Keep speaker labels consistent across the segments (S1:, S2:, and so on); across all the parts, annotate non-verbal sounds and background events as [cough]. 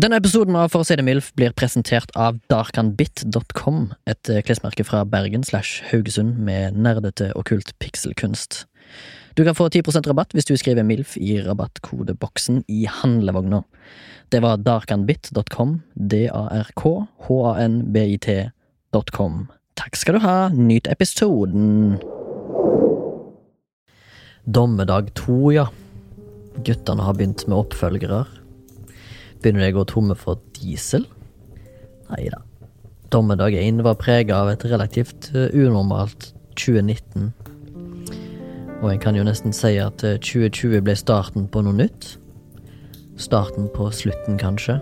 S1: Denne episoden av For å si det mildt blir presentert av darkanbit.com, et eh, klesmerke fra Bergen slash Haugesund med nerdete okkult pikselkunst. Du kan få 10 rabatt hvis du skriver MILF i rabattkodeboksen i handlevogna. Det var darkanbit.com, d-a-r-k-h-a-n-b-i-t.com. Takk skal du ha, nyt episoden! Dommedag to, ja. Guttene har begynt med oppfølgere. Begynner de å gå tomme for diesel? Nei da. Dommedag 1 var prega av et relativt eh, unormalt 2019. Og en kan jo nesten si at eh, 2020 ble starten på noe nytt. Starten på slutten, kanskje.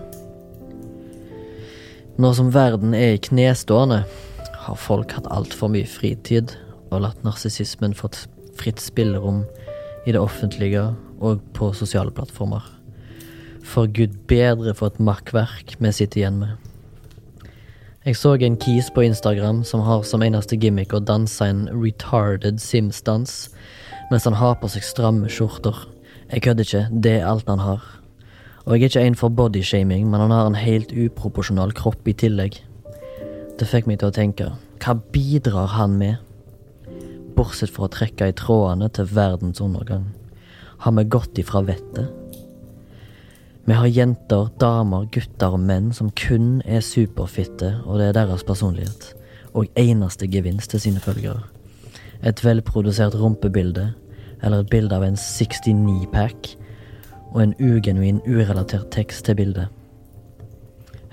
S1: Nå som verden er i knestående, har folk hatt altfor mye fritid og latt narsissismen fått fritt spillerom i det offentlige og på sosiale plattformer. For gud bedre for et makkverk vi sitter igjen med. Jeg så en kis på Instagram som har som eneste gimmick å danse en retarded Sims-dans mens han har på seg stramme skjorter. Jeg kødder ikke, det er alt han har. Og jeg er ikke en for bodyshaming, men han har en helt uproporsjonal kropp i tillegg. Det fikk meg til å tenke, hva bidrar han med? Bortsett fra å trekke i trådene til verdens undergang. Har vi gått ifra vettet? Vi har jenter, damer, gutter og menn som kun er superfitte, og det er deres personlighet. Og eneste gevinst til sine følgere. Et velprodusert rumpebilde, eller et bilde av en 69-pack, og en ugenuin, urelatert tekst til bildet.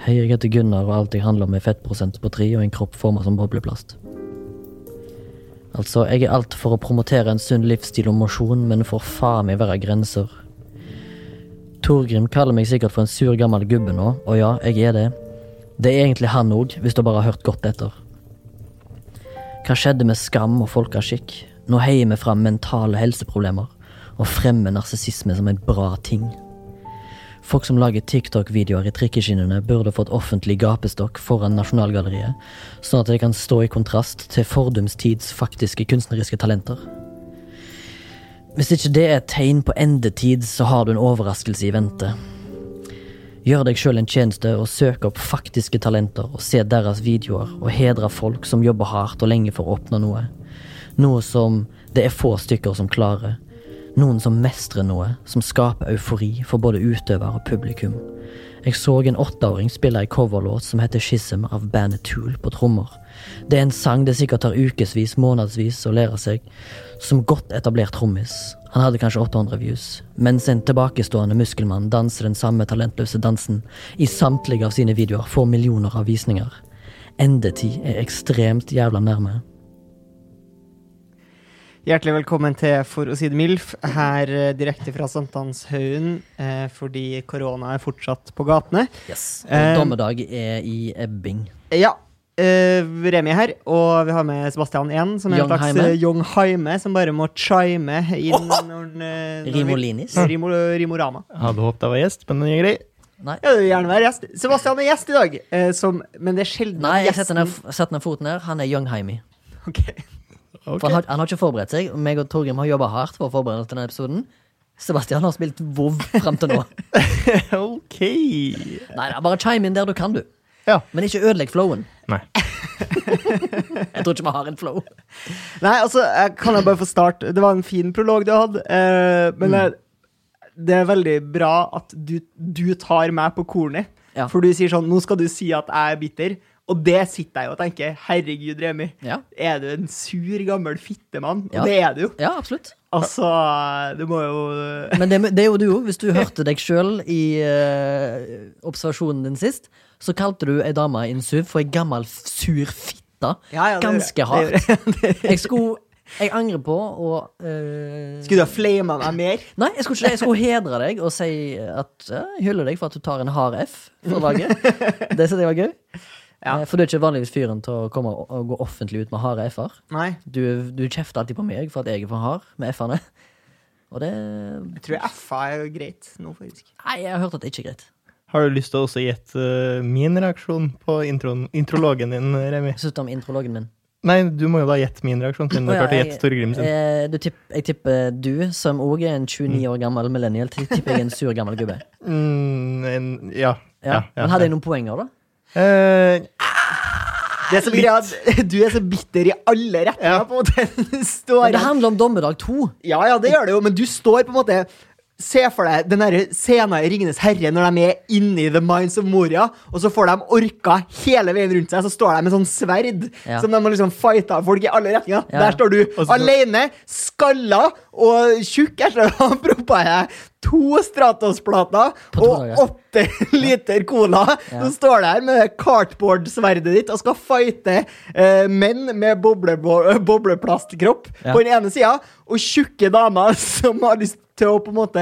S1: Hei, jeg heter Gunnar, og alt jeg handler om er fettprosent på tre og en kropp formet som bobleplast. Altså, jeg er alt for å promotere en sunn livsstil og mosjon, men får faen meg være grenser. Torgrim kaller meg sikkert for en sur gammel gubbe nå, og ja, jeg er det. Det er egentlig han òg, hvis du bare har hørt godt etter. Hva skjedde med skam og folkeskikk? Nå heier vi fram mentale helseproblemer og fremmer narsissisme som en bra ting. Folk som lager TikTok-videoer i trikkeskinnene, burde fått offentlig gapestokk foran Nasjonalgalleriet, sånn at det kan stå i kontrast til fordums tids faktiske kunstneriske talenter. Hvis ikke det er et tegn på endetid, så har du en overraskelse i vente. Gjør deg sjøl en tjeneste og søk opp faktiske talenter og se deres videoer, og hedre folk som jobber hardt og lenge for å oppnå noe. Noe som det er få stykker som klarer. Noen som mestrer noe, som skaper eufori for både utøver og publikum. Jeg så en åtteåring spille ei coverlåt som heter Schism av bandet Tool på trommer. Det er en sang det sikkert tar ukevis, månedsvis å lære seg, som godt etablert trommis. Han hadde kanskje 800 views, mens en tilbakestående muskelmann danser den samme talentløse dansen i samtlige av sine videoer får millioner av visninger. Endetid er ekstremt jævla nærme.
S2: Hjertelig velkommen til For å si det MILF, her eh, direkte fra Sankthanshaugen, eh, fordi korona er fortsatt på gatene.
S1: Yes.
S2: Eh,
S1: Og dommedag er i ebbing.
S2: Eh, Ja, eh, Remi her, og vi har med Sebastian igjen, som er en
S1: Young
S2: slags
S1: Heime.
S2: eh, Young Heime, som bare må chime inn når han eh, når vi-
S1: Rimolinis?
S2: Rimo, Rimorama.
S3: Jeg hadde håpet jeg var gjest, men det er grei.
S1: Nei.
S2: Ja, du vil gjerne være gjest. Sebastian er gjest i dag, eh, som, men det er sjelden
S1: Nei, jeg setter
S2: gjesten
S1: ned, setter ned foten her. Han er youngheimi.
S2: Ok.
S3: Ok.
S1: For han, har, han har ikke forberedt seg. og Meg og Torgrim har jobba hardt for å forberede oss til denne episoden. Sebastian har spilt WoW fram
S3: [laughs]
S1: til nå.
S2: [laughs]
S3: ok.
S1: Nei, nei, Bare chime inn der du kan, du.
S3: Ja.
S1: Men ikke ødelegg flowen.
S3: Nei.
S1: [laughs] Jeg tror ikke vi har en flow.
S2: Nei, altså, jeg kan jeg bare få starte? Det var en fin prolog du hadde, eh, men jeg, det er veldig bra at du, du tar meg på kornet.
S1: Ja.
S2: For du sier sånn, nå skal du si at jeg er bitter, og det sitter jeg jo og tenker, herregud, Remi.
S1: Ja.
S2: Er du en sur, gammel fittemann?
S1: Ja.
S2: Og det er du jo.
S1: Ja, absolutt.
S2: Altså, du må jo
S1: Men det, det er jo du òg. Hvis du hørte deg sjøl i eh, observasjonen din sist, så kalte du ei dame i en SUV for ei gammel f- sur fitte.
S2: Ja, ja, det gjør jeg.
S1: Ganske
S2: Det
S1: hardt.
S2: gjør [laughs] jeg.
S1: Jeg skulle Jeg angrer på å eh,
S2: Skulle du ha flama meg mer?
S1: Nei, jeg skulle ikke det. Jeg skulle hedre deg og si at ja, jeg hyller deg for at du tar en hard F for laget. Det synes jeg var gøy.
S2: Ja.
S1: Eh, For du er ikke vanligvis fyren til å komme og og gå offentlig ut med harde F-er.
S2: Nei.
S1: Du, du kjefter alltid på meg for at jeg er for hard med F-ene. Og det Nei,
S2: Jeg tror F-a er jo greit nå, faktisk.
S1: jeg har hørt at det ikke er greit.
S3: Har du lyst til å også gjette eh, min reaksjon på introen, intrologen din, Remi?
S1: Jeg synes det om intrologen min.
S3: Nei, du må jo da gjette min reaksjon, siden du
S1: Å ja,
S3: klarte å
S1: jeg-
S3: gjette Torgrim sin.
S1: eh, du tipp, jeg tipper du, som òg er en 29 år gammel millennial, tipper jeg er en sur gammel gubbe.
S3: Mm, en, ja.
S1: Ja.
S3: ja,
S1: Men hadde jeg noen poenger, da?
S3: Eh,
S2: Det som er greia, er at du er så bitter i alle retninger,
S3: Ja.
S2: på en [laughs] måte. Du
S1: Men
S2: står
S1: det handler om Dommedag 2.
S2: Ja, ja, det gjør det jo, men du står på en måte Se for deg den der scenen i Ringenes herre når de er inni The Minds of Moria, og så får de orka hele veien rundt seg, så står de med sånn sverd
S1: Ja.
S2: som de har liksom fighta folk i alle retninger.
S1: Ja.
S2: Der står du
S3: Og så-
S2: alene, skalla og tjukk [laughs] etter å ha proppa i deg to Stratos-plater
S1: På to dager.
S2: og åtte [laughs] liter cola.
S1: Ja.
S2: Så står du her med det cardboard-sverdet ditt og skal fighte eh, menn med boblebo- [laughs] bobleplastkropp
S1: Ja.
S2: på den ene sida, og tjukke damer [laughs] som har lyst til å på en måte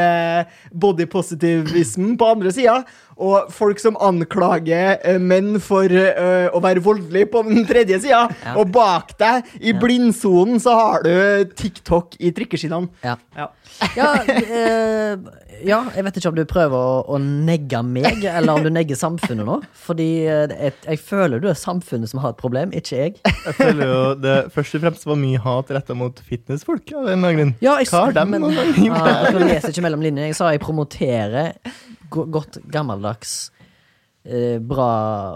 S2: body positivism på andre sida, og folk som anklager eh, menn for eh, å være voldelige på den tredje sida,
S1: [laughs] Ja.
S2: og bak deg, i blindsonen, så har du TikTok i trikkeskinnene.
S1: Ja.
S2: Ja.
S1: Ja, eh, ja, jeg vet ikke om du prøver å, å negge meg, eller om du negger samfunnet nå. Fordi eh, jeg, jeg føler du er samfunnet som har et problem, ikke jeg.
S3: jeg føler jo det først og fremst var mye hat retta mot fitnessfolk. av en eller annen grunn.
S1: Ja, jeg,
S3: Hva har de
S1: men-
S3: noen gang gjort?
S1: Ah, jeg leser ikke mellom linjene. Jeg sa jeg promoterer go godt gammeldags, eh, bra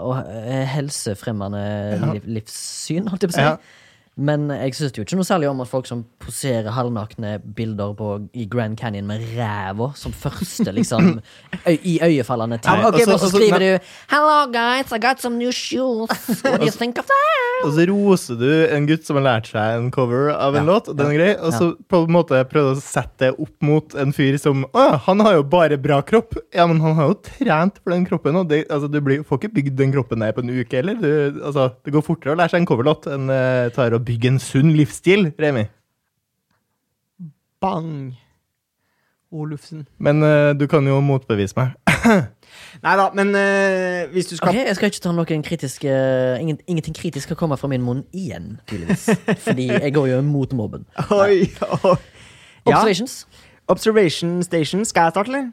S1: og eh, helsefremmende liv livssyn, holdt jeg på å si.
S3: Ja.
S1: Men jeg syns jo ikke noe særlig om at folk som poserer halvnakne bilder på, i Grand Canyon med ræva som første
S3: [laughs]
S1: liksom øy- iøynefallende ting.
S3: Nei,
S1: Og
S3: Altså, ok, men
S1: så
S3: altså,
S1: skriver
S3: men-
S1: du 'Hello guys, I got some new shoes. What do you think of that?'
S3: Og så roser du en gutt som har lært seg en cover av en
S1: Ja,
S3: låt, og den er grei, og så på en måte prøvde å sette det opp mot en fyr som Å ja, han har jo bare bra kropp. Ja, men han har jo trent for den kroppen, og det, altså, du blir, får ikke bygd den kroppen der på en uke heller. Du, altså, det går fortere å lære seg en coverlåt enn eh, tar å bygge en sunn livsstil, Remi.
S2: Bang! Olufsen.
S3: Men eh, du kan jo motbevise meg.
S2: Nei da, men eh, hvis du skal
S1: Ok, Jeg skal ikke ta noen kritiske ingen, Ingenting kritisk skal komme fra min munn igjen, [laughs] tydeligvis. Fordi jeg går jo imot mobben.
S2: [laughs] Oi, oi. Ja,
S1: Observations?
S2: Observation Station. Skal jeg starte, eller?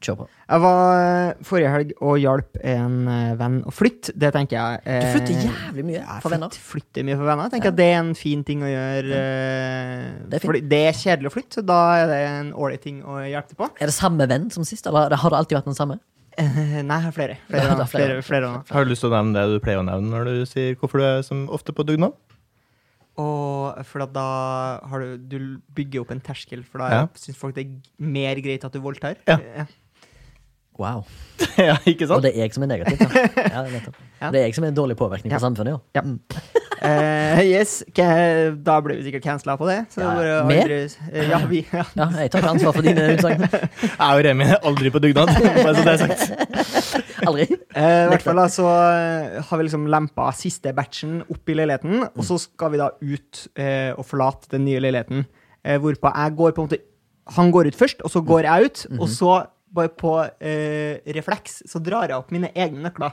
S1: Kjør på.
S2: Jeg var eh, forrige helg og hjalp en eh, venn å flytte. Det tenker jeg eh,
S1: Du flytter jævlig mye
S2: jeg
S1: for venner.
S2: flytt- Flytter mye for venner. Jeg tenker at det er en fin ting å gjøre. eh,
S1: Det er fint.
S2: fordi det er kjedelig å flytte, så da er det en ålreit ting å hjelpe til på.
S1: Er det samme venn som sist, eller har det alltid vært den samme?
S2: Eh, nei, jeg har flere.
S1: Ja,
S2: Flere,
S1: det er
S2: venner,
S1: flere.
S2: flere, flere venner.
S3: Har du lyst til å nevne det du pleier å nevne når du sier hvorfor du er som ofte på dugnad? [laughs]
S2: Og for at da har du, du bygger opp en terskel, for da
S3: Ja.
S2: syns folk det er g- mer greit at du voldtar.
S3: Ja.
S2: Eh,
S1: Wow.
S3: ja, ikke
S1: Og
S3: sant?
S1: det er jeg som er [laughs] negativ. Ja. Ja, nettopp.
S2: Ja.
S1: Det er jeg som er en dårlig påvirkning på
S2: Ja.
S1: samfunnet. Jo.
S2: Ja. Eh, yes, ke- da blir vi sikkert cancela på det. Så
S1: Ja.
S2: det er bare
S1: Mer?
S2: aldri- eh, ja, vi, ja.
S1: Ja, jeg tar ikke ansvar for dine utsagn.
S3: Jeg og Remi er aldri på dugnad. [laughs] bare så det er sagt.
S1: Aldri.
S2: Eh, I hvert fall da, så eh, har vi liksom lempa siste batchen opp i leiligheten, og så skal vi da ut eh, og forlate den nye leiligheten. Eh, hvorpå jeg går på en måte Han går ut først, og så går jeg ut.
S1: Mhm.
S2: Og så, bare på eh, refleks, så drar jeg opp mine egne nøkler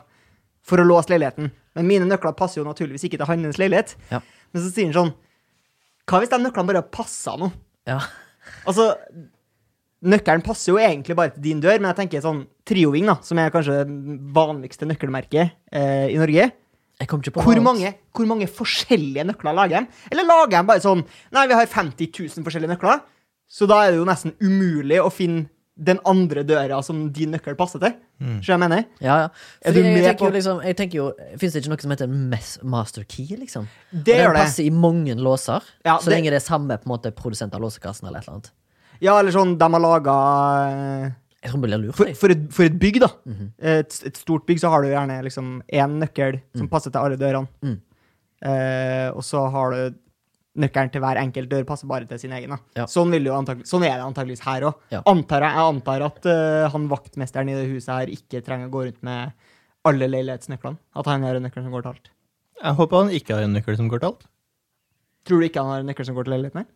S2: for å låse leiligheten. Men mine nøkler passer jo naturligvis ikke til hans leilighet.
S1: Ja.
S2: Men så sier han sånn Hva hvis de nøklene bare passa nå?
S1: Ja.
S2: Altså, nøkkelen passer jo egentlig bare til din dør, men jeg tenker sånn Trioving, da, som er kanskje det vanligste nøkkelmerket eh, i Norge.
S1: Jeg kom ikke på
S2: Hvor
S1: noe annet.
S2: mange, hvor mange forskjellige nøkler lager de? Eller lager de bare sånn Nei, vi har 50 000 forskjellige nøkler, så da er det jo nesten umulig å finne den andre døra som din nøkkel passer til. Skjønner du hva jeg mener?
S1: Ja, ja.
S2: Er
S1: Fordi
S2: du
S1: jeg,
S2: med
S1: tenker jo
S2: på-
S1: liksom, jeg tenker jo, Fins det ikke noe som heter en mes- master key, liksom? Og
S2: gjør
S1: Den
S2: det.
S1: passer i mange låser,
S2: Ja,
S1: så
S2: det-
S1: lenge det er samme på en måte, produsent av låsekassen eller et eller annet.
S2: Ja, eller sånn, de har eh, laga
S1: Jeg tror vi blir lurt.
S2: for,
S1: jeg.
S2: for, et, for et bygg, da.
S1: Mhm.
S2: Eh, et, et stort bygg, så har du gjerne liksom én nøkkel som passer til alle dørene.
S1: Mm.
S2: Eh, og så har du nøkkelen til hver enkelt dør passer bare til sin egen. Da.
S1: Ja.
S2: Sånn, vil det jo antagelig- sånn er det antakeligvis her òg.
S1: Ja.
S2: Antar jeg, jeg antar at eh, han vaktmesteren i det huset her ikke trenger å gå rundt med alle leilighetsnøklene. At han har en nøkkel som går til alt.
S3: Jeg håper han ikke har en nøkkel som går til alt.
S2: Tror du ikke han har en nøkkel som går til leiligheten? her?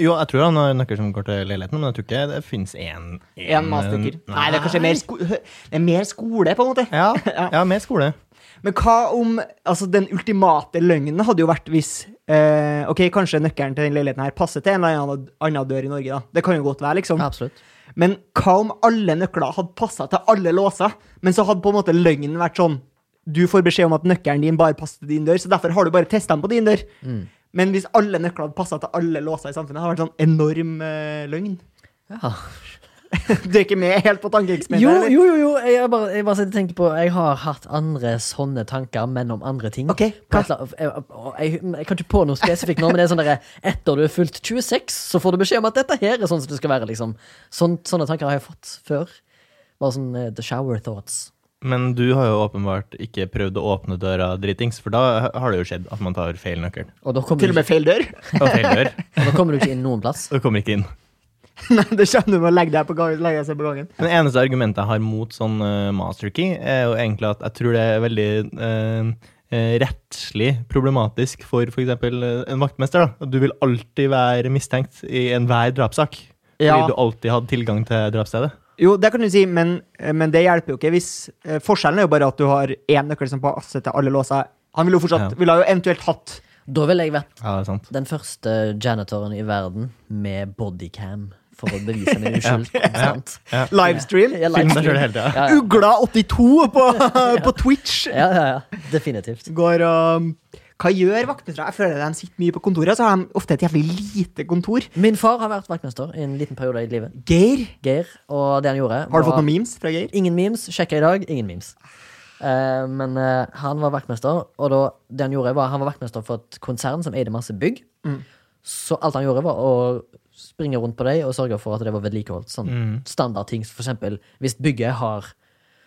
S3: Jo, jeg tror han har en nøkkel som går til leiligheten, men jeg tror ikke det finnes én
S2: En masterker. Nei, det er kanskje mer, sko det er mer skole, på en måte. [laughs]
S3: Ja, ja, med skole.
S2: Men hva om Altså, den ultimate løgnen hadde jo vært hvis eh, Ok, kanskje nøkkelen til den leiligheten her passer til en eller annen, annen dør i Norge, da. Det kan jo godt være, liksom.
S1: Ja, absolutt.
S2: Men hva om alle nøkler hadde passa til alle låser, men så hadde på en måte løgnen vært sånn Du får beskjed om at nøkkelen din bare passer til din dør, så derfor har du bare testa den på din dør.
S1: Mm.
S2: Men hvis alle nøkler hadde passa til alle låser i samfunnet, hadde [laughs] det vært sånn enorm eh, løgn.
S1: Ja.
S2: Du er ikke med helt på tankeeksperimentet?
S1: Jo,
S2: eller?
S1: jo, jo, jo. Jeg, jeg bare, jeg bare sitter og tenker på Jeg har hatt andre sånne tanker, men om andre ting.
S2: Ok,
S1: På et eller annet- jeg, jeg, jeg kan ikke på noe spesifikt nå, men det er sånn derre Etter du er fylt 26, så får du beskjed om at dette her er sånn som det skal være, liksom. Sånn, sånne tanker har jeg fått før. Bare sånn eh, the shower thoughts.
S3: Men du har jo åpenbart ikke prøvd å åpne døra dritings, for da har det jo skjedd at man tar feil nøkkel.
S1: Og da kommer,
S2: Til og
S1: du,
S2: med feil dør? [laughs]
S3: Og feil dør,
S1: ikke- da kommer du ikke inn noen plass.
S3: og kommer ikke inn.
S2: Nei, det kommer du med å legge deg på gangen. Legge seg på gangen.
S3: Men Det eneste argumentet jeg har mot sånn eh, masterkey, er jo egentlig at jeg tror det er veldig eh, eh, rettslig problematisk for f.eks. en vaktmester. da. Du vil alltid være mistenkt i enhver drapssak.
S2: Ja.
S3: Fordi du alltid hadde tilgang til drapsstedet.
S2: Jo, det kan du si, men, eh, men det hjelper jo ikke. Hvis, eh, forskjellen er jo bare at du har én nøkkel som passer til alle låser. Han ville jo fortsatt,
S3: Ja.
S2: ville jo eventuelt hatt
S1: Da ville jeg vært
S3: Ja, det er sant.
S1: den første janitoren i verden med bodycam for å bevise min uskyld. sant?
S2: livestream.
S1: Jeg
S3: Film deg
S1: livestream.
S3: selv hele tida.
S1: Ja, ja.
S2: Ugla82 på, på Twitch
S1: Ja, ja, ja. Definitivt.
S2: går og Hva gjør vaktmestere? Jeg føler de sitter mye på kontoret, så har de ofte et jævlig lite kontor.
S1: Min far har vært vaktmester i en liten periode i livet.
S2: Geir,
S1: Geir, og det han gjorde
S2: har
S1: var-
S2: du fått noen memes fra Geir?
S1: Ingen memes. Sjekka i dag, ingen memes. Eh, men eh, han var vaktmester, og da, det han gjorde var han var vaktmester for et konsern som eide masse bygg. Så alt han gjorde, var å springe rundt på dem og sørge for at det var vedlikeholdt. Sånn standardting. For eksempel, hvis bygget har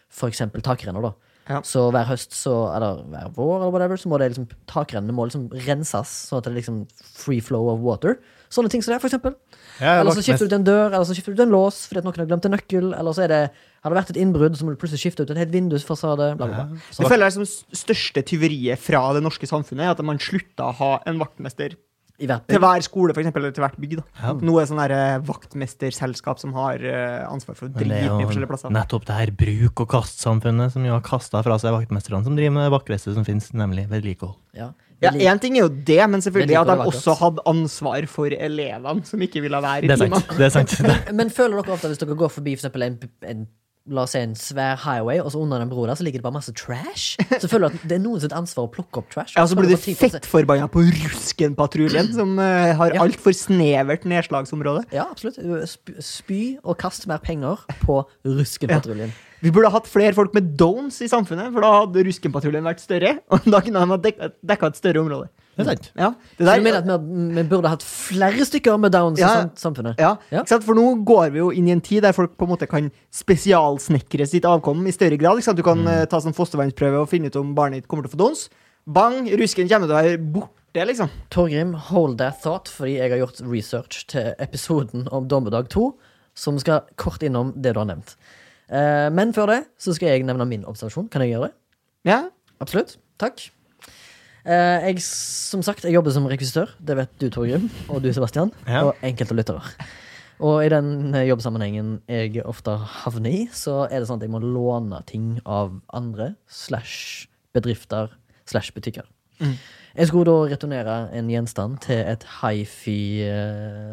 S1: for eksempel takrenner, da.
S2: Ja.
S1: Så hver høst, så, eller hver vår, eller whatever, så må det liksom, takrennene må liksom renses, sånn at det er liksom free flow of water. Sånne ting som det, er, for eksempel.
S3: Ja,
S1: Eller så
S3: vaktmest-
S1: skifter du ut en dør, eller så skifter du ut en lås fordi at noen har glemt en nøkkel. Eller så er det, har det vært et innbrudd, så må du plutselig skifte ut en helt vindusfasade. Bla, bla, bla.
S2: Jeg
S1: Så,
S2: føler det som s- største tyveriet fra det norske samfunnet er at man slutta å ha en vaktmester
S1: i hvert
S2: til
S1: bygg.
S2: hver skole, for eksempel, eller til hvert bygg. da. Nå er det sånn der, eh, vaktmesterselskap som har eh, ansvar for å
S3: Men det
S2: drive
S3: er
S2: mye
S3: jo
S2: forskjellige plasser.
S3: nettopp det her bruk-og-kast-samfunnet som jo har kasta fra seg vaktmesterne, som driver med det vakreste som fins, nemlig vedlikehold.
S1: Ja.
S2: Ja,
S1: Veldig-
S2: Én ting er jo det, men selvfølgelig
S1: Veldig
S2: at de
S1: korrekt.
S2: også hadde ansvar for elevene som ikke ville være
S3: Det
S2: i
S3: er sant.
S2: timene. [laughs]
S3: det er sant. Det-
S1: Men føler dere ofte at hvis dere går forbi for eksempel en, en La oss si en svær highway, og så under den broa der så ligger det bare masse trash. Så føler du at det er noen sitt ansvar å plukke opp trash.
S2: Ja, så
S1: Føler
S2: blir du
S1: dere at ting-
S2: fettforbanna på Ruskenpatruljen, som eh, har
S1: Ja.
S2: altfor snevert nedslagsområde.
S1: Ja, absolutt. eh, Sp- Spy og kast mer penger på ruskepatruljen.
S2: Vi burde ha hatt flere folk med downs i samfunnet, for da hadde Ruskenpatruljen vært større. [laughs] Og da kunne de ha dekka, dekka et større område.
S3: Det er sant.
S2: Ja, det
S1: Så
S2: der,
S1: du mener at vi, vi burde hatt flere stykker med downs i
S2: Ja.
S1: sam- samfunnet?
S2: ja,
S1: Ja.
S2: Ikke sant? For nå går vi jo inn i en tid der folk på en måte kan spesialsnekre sitt avkom i større grad. Ikke sant? Du
S1: Mm.
S2: kan eh, ta sånn fostervannsprøve og finne ut om barnet ditt kommer til å få downs. Bang! Rusken kommer til å være borte, liksom.
S1: Torgrim, hold that thought, fordi jeg har gjort research til episoden om Dommedag 2, som skal kort innom det du har nevnt. Eh, men før det så skal jeg nevne min observasjon. Kan jeg gjøre det?
S2: Ja.
S1: Absolutt. Takk. Eh, jeg, som sagt, jeg jobber som rekvisitør. Det vet du, Torgrim, og du,
S2: [laughs]
S1: Sebastian.
S3: Ja.
S1: Og enkelte lyttere. Og i den eh, jobbsammenhengen jeg ofte havner i, så er det sånn at jeg må låne ting av andre slash bedrifter slash butikker.
S2: Mm.
S1: Jeg skulle da returnere en gjenstand til et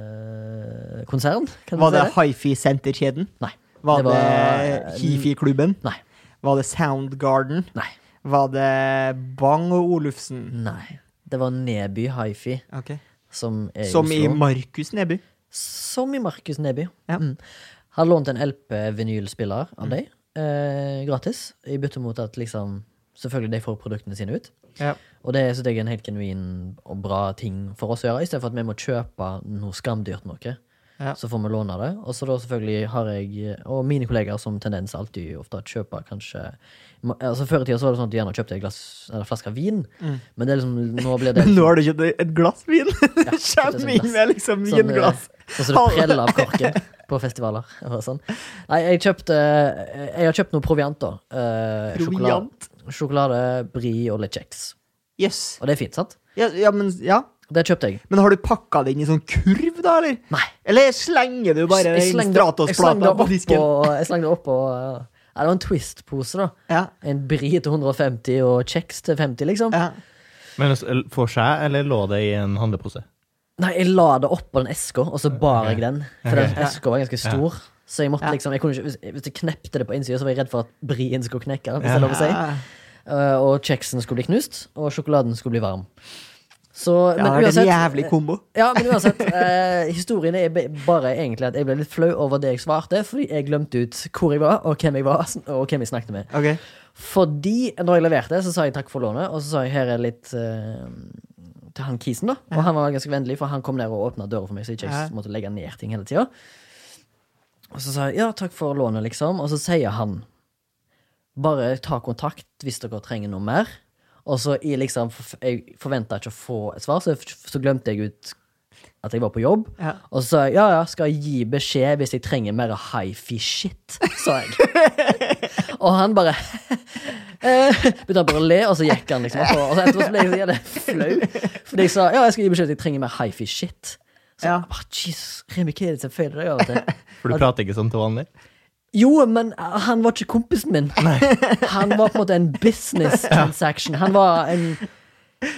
S1: hifi-konsern. kan du
S2: Var det
S1: si det?
S2: hifi-senterkjeden?
S1: Nei.
S2: Var det,
S1: var- eh,
S2: hifi-klubben?
S1: Nei.
S2: Var det Soundgarden?
S1: Nei.
S2: Var det Bang og Olufsen?
S1: Nei. Det var Neby hifi,
S2: Ok.
S1: som er
S2: Som i
S1: Oslo.
S2: Markus Neby.
S1: Som i Markus Neby.
S2: Ja. Mm.
S1: Mm. Har lånt en LP-vinylspiller av deg, eh, gratis, i bytte mot at liksom Selvfølgelig de får produktene sine ut.
S2: Ja.
S1: Og det syns jeg er en helt genuin og bra ting for oss å gjøre, istedenfor at vi må kjøpe noe skamdyrt noe.
S2: Ja.
S1: Så får vi låne det. Og så da selvfølgelig har jeg, og mine kollegaer som tendens alltid ofte kjøper kanskje ma- altså Før i tida så var det sånn at du gjerne kjøpte en glass, eller flaske vin, men det er liksom, nå
S2: [laughs]
S1: blir det
S2: Mm. Nå har du kjøpt et glass vin! [laughs]
S1: Ja,
S2: Det
S1: kjøpte oss en
S2: kommer inn
S1: glass.
S2: med liksom
S1: Sånn,
S2: vinglass.
S1: eh, Sånn som det preller av korken på festivaler. Og sånn. Nei, jeg kjøpte eh, Jeg har kjøpt noe proviant, da. Eh, sjokolade- Sjokolade, brie og litt kjeks.
S2: Jøss.
S1: Og det er fint, sant?
S2: Ja, ja, men, ja.
S1: Det kjøpte jeg.
S2: men har du pakka det inn i sånn kurv, da, eller?
S1: Nei.
S2: Eller slenger du bare
S1: Jeg
S2: inn
S1: slengte- jeg slengte
S2: Stratos-plata
S1: opp
S2: på disken?
S1: og- Jeg slengte opp og eh, ja, Det var en Twist-pose, da.
S2: Ja.
S1: En brie til 150 og kjeks til 50, liksom.
S2: ja.
S3: Men altså, for seg, eller lå det i en handlepose?
S1: Nei, jeg la det oppå den eska, og så bar jeg den. For den
S3: Ok.
S1: eska var ganske stor. Så jeg måtte
S2: Ja.
S1: liksom, jeg kunne ikke, hvis, hvis jeg knepte det på innsida, så var jeg redd for at brien skulle knekke. Hvis det
S3: Ja.
S1: er lov å si.
S2: Ja.
S1: Eh, og kjeksen skulle bli knust, og sjokoladen skulle bli varm. Så,
S2: Ja,
S1: men
S2: det er en
S1: uansett,
S2: jævlig kombo.
S1: Ja, men uansett, eh, historien er ba- bare egentlig at jeg ble litt flau over det jeg svarte, fordi jeg glemte ut hvor jeg var, og hvem jeg var, og hvem jeg snakket med.
S2: Ok.
S1: Fordi når jeg leverte, så sa jeg takk for lånet, og så sa jeg her er litt eh, til han Kisen, da. Og han var ganske vennlig, for han kom ned og åpna døra for meg, så ikke jeg
S2: Ja.
S1: måtte legge ned ting hele tida. Og så sa jeg ja, takk for lånet, liksom. Og så sier han bare ta kontakt hvis dere trenger noe mer. Og så i liksom forf- Jeg forventa ikke å få et svar, så, jeg, så glemte jeg ut at jeg var på jobb.
S2: Ja.
S1: Og så sa jeg ja, ja, skal jeg gi beskjed hvis jeg trenger mer hifi-shit, sa jeg. og han bare [laughs] eh, Begynte han bare å le, og så gikk han liksom opp. Og så etterpå så ble jeg så jævlig flau, fordi jeg sa ja, jeg skal gi beskjed hvis jeg trenger mer hifi-shit. Så
S2: Ja.
S1: jeg bare, Jesus, Remi, hva er det som feiler deg av og til?
S3: For du prater ikke sånn til vanlig?
S1: Jo, men han var ikke kompisen min. [laughs] Han var på en måte en business transaction. Han var en,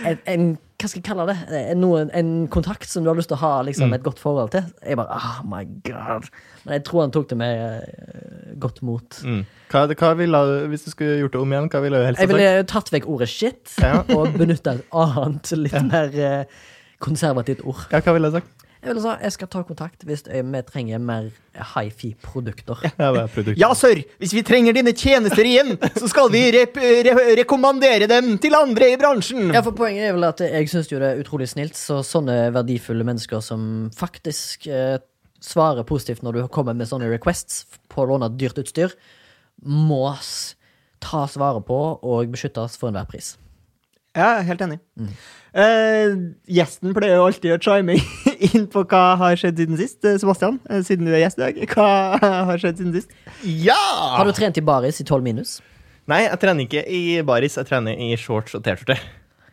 S1: en, en Hva skal jeg kalle det? En, noen, en kontakt som du har lyst til å ha
S3: Mm.
S1: liksom, et godt forhold til. Jeg bare, oh my god Men jeg tror han tok det med eh, godt mot.
S3: Mm. Hva, hva ville, du- hvis du skulle gjort det om igjen, hva ville du helst ha
S1: Jeg
S3: sagt?
S1: ville tatt vekk ordet shit
S3: Ja.
S1: [laughs] og benytta et annet, litt mer eh, konservativt ord.
S3: Ja, hva ville jeg sagt?
S1: Jeg ville sagt jeg skal ta kontakt hvis eh, vi trenger mer hifi-produkter.
S3: Ja, det er produkt.
S2: Ja, sir, hvis vi trenger dine tjenester igjen, så skal vi rep re rekommandere dem til andre i bransjen.
S1: Ja, for Poenget er vel at jeg syns jo det er utrolig snilt, så sånne verdifulle mennesker som faktisk eh, svarer positivt når du kommer med sånne requests på å låne dyrt utstyr, må s- tas vare på og beskyttes for enhver pris.
S2: Ja, helt enig. Eh, gjesten pleier jo alltid å chime inn på hva har skjedd siden sist. Eh, Sebastian, eh, siden du er gjest i dag, hva har skjedd siden sist?
S1: Har
S3: ja!
S1: du trent i baris i 12 minus?
S3: Nei, jeg trener ikke i baris. Jeg trener i shorts og T-skjorte.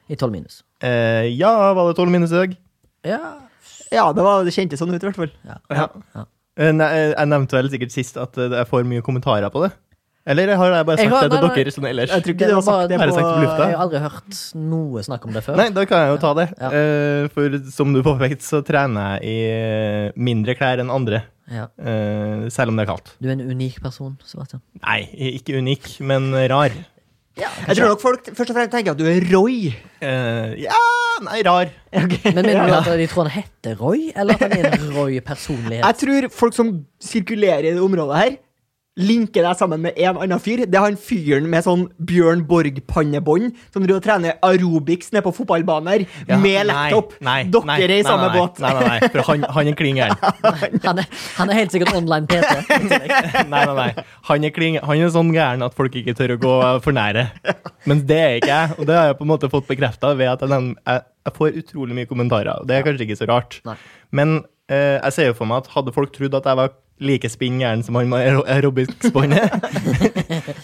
S1: I 12 minus.
S3: Eh, ja, var det tolv minus i dag?
S1: Ja.
S2: Ja, det, var, det kjentes sånn ut, i hvert fall.
S3: Ja.
S1: Ja.
S3: Eh, Nei, jeg nevnte vel sikkert sist at eh, jeg får mye kommentarer på det. Eller har jeg bare
S1: Jeg
S3: sagt
S1: har-
S3: det til
S1: nei, nei.
S3: dere sånn ellers?
S2: Jeg tror ikke
S1: Det
S2: det
S1: var
S2: var sagt
S1: bare-
S2: det
S3: Bare
S2: på
S3: sagt på lufta.
S1: Jeg har aldri hørt noe snakk om det før.
S3: Nei, da kan jeg jo ta det.
S1: Ja.
S3: Eh, for som du påpekte, så trener jeg i eh, mindre klær enn andre.
S1: Ja.
S3: eh, selv om det er kaldt.
S1: Du er en unik person, Sebastian.
S3: Nei, ikke unik, men rar.
S2: Jeg tror nok folk først og fremst tenker at du er Roy.
S3: Eh, ja, nei, rar.
S1: Men mener du at de tror han heter Roy, eller at han er en Roy-personlighet?
S2: Jeg tror folk som sirkulerer i det området her, linker deg sammen med en annen fyr. Det er han fyren med sånn Bjørn Borg-pannebånd som driver og trener aerobics nede på fotballbanen her,
S3: Ja,
S2: med
S3: nei,
S2: laptop.
S3: nei,
S2: Dere
S3: nei,
S2: er i
S3: nei,
S2: samme
S3: nei,
S2: båt. [laughs]
S3: Nei, nei, nei, for han, han er klin gæren.
S1: Han er, han er helt sikkert online PT.
S3: [laughs] Nei, nei, nei. Han er, kling, han er sånn gæren at folk ikke tør å gå for nære. Men det er ikke jeg, og det har jeg på en måte fått bekrefta ved at jeg, nem- jeg, jeg får utrolig mye kommentarer. og Det er kanskje ikke så rart.
S1: Nei.
S3: Men eh, jeg ser jo for meg at hadde folk trodd at jeg var like spinn gæren som han med aer- aerobics-båndet, [laughs]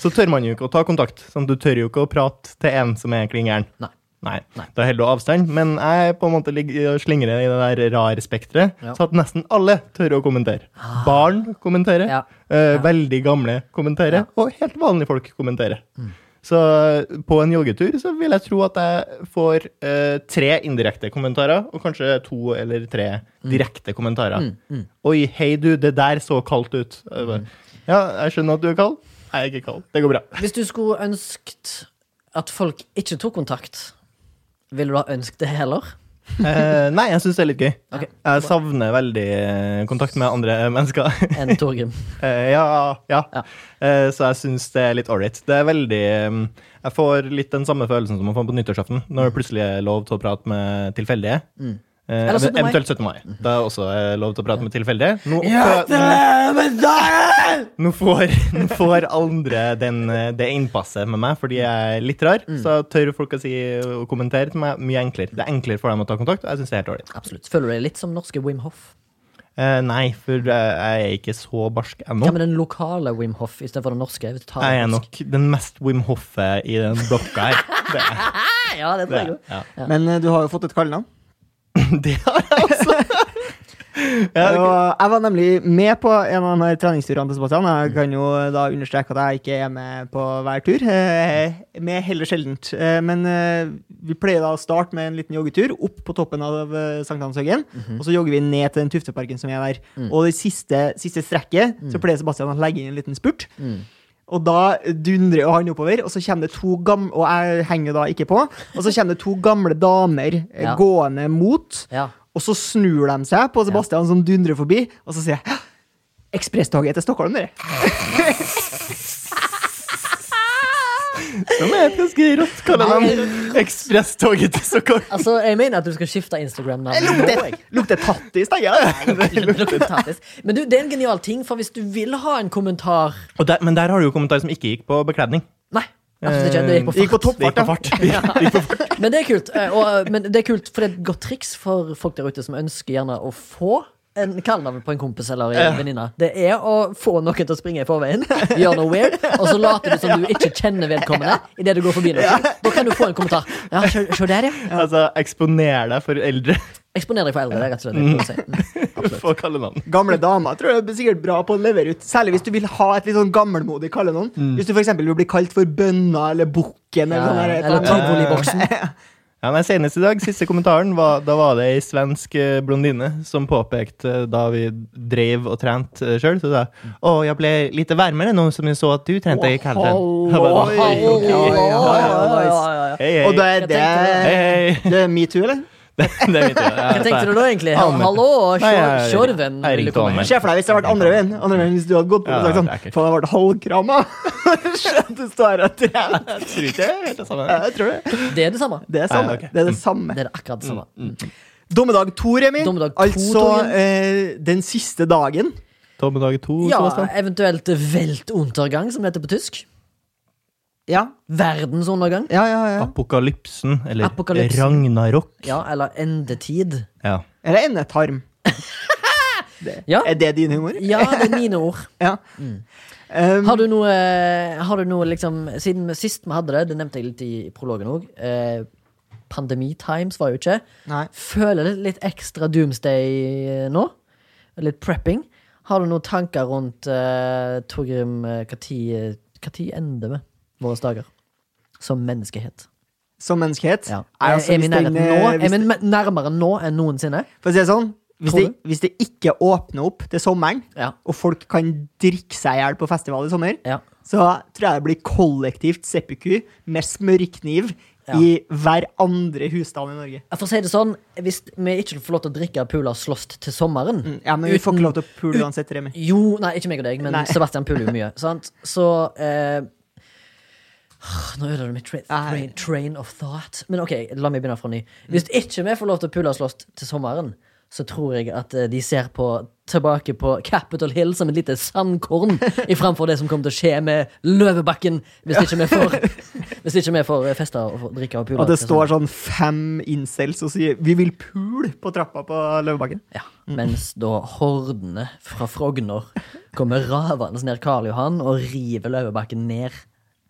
S3: så tør man jo ikke å ta kontakt. Sånn, du tør jo ikke å prate til en som er klin gæren.
S1: Nei.
S3: Nei.
S1: Nei.
S3: Da holder du avstand. Men jeg på en måte ligger og slingrer i det der rar spekteret,
S1: Ja. Ah.
S3: så at nesten alle tør å kommentere. Barn kommenterer,
S1: Ja.
S3: eh,
S1: Ja.
S3: veldig gamle kommenterer, og helt vanlige folk kommenterer.
S1: Mm.
S3: Så eh, på en joggetur så vil jeg tro at jeg får eh, tre indirekte kommentarer, og kanskje to eller tre
S1: Mm.
S3: direkte kommentarer. Oi, hei du, det der så kaldt ut.
S1: Mm.
S3: Jeg bare, Ja, jeg skjønner at du er kald. Jeg er ikke kald. Det
S1: [laughs]
S3: går bra.
S1: Hvis du skulle ønsket at folk ikke tok kontakt, ville du ha ønsket det heller?
S3: Eh, nei, jeg syns det er litt gøy.
S1: Ok.
S3: Jeg savner veldig eh, kontakt med andre mennesker. [laughs]
S1: Enn Torgrim.
S3: Eh, ja, ja.
S1: Ja.
S3: Eh, så jeg syns det er litt ålreit. Det er veldig mm, Jeg får litt den samme følelsen som man får på nyttårsaften, når det plutselig er lov til å prate med tilfeldige. Eh,
S1: Mm. Eller 17. mai. Mm.
S3: eventuelt 17. mai. Da er også eh, lov til å prate med tilfeldige. Nå, [laughs] nå, får, nå får andre den, eh, det innpasset med meg fordi jeg er litt
S1: Mm.
S3: rar. Så tør folk å si og kommentere til meg mye enklere. Det er enklere for dem å ta kontakt, og jeg syns det er helt ålreit.
S1: Absolutt. Føler du deg litt som norske Wim Hoff?
S3: Eh, nei, for eh, jeg er ikke så barsk ennå.
S1: Hva med den lokale Wim Hoff istedenfor den norske? Hvis du tar
S3: Jeg er
S1: den norske?
S3: nok den mest Wim Hoffe i den blokka her. Det, er-
S1: Nei, [laughs] Ja, det
S3: det,
S1: tror jeg
S3: er-
S1: jo.
S3: ja. [laughs]
S2: Men eh, du har jo fått et kallenavn.
S3: det har jeg også. Ja,
S2: Og jeg var nemlig med på en av de her treningsturene til Sebastian. Jeg kan jo da understreke at jeg ikke er med på hver tur. eh, Med heller sjeldent. Eh, Men eh, vi pleier da å starte med en liten joggetur opp på toppen av eh, Sankthanshaugen. Og så jogger vi ned til den Tufteparken som er der. Og det siste, siste strekket så pleier Sebastian å legge inn en liten spurt. Og da dundrer jo han oppover, og så kommer det to gamle Og jeg henger da ikke på. Og så kommer det to gamle damer eh,
S1: Ja.
S2: gående mot,
S1: Ja.
S2: og så snur de seg på Sebastian som dundrer forbi, og så sier jeg «Hæ? Ekspresstoget til Stockholm, dere.
S3: Som er et ganske rått, kaller de ekspresstoget til Stockholm.
S1: Altså, jeg mener at du skal skifte Instagram-navn. nå, [laughs] jeg.
S2: Lukter, lukter tattis, tenker jeg.
S1: Men du, det er en genial ting, for hvis du vil ha en kommentar
S3: Og der, men der har du jo kommentar som ikke gikk på bekledning. Eh,
S1: Nei, absolutt ikke. Det gikk på
S2: Det gikk på
S1: fart.
S2: topp.
S3: Det gikk på fart. [laughs]
S1: [laughs]
S3: Det gikk på fart.
S1: Men det er kult, eh, og, men det er kult for det er et godt triks for folk der ute som ønsker gjerne å få en kallenavn på en kompis eller en venninne. Det er å få noen til å springe i
S2: [laughs]
S1: forveien, gjøre noe weird, og så later du som du ikke kjenner vedkommende idet du går forbi noen. Da kan du få en kommentar. Ja, se se der, ja.
S3: Altså, eksponer deg for eldre.
S1: Eksponer deg for eldre, det er rett og slett. det jeg prøver å si. Mm.
S3: Få kallenavn.
S2: Gamle damer tror jeg er sikkert bra på å levere ut. Særlig hvis du vil ha et litt sånn gammelmodig kallenavn.
S3: Mm.
S2: Hvis du for eksempel vil bli kalt for Bønna eller Bukken eller
S1: Ja,
S2: sånn. der-
S1: eller tivoliboksen.
S3: Ja, nei, senest i dag, siste kommentaren, var, da var det ei svensk eh, blondine som påpekte eh, da vi dreiv og trente sjøl, så da
S1: Mm.
S3: Å, jeg ble litt varmere nå som jeg så at du trente i kalenderen. Jeg bare,
S2: Oi,
S3: «Hei,
S2: oi,
S3: ok.
S2: oi,
S1: Ja, ja, ja,
S2: oi, oi.
S1: ja, ja.
S3: Hei,
S2: Og da
S3: hei.
S2: er
S1: Jeg tenkte
S2: det
S3: Hei, hei. [laughs]
S2: Det er metoo, eller?
S3: Det det vet jeg. Ja,
S1: Hva tenkte du da, egentlig?
S3: Allmenn.
S1: Hallo,
S3: Nei, jeg-
S1: Tjorven
S3: jeg
S1: ville
S3: ringte
S1: komme hjem.
S3: han, men-
S2: Se for deg hvis det hadde vært andre veien. Andre veien hvis du hadde gått på
S3: Ja,
S2: og sagt sånn
S3: det er ekkelt.
S2: Faen, jeg ble
S3: [laughs]
S2: halvkramma. Skjønt [laughs] du står her og trener.
S3: Jeg tror ikke det er helt det samme.
S2: Jeg tror det.
S1: Det er det samme.
S2: Det er samme.
S3: Ja, ok. Mm.
S2: Det er det samme.
S1: Det er det akkurat det
S2: Mm.
S1: samme.
S2: Dommedag to, Remi.
S1: Dommedag to,
S2: altså
S1: Torgrim.
S2: eh, den siste dagen.
S3: Dommedag to,
S1: Ja,
S3: Sebastian.
S1: eventuelt Weltuntergang, som det heter på tysk.
S2: Ja,
S1: Verdensundergang.
S2: ja, ja. ja.
S3: Apokalypsen, eller
S1: Apokalypsen.
S3: Ragnarok.
S1: Ja, eller endetid.
S3: Ja.
S2: Eller endetarm.
S1: [laughs]
S2: Det.
S1: Ja. Mm.
S2: Er det din humor?
S1: Ja, det er mine ord.
S2: Ja. Um,
S1: Har du noe, eh, har du noe liksom, Siden sist vi hadde det, det nevnte jeg litt i prologen òg, eh, pandemi-times var jo ikke.
S2: Nei.
S1: Føler det litt ekstra doomsday eh, nå. Litt prepping. Har du noen tanker rundt eh, Torgrim, når ender vi våre dager som menneskehet?
S2: Som menneskehet?
S1: Ja.
S2: Nei, altså,
S1: er vi
S2: hvis
S1: i
S2: den,
S1: nærheten
S2: eh,
S1: nå?
S2: hvis-
S1: Er vi me- nærmere nå enn noensinne?
S2: For å si det sånn, hvis
S1: Tror
S2: det, hvis det ikke åpner opp til sommeren,
S1: Ja.
S2: og folk kan drikke seg i hjel på festival i sommer,
S1: Ja.
S2: så tror jeg det blir kollektivt seppuku med smørkniv
S1: Ja.
S2: i hver andre husstand i Norge.
S1: For å si det sånn, hvis vi ikke får lov til å drikke pula og slåss til sommeren
S2: Ja, men vi får
S1: uten-
S2: ikke lov til å pule uansett, Remi.
S1: Jo, nei, ikke meg og deg, men
S2: Nei.
S1: Sebastian puler
S2: [laughs]
S1: jo mye. sant? Så eh, Nå ødela du mitt tra
S2: Nei.
S1: train, train of thought. Men OK, la meg begynne fra ny. Hvis ikke vi får lov til å pule og slåss til sommeren, så tror jeg at eh, de ser på tilbake på Capitol Hill som et lite sandkorn i framfor det som kommer til å skje med Løvebakken hvis ikke vi får,
S2: [laughs]
S1: hvis ikke vi får festa og får drikke og pule.
S2: Og det
S1: til sommeren.
S2: står sånn fem incels og sier 'vi vil pule' på trappa på Løvebakken.
S1: Ja,
S2: Mm.
S1: mens da hordene fra Frogner kommer ravende ned Karl Johan og river Løvebakken ned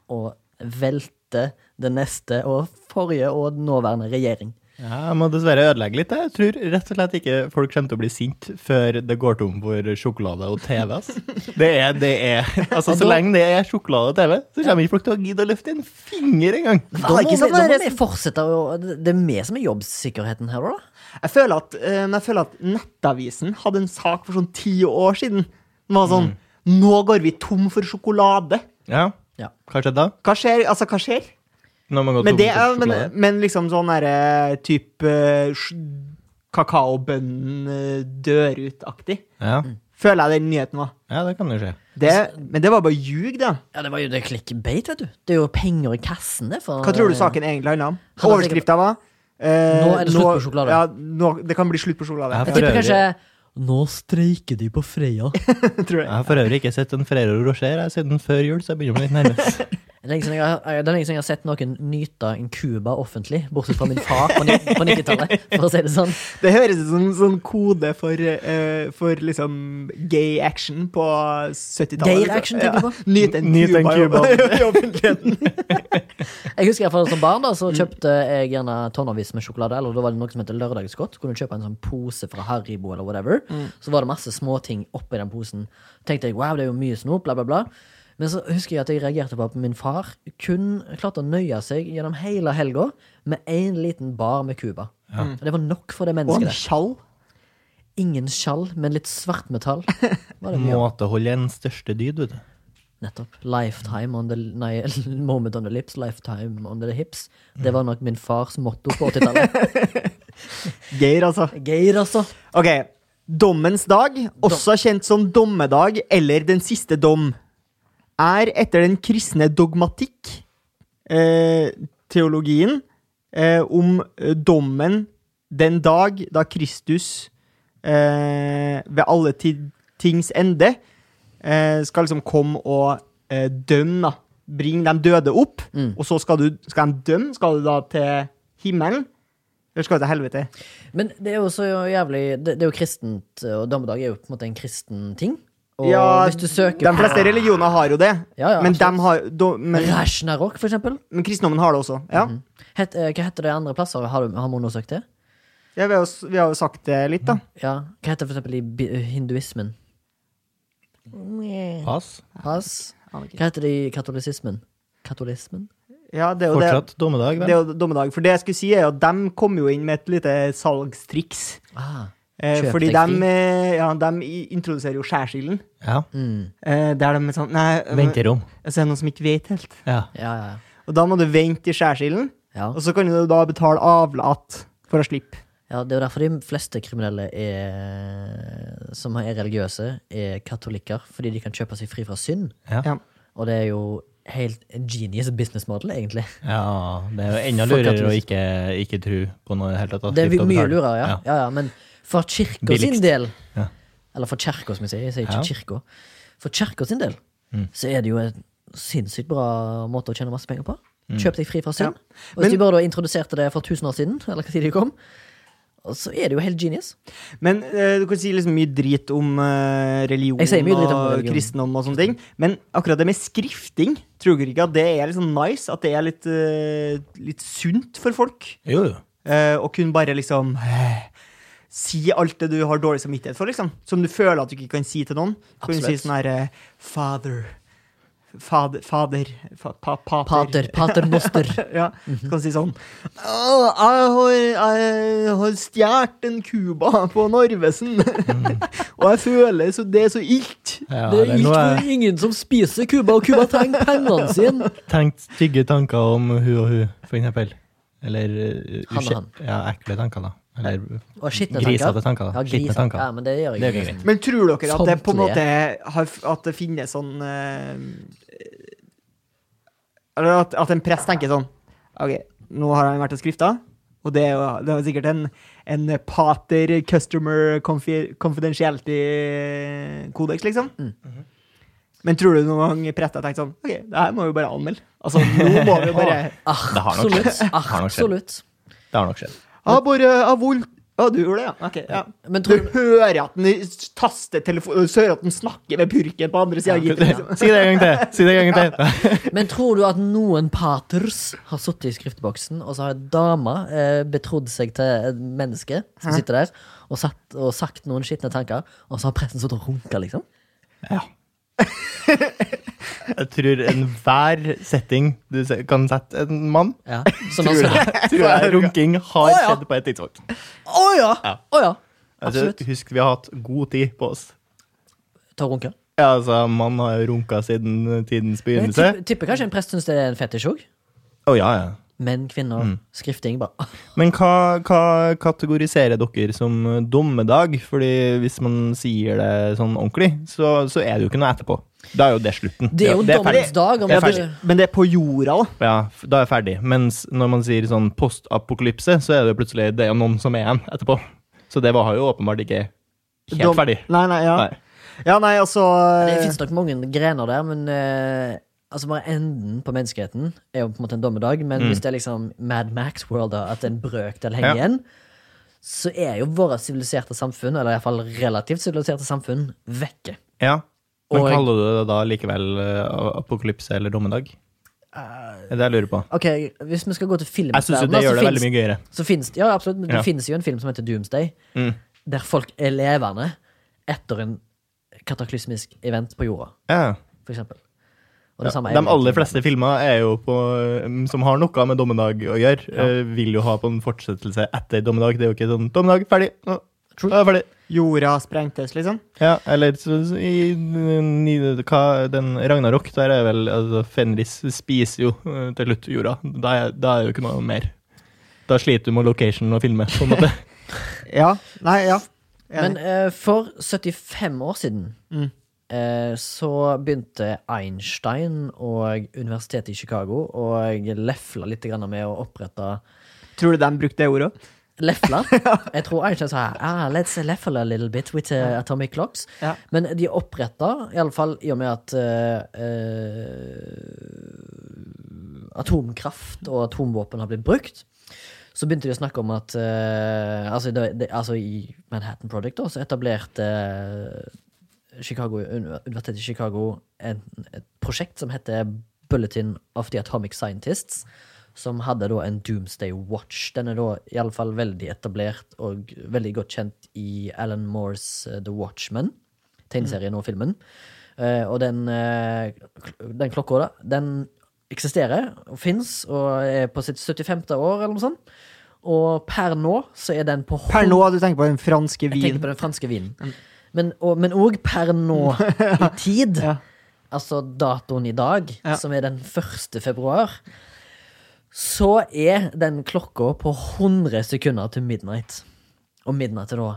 S1: og velter den neste og forrige og nåværende regjering.
S3: Ja, jeg må dessverre ødelegge litt. Jeg tror rett og slett ikke folk kommer til å bli sint før det går tom for sjokolade og TV. [laughs] ass. Det er, det er. Altså, Så lenge det er sjokolade og TV, så kommer ikke folk til å gidde å løfte en finger engang.
S1: Da må,
S2: ikke
S1: vi,
S2: sånn
S1: da må
S2: der-
S1: vi fortsette å Det er vi som er jobbsikkerheten her, da.
S2: Jeg føler at, eh, men jeg føler at Nettavisen hadde en sak for sånn ti år siden. Den var sånn 'Nå går vi tom for sjokolade'.
S3: Ja,
S1: Ja.
S3: Kanskje da?
S2: Hva skjer? Altså, hva skjer?
S3: Når man går
S2: Men,
S3: tom
S2: det
S3: for
S2: er, men,
S3: sjokolade.
S2: men liksom sånn derre type eh, kakaobønnen eh, dør ut-aktig.
S3: Ja.
S2: Føler jeg den nyheten var.
S3: ja, det kan jo skje.
S2: Det,
S1: Altså,
S2: men det var bare ljug, da.
S1: Ja, Det var jo det clickbait, vet du. Det er jo penger i kassen, det. For,
S2: Hva tror du saken egentlig handler om?
S1: Han har sikkert-
S2: Overskrifta var eh,
S1: Nå er det slutt på sjokolade.
S2: Ja, nå, det kan bli slutt på sjokolade.
S3: Ja,
S1: Jeg tipper kanskje Nå streiker de på Freia.
S2: [laughs]
S1: [laughs]
S2: tror jeg.
S3: Jeg har for øvrig ikke sett en Ferrero Rocher jeg, siden før jul, så jeg begynner å bli litt [laughs] nervøs.
S1: Det er lenge siden jeg har, det er lenge siden jeg har sett noen nyte en Cuba offentlig, bortsett fra min far på ni-
S2: [laughs]
S1: på 90-tallet, for å si det sånn.
S2: Det høres ut som en sånn kode for, eh, for liksom gay action på 70-tallet.
S1: Gay
S2: liksom.
S1: action, tenker du på?
S2: [laughs] Nyt en
S3: Nyt en
S2: Cuba [laughs] i- i offentligheten.
S1: Jeg husker i hvert fall som barn da, så kjøpte jeg gjerne tonnavis med sjokolade. Eller da var det noe som heter lørdagsgodt. Kunne du kjøpe en sånn pose fra Haribo eller whatever. Så var det masse småting oppi den posen. Tenkte jeg, wow, det er jo mye snop, bla, bla, bla. Men så husker jeg at jeg reagerte på at min far kun klarte å nøye seg gjennom hele helga med én liten bar med Cuba. Det var nok for det
S2: Og
S1: mennesket.
S2: en
S1: der.
S2: skjall.
S1: Ingen skjall, men litt svartmetall. Var det mye. av.
S3: Måtehold er den største dyd, vet du.
S1: Nettopp. Lifetime on the Nei, [laughs] moment on the lips, lifetime on the hips. Det var nok min fars motto på 80-tallet.
S2: Geir, altså.
S1: Geir, altså.
S2: Ok. Dommens dag, også kjent som dommedag eller den siste dom, er etter den kristne dogmatikk, eh, teologien, eh, om eh, dommen den dag da Kristus eh, ved alle ti tings ende eh, skal liksom komme og eh, dømme, da. Bring de døde opp,
S1: Mm.
S2: og så skal, du, skal de dømme. Skal du da til himmelen? Eller skal du til helvete?
S1: Men det er jo så jævlig Det, det er jo kristent, og dommedag er jo på en måte en kristen ting. Og
S2: Ja,
S1: hvis du søker
S2: De fleste religioner har jo det,
S1: Ja, ja,
S2: men,
S1: absolutt.
S2: dem har, do, men,
S1: Rashnarok, for eksempel.
S2: men kristendommen har det også. Ja.
S1: Het, eh, hva heter det andre plasser? Har, du, har vi undersøkt det?
S2: Ja, vi, har jo, s- vi har jo sagt det litt, da.
S1: Ja. Hva heter det for eksempel i bi- hinduismen?
S3: Pass.
S1: Pass.
S2: Aner ikke.
S1: Hva heter det i katolisismen? Katolismen?
S2: Ja, det er jo det.
S3: Fortsatt dommedag,
S2: Det er
S3: vel?
S2: jo dommedag. For det jeg skulle si, er jo at de kom jo inn med et lite salgstriks.
S1: Ah.
S2: Eh,
S1: Kjøp
S2: fordi
S1: deg fri.
S2: de, eh, ja, de i- introduserer jo skjærsilden.
S3: Ja.
S1: Mm.
S2: Eh, der de er sånn Nei, men,
S3: Venterom.
S2: altså, er det noen som ikke vet helt.
S3: Ja.
S1: Ja, ja, ja.
S2: Og da må du vente i skjærsilden,
S1: ja.
S2: og så kan du da betale avlat for å slippe.
S1: Ja, Det er jo derfor de fleste kriminelle er, som er religiøse, er katolikker. Fordi de kan kjøpe seg fri fra synd.
S2: Ja.
S1: Og det er jo helt en genius business model, egentlig.
S3: ja. Det er jo enda
S1: Fuck
S3: lurere
S1: at du-
S3: å ikke, ikke tro på noe i det hele tatt.
S1: Det er
S3: Slipp å
S1: mye
S3: betale.
S1: lurere, ja. ja, ja men for kirka sin
S3: Billigst.
S1: del,
S3: Ja.
S1: eller for kirka, som jeg sier, jeg sier ikke
S3: Ja.
S1: kirka, for kirka sin del,
S3: Mm.
S1: så er det jo en sinnssykt bra måte å tjene masse penger på.
S3: Mm.
S1: Kjøp deg fri fra synd. Og
S2: Men-
S1: hvis de bare da introduserte det for 1000 år siden, eller hva tid de kom, så er det jo helt genius.
S2: Men eh, du kan si liksom mye drit om eh, religion
S1: Jeg sier mye drit om
S2: og
S1: religion.
S2: kristendom og sånne ting. Men akkurat det med skrifting, tror dere ikke at det er litt sånn nice? At det er litt, eh, litt sunt for folk?
S3: Jo, jo.
S2: Eh, å kunne bare liksom eh, Si alt det du har dårlig samvittighet for, liksom. Som du føler at du ikke kan si til noen. Så Kan du si
S1: Absolutt.
S2: sånn her eh, Father. Fader Fader. Fa, pa, pater.
S1: Pater, pater
S2: [laughs]
S1: noster.
S2: Ja, så kan du si sånn «Åh, jeg har, jeg har stjålet en Cuba på Narvesen, [laughs] og jeg føler så det er så ilt.
S3: Ja,
S1: det
S3: eller
S1: er
S3: nå
S1: ikke
S3: har jeg
S1: ingen som spiser Cuba, og Cuba trenger pengene [laughs] sine.
S3: tenkt stygge tanker om hun og hun, for eksempel. Eller eh,
S1: Han og
S3: usje-
S1: han.
S3: Ja, ekle tanker, da. Eller
S1: Og skitne
S3: grisete
S1: tanker.
S3: tanker.
S1: Ja,
S3: da. Skitne
S1: gris,
S3: tanker.
S1: ja, men det gjør
S3: Det
S1: jeg
S3: er jo
S1: ikke.
S2: Men tror dere at det på
S1: Samtlige.
S2: en måte har, at det finnes sånn eh, Eller at, at en prest tenker sånn OK, nå har han vært og skrifta, og det er jo det er sikkert en, en pater customer confi- confidentiality-kodeks, liksom. Men tror du noen gang prester har tenkt sånn OK, det her må vi jo bare anmelde. Altså, nå må vi jo
S1: [laughs]
S2: bare
S3: Det har nok
S1: Absolutt.
S3: skjedd. Det har nok skjedd.
S1: Absolutt.
S3: Det har nok skjedd.
S2: Ja, bare av vold. Ja, du gjorde det, ja. Ok, ja.
S1: Men
S2: Du
S1: tror
S2: hører at den taster telefonen Du hører at den snakker med purken på andre sida av gitteren.
S3: [laughs]
S2: liksom.
S3: Si det en gang til! Si det en gang til!
S1: Men tror du at noen paters har sittet i skriftboksen, og så har ei dame eh, betrodd seg til et menneske som sitter der, og, satt, og sagt noen skitne tanker, og så har presten sittet og runka, liksom?
S3: Ja. Jeg tror enhver setting du se- kan sette en mann,
S1: [laughs] Ja. Som han sa.
S3: tror jeg runking
S1: Å,
S3: har
S1: ja.
S3: skjedd på et tidspunkt.
S1: [laughs] Å ja! Å ja!
S3: Altså,
S1: Absolutt.
S3: husk, vi har hatt god tid på oss.
S1: Ta og runke.
S3: Ja, altså, Man har jo runka siden tidens
S1: Jeg
S3: begynnelse.
S1: tipper, tipper kanskje en prest syns det er en fetisj òg.
S3: Å ja, ja.
S1: Menn, kvinner,
S3: Mm.
S1: skrifting, bare
S3: Men hva, hva kategoriserer dere som dommedag? Fordi hvis man sier det sånn ordentlig, så, så er det jo ikke noe etterpå. Da er jo det slutten.
S1: Det er jo dommens
S3: ferdig.
S1: dag. Om
S3: Det er
S1: du,
S3: ferdig.
S2: Men det er på jorda, da.
S3: Ja, f- da er jeg ferdig. Mens når man sier sånn postapokalypse, så er det jo plutselig det er noen som er igjen etterpå. Så det var jo åpenbart ikke helt
S2: Dom-
S3: ferdig.
S2: Nei, nei, ja.
S3: Nei.
S2: Ja, nei, altså
S3: Eh,
S1: det fins nok mange grener der, men eh, Altså bare Enden på menneskeheten er jo på en måte en dommedag, men hvis det er liksom Mad Max-world, da, at en brøkdel henger
S3: Mm. Ja.
S1: igjen, så er jo våre siviliserte samfunn, eller iallfall relativt siviliserte samfunn, vekke.
S3: Ja. Men
S1: Og-
S3: kaller du det da likevel eh, apokalypse eller dommedag?
S1: Eh,
S3: Det er det jeg lurer på.
S1: Ok, Hvis vi skal gå til
S3: Jeg syns jo
S1: filmverdenen,
S3: det
S1: da, så
S3: gjør det
S1: finnes-
S3: veldig mye gøyere.
S1: så finnes det, ja, absolutt, men det
S3: Ja.
S1: finnes jo en film som heter Doomsday,
S3: Mm.
S1: der folk er levende etter en kataklysmisk event på jorda,
S3: Ja.
S1: for eksempel. Og det samme er
S3: De
S1: jo-
S3: aller fleste filmer er jo på, um, som har noe eh, med dommedag å gjøre, eh, vil jo ha på en fortsettelse etter dommedag. Det er jo ikke sånn 'dommedag, ferdig', nå Da er jeg ferdig.
S2: øh, Jorda sprengtes, liksom.
S3: Ja, eller så, så, i ni- hva, den Ragnarok, der er vel altså, Fenris spiser jo eh, til slutt jorda. Da er, da er det jo ikke noe mer. Da sliter du med location og filme, på en måte.
S1: [laughs]
S2: Ja. Nei, ja.
S1: Men
S2: Enig.
S1: eh, for 75 år siden
S2: Mm.
S1: eh, så begynte Einstein og universitetet i Chicago og lefla litt grann med å opprette
S2: Tror du de brukte det ordet òg?
S1: Lefla.
S2: [laughs]
S1: Jeg tror Einstein sa ah, let's leffle a little bit with eh, atomic clocks.
S2: Ja.
S1: Men de oppretta, iallfall i og med at eh, eh, atomkraft og atomvåpen har blitt brukt, så begynte de å snakke om at eh, altså, det, det, altså i Manhattan Project da, så etablerte eh, Chicago, Uni- Universitetet i Chicago en, et prosjekt som heter Bulletin of the Atomic Scientists, som hadde da en Doomsday Watch. Den er da iallfall veldig etablert og veldig godt kjent i Alan Moores eh, The Watchmen, tegneserien og filmen. Eh, og den, eh, kl- den klokka, da, den eksisterer og fins og er på sitt 75. år, eller noe sånt. Og per nå så er den på
S2: Per nå, du tenker på den franske
S1: jeg tenker
S2: vinen.
S1: på den franske vinen. Men og- men òg per
S2: [laughs]
S1: nå i tid,
S2: Ja.
S1: altså datoen i dag,
S2: Ja.
S1: som er den 1. februar, så er den klokka på 100 sekunder til midnight. Og midnatt er da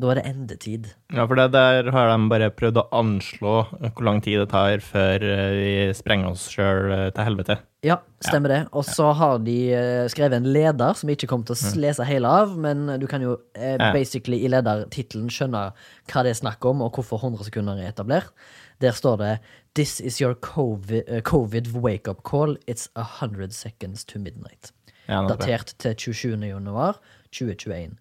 S1: Da er det endetid.
S3: Ja, for det der har de bare prøvd å anslå hvor lang tid det tar før eh, vi sprenger oss sjøl til helvete.
S1: Ja, stemmer det. Og så har de eh, skrevet en leder som vi ikke kommer til å s- lese hele av, men du kan jo eh,
S3: Mm. Ja.
S1: basically i ledertittelen skjønne hva det er snakk om, og hvorfor 100 sekunder er etablert. Der står det This is your COVID, eh, COVID wake-up call. It's 100 seconds to midnight.
S3: Ja, nå tror jeg.
S1: Datert til 27. januar 2021.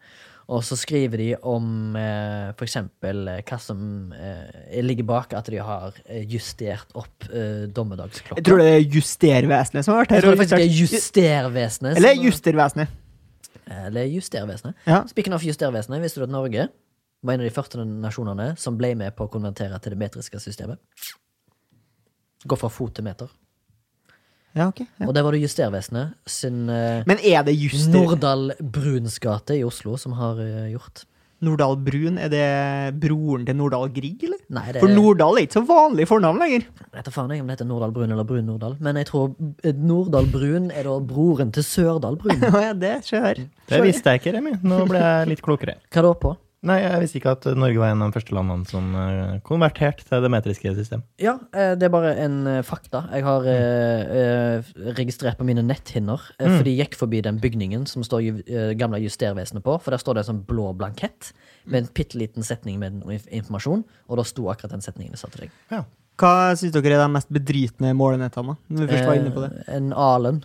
S1: Og så skriver de om eh, for eksempel eh, hva som eh, ligger bak at de har eh, justert opp eh, dommedagsklokka.
S2: Jeg tror det er justervesenet som har vært
S1: Jeg
S2: her.
S1: tror
S2: og
S1: det faktisk er
S2: justert-
S1: justervesenet. som-
S2: Eller justervesenet.
S1: Eller justervesenet.
S2: Ja.
S1: Spikken av justervesenet, visste du at Norge var en av de første nasjonene som ble med på å konvertere til det metriske systemet? Gå fra fot til meter.
S2: Ja, ok. Ja.
S1: Og det var det justervesenet sin eh,
S2: Men er det juster...
S1: Norddal Bruns gate i Oslo som har eh, gjort.
S2: Nordahl Brun, er det broren til Nordahl Grieg, eller?
S1: Nei, det
S2: For Nordahl er ikke så vanlig fornavn lenger. [laughs]
S1: Jeg vet da faen jeg om det heter Norddal Brun eller Brun Norddal, men jeg tror eh, Norddal Brun er da broren til Sørdal Brun.
S2: Å ja, det skjer.
S3: Det visste jeg ikke, Remi. Nå ble jeg litt klokere.
S1: Hva da på?
S3: [laughs] Nei, jeg visste ikke at Norge var en av de første landene som eh, konverterte til det metriske system.
S1: Ja, eh, det er bare en eh, fakta jeg
S2: Mm.
S1: har eh, eh, registrert på mine netthinner. eh,
S2: Mm.
S1: For de gikk forbi den bygningen som står ju- eh, gamle Justervesenet på. For der står det en sånn blå blankett med en
S2: Mm.
S1: bitte liten setning med noe inf- informasjon. Og da sto akkurat den setningen jeg sa til deg.
S3: Ja.
S2: Hva syns dere er de mest bedritne målenhetene, da? Når vi først var inne på det.
S1: Eh, En alen.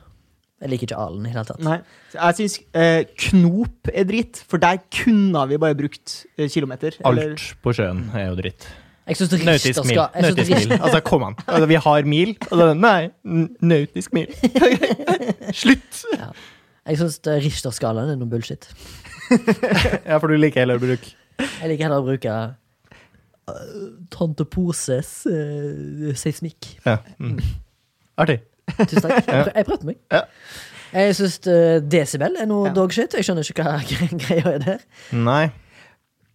S1: Jeg liker ikke alen i det hele tatt.
S2: Nei. Så Jeg syns eh, knop er dritt, for der kunne vi bare brukt eh, kilometer. eller-
S3: Alt på sjøen er jo dritt.
S1: Jeg syns Richter skal
S3: Nautisk mil.
S1: jeg synes
S3: Nautisk mil.
S1: Richter-
S3: Altså, kom an. Altså, vi har mil. Altså, nei, n- nautisk [laughs] mil. Slutt!
S1: Jeg syns Richter-skalaen er noe bullshit.
S3: Ja, for du liker heller å bruke
S1: Jeg liker heller å bruke eh, Tante Poses eh, seismikk.
S3: ja. mm. Artig.
S1: Tusen takk. Jeg, prø jeg prøvde meg.
S3: Ja.
S1: Jeg syns desibel er noe
S2: Ja.
S1: dogshit. Jeg skjønner ikke hva [laughs] gre- greia er der.
S3: Nei.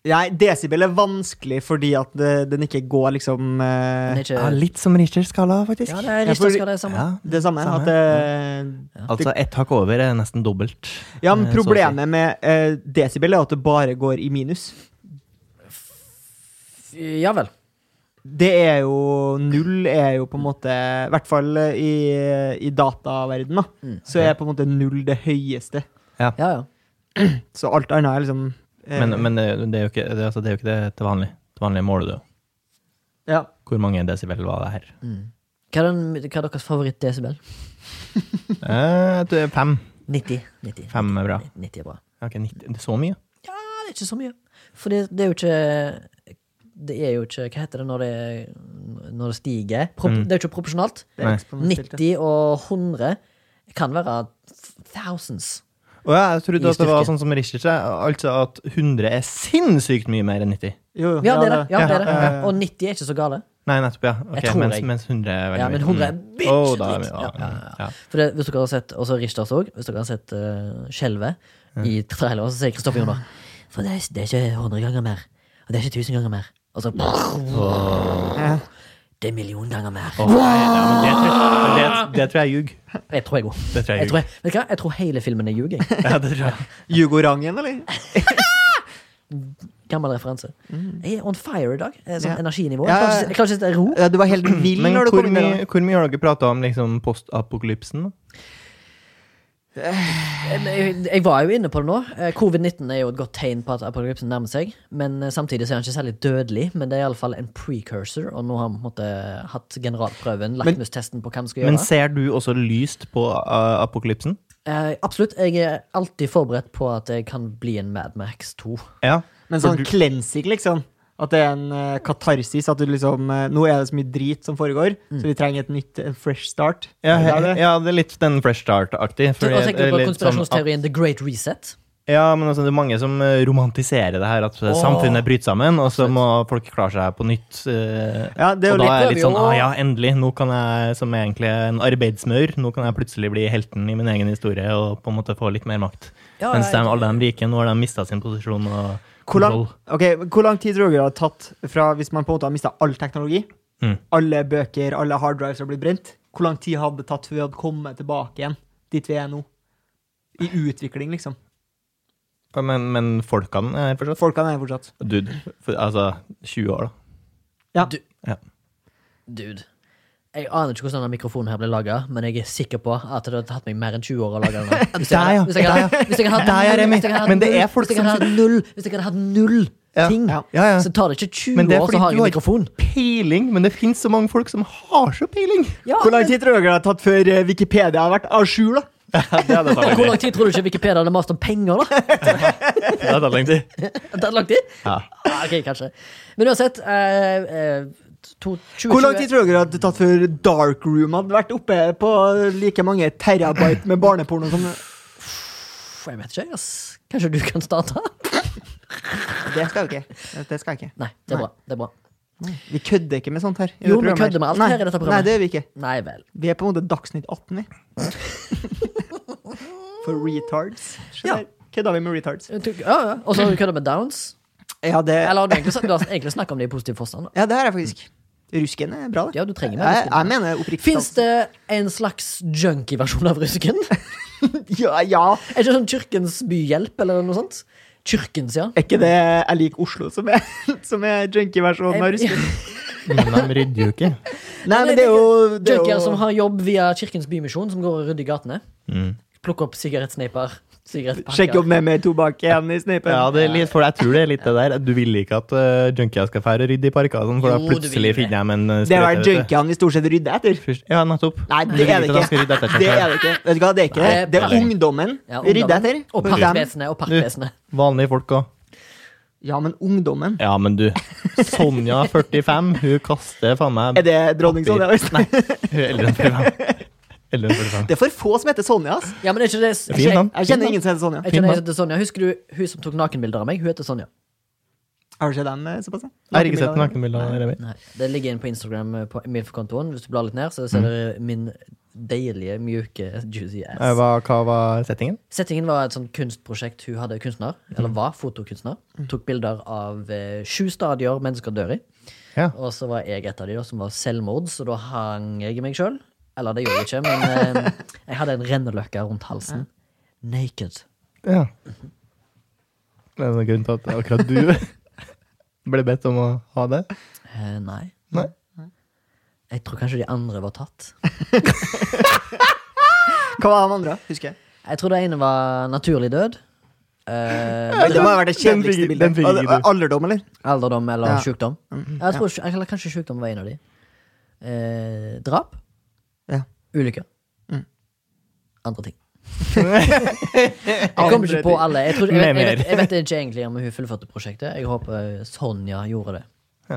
S2: Nei, desibel er vanskelig fordi at det, den ikke går liksom eh,
S1: Men ikke,
S3: Ja, Ah, litt som Richter-skala, faktisk.
S1: ja, det er rista skal det samme.
S3: Ja.
S2: det samme.
S3: Samme.
S2: At, eh,
S3: Altså, ett hakk over er nesten dobbelt.
S2: ja, men
S3: Eh, så å si.
S2: problemet med eh, desibel er at det bare går i minus.
S1: Ja vel.
S2: Det er jo Null er jo på en måte I hvert fall i, i dataverdenen, da. Så er på en måte null det høyeste.
S1: Ja, ja.
S2: Så alt annet er liksom eh,
S3: Men, men det, det, er jo ikke, det, altså, det er jo ikke det til vanlig. Til vanlig måler du jo.
S2: ja.
S3: Hvor mange desibel var det her?
S1: Hva er, den, hva er deres favoritt-desibel?
S3: Eh, du, fem.
S1: 90. 90.
S3: Fem er bra.
S1: 90 er bra.
S3: Ja, Ok, 90. Det er så mye?
S1: Ja, det er ikke så mye. For det, det er jo ikke Det er jo ikke Hva heter det når det, når det stiger? Prop,
S3: Mm.
S1: Det er jo ikke proporsjonalt.
S2: Det
S3: Nei.
S2: er eksponentielt.
S1: 90 og 100 kan være thousands.
S3: Å ja, jeg trodde
S1: I
S3: at det var
S1: styrke.
S3: sånn som Richter sa, altså at 100 er sinnssykt mye mer enn 90.
S2: Jo, jo,
S1: Ja, det er det. Ja, det, er
S3: Ja, ja,
S1: det. Og 90 er ikke så gale.
S3: Nei, nettopp, ja. Ok,
S1: Jeg tror
S3: mens,
S1: jeg-
S3: mens 100 er veldig
S1: Ja, men
S3: mye.
S1: 100 er
S3: Mm.
S1: bitch
S3: Å, da,
S1: dritt.
S3: ja,
S1: Ja,
S3: ja,
S1: ja,
S3: ja.
S1: For det, hvis dere har sett, også Richters også, hvis dere har sett eh, Skjelvet i traileren, så sier Kristoffer Joner For det er, det er ikke 100 ganger mer. Og det er ikke 1000 ganger mer. Og så
S2: Eh,
S1: Det er million ganger mer.
S3: Åh, nei, ja, men det, tror- det, det tror jeg ljug.
S1: Jeg tror jeg òg.
S3: Det tror jeg
S1: Jeg tror, jeg, vet du hva? jeg tror hele filmen er
S3: [laughs]
S1: ljuging.
S3: Ja, det tror jeg.
S2: Hugo Rangen, eller?
S1: Gammel referanse.
S3: Mm.
S1: Jeg er on fire i dag. eh, Sånn
S2: Ja.
S1: energinivå.
S2: Ja,
S1: Jeg
S2: ja,
S1: klarer ikke- jeg klarer ikke å sitte i ro.
S2: Ja, du var helt vill
S3: Men
S2: når du
S3: hvor
S2: kom inn
S3: mye,
S2: der.
S3: hvor mye har dere prata om liksom, postapokalypsen? da?
S1: Jeg, Eh, jeg- jeg var jo inne på det nå. Eh, Covid-19 er jo et godt tegn på at apokalypsen nærmer seg. Men eh, samtidig så er han ikke særlig dødelig. Men det er iallfall en precursor, og nå har vi på en måte hatt generalprøven, lakmustesten på hva vi skal gjøre.
S3: Men ser du også lyst på eh, apokalypsen?
S1: Eh, absolutt. Jeg er alltid forberedt på at jeg kan bli en Mad Max 2.
S3: Ja.
S2: Men sånn cleansing, liksom. At det er en eh, katarsis. At du liksom eh, Nå er det så mye drit som foregår, så vi trenger et nytt, en fresh start.
S3: Ja,
S2: Det er
S3: he-
S2: det.
S3: ja, det er litt den fresh start-aktig.
S1: Og
S3: fordi det
S1: tenker
S3: er
S1: du på
S3: litt sånn at-
S1: konspirasjonsteorien The Great Reset?
S3: Ja, men altså, det er mange som eh, romantiserer det her, at eh,
S1: Åh.
S3: samfunnet bryter sammen, og så må folk klare seg på nytt. eh,
S2: Ja, det er
S3: og
S2: jo
S3: da
S2: litt
S3: er jeg
S1: prøver
S3: litt sånn
S1: jo-
S3: ah, ja, endelig, nå kan jeg, som egentlig er en arbeidsmaur, nå kan jeg plutselig bli helten i min egen historie og på en måte få litt mer makt.
S1: Ja,
S3: Mens de,
S1: jeg-
S3: alle de rike, nå har de mista sin posisjon og
S2: hvor lang,
S3: kontroll.
S2: ok, men hvor lang tid tror dere det har tatt fra hvis man på en måte har mista all teknologi?
S3: Mm.
S2: Alle bøker, alle harddrives har blitt brent? Hvor lang tid hadde det tatt før vi hadde kommet tilbake igjen dit vi er nå? I utvikling, liksom.
S3: Ja, Men, men folkene er her fortsatt.
S2: Folkene er fortsatt.
S3: Dude, for, altså 20 år, da.
S2: Ja.
S1: Du-
S3: Ja.
S1: Dude. Jeg aner ikke hvordan denne mikrofonen her ble laga, men jeg er sikker på at det hadde tatt meg mer enn 20 år å lage den.
S3: [laughs]
S1: her. Hvis jeg
S3: Der, ja.
S1: hadde- hvis jeg hadde hatt- hvis jeg hadde
S3: Der,
S1: hatt
S3: ja,
S1: null-
S3: Remi.
S1: hvis jeg hadde hatt
S3: Men det er
S1: null-
S3: folk
S1: hvis jeg hadde
S3: som-
S1: hatt null- Hvis jeg hadde hatt null
S3: Ja.
S1: ting,
S2: Ja.
S3: Ja, ja.
S1: så tar det ikke 20
S3: Men det er
S1: år,
S3: fordi
S1: så har
S3: du
S1: jeg
S3: har-
S1: mikrofon.
S3: Peiling! Men det fins så mange folk som har så peiling!
S1: Ja,
S2: Hvor lang tid tror dere det har tatt før eh, Wikipedia har vært à jour, da?
S3: Ja, det hadde
S1: men
S3: [laughs] tatt
S1: Hvor
S3: lang
S1: lang tid
S3: tid.
S1: tror du ikke Wikipedia hadde mast om penger,
S3: [laughs]
S1: da?
S3: Det hadde tatt lang tid.
S1: Det hadde lang tid?
S3: Ja.
S1: Ah, ok, kanskje. Men uansett eh, eh, to, 20,
S2: Hvor lang tid tror dere det hadde tatt før Dark Room hadde vært oppe på like mange terabyte med barneporno som
S1: Jeg vet ikke, ass. Kanskje du kan starte?
S2: Det skal jeg ikke. Det skal jeg ikke.
S1: Nei, det er bra. Det er bra.
S2: Vi kødder ikke med sånt her. i
S1: Jo, vi
S2: dette programmet her.
S1: kødder med alt her i dette
S2: Nei,
S1: programmet.
S2: nei, det gjør vi ikke.
S1: Nei vel.
S2: Vi er på en måte Dagsnytt 18, vi.
S1: [laughs]
S2: For retards.
S1: Ja.
S2: Ja. Kødda vi med retards?
S1: Jeg tror- Ja, ja. Og så har du kødda med Downs.
S2: Ja, det,
S1: Eller har du egentlig, du har egentlig snakket om det i positiv forstand? da?
S2: ja, det har jeg faktisk. Rusken er bra, det.
S1: Ja, du trenger mer
S2: Jeg,
S1: rusken.
S2: jeg mener oppriktig
S1: Fins
S2: talt.
S1: det en slags junkie-versjon av rusken? Er
S2: Ja, ja.
S1: ikke sånn Kirkens Byhjelp eller noe sånt? Kirkens, ja.
S2: Er ikke det Jeg liker Oslo, som er, [laughs] som er junkie-versjonen av rusken?
S1: [laughs]
S3: Men de rydder jo ikke.
S2: Nei, men det er jo det er
S1: Junkier
S2: jo-
S1: som har jobb via Kirkens Bymisjon, som går og rydder gatene. Plukker opp sigarettsneiper.
S2: Sjekke opp
S1: Sigarettpakker.
S2: ned med tobakk igjen i snipen.
S3: Ja, det er litt, for jeg tror det er litt det der. Du vil ikke at uh, junkier skal fære og rydde i parker, og sånn, for
S1: Jo,
S3: da
S1: du vil
S3: plutselig
S1: det.
S3: finner de en uh,
S2: Det er
S3: vet
S2: vel
S3: du.
S2: junkiene vi stort sett rydder etter.
S3: Først- Ja, nettopp.
S2: Nei,
S3: Du
S2: det
S3: vil
S2: er det
S3: at de skal
S2: ikke.
S3: rydde etter seg
S2: Det er
S3: selv.
S2: det ikke. Vet du hva, det er ikke det.
S1: Nei,
S2: Det er
S1: bare-
S2: ungdommen
S1: Ja,
S2: vi rydder etter.
S1: ungdommen. Og
S2: For dem-
S1: parkvesenet. Og parkvesenet.
S2: Mm.
S3: Vanlige folk òg.
S2: Ja, men ungdommen
S3: Ja, men du. Sonja, 45, hun kaster faen meg
S2: Er det dronning Sonja? Nei.
S3: Hun er eldre enn 45. Eldre enn 45.
S2: Det er for få som heter Sonja, ass.
S1: Ja, men er ikke det er ikke
S3: Fin
S1: jeg-
S3: navn.
S2: Jeg kjenner ingen som heter Sonja.
S1: er ikke det
S3: Fin
S1: jeg
S3: mann.
S1: heter Sonja? Husker du hun som tok nakenbilder av meg? Hun heter Sonja.
S2: Har du sett den eh, såpass?
S3: Jeg har ikke sett nakenbilder av Remi.
S1: Nei, Det ligger inne på Instagram eh, på Milf-kontoen. Hvis du blar litt ned, så ser du min deilige, mjuke, juicy ass.
S3: Eh, Hva, hva var settingen?
S1: Settingen var et sånt kunstprosjekt hun hadde kunstner,
S3: Mhm.
S1: eller var fotokunstner. Tok bilder av eh, sju stadier mennesker dør i.
S3: Ja.
S1: Og så var jeg et av de da, som var selvmord, så da hang jeg i meg sjøl. Eller det gjorde jeg ikke, men
S3: [laughs]
S1: eh, jeg hadde en renneløkke rundt halsen. Naked.
S3: ja. Det er noen grunn til at akkurat du
S2: [laughs]
S3: ble bedt om å ha det.
S1: Eh, nei.
S3: Nei.
S1: Jeg tror kanskje de andre var tatt.
S2: Hva var de andre? Husker jeg.
S1: Jeg tror det ene var naturlig død. Eh,
S2: Men det må ha vært det
S3: Den fikk-
S2: kjedeligste
S3: den
S2: bildet.
S3: fikk
S2: Al-
S3: ikke du.
S2: Alderdom, eller?
S1: alderdom eller
S2: Ja. Mm,
S1: sykdom. Jeg tror, ikke- eller kanskje sykdom var en av de. Eh, drap.
S2: Ja.
S1: Ulykker.
S2: Mm.
S1: Andre
S2: [laughs]
S1: ting. Jeg kommer ikke på alle. Jeg, tror, jeg, vet, jeg, vet, jeg vet ikke egentlig om hun fullførte prosjektet. Jeg håper Sonja gjorde det.
S3: Ja.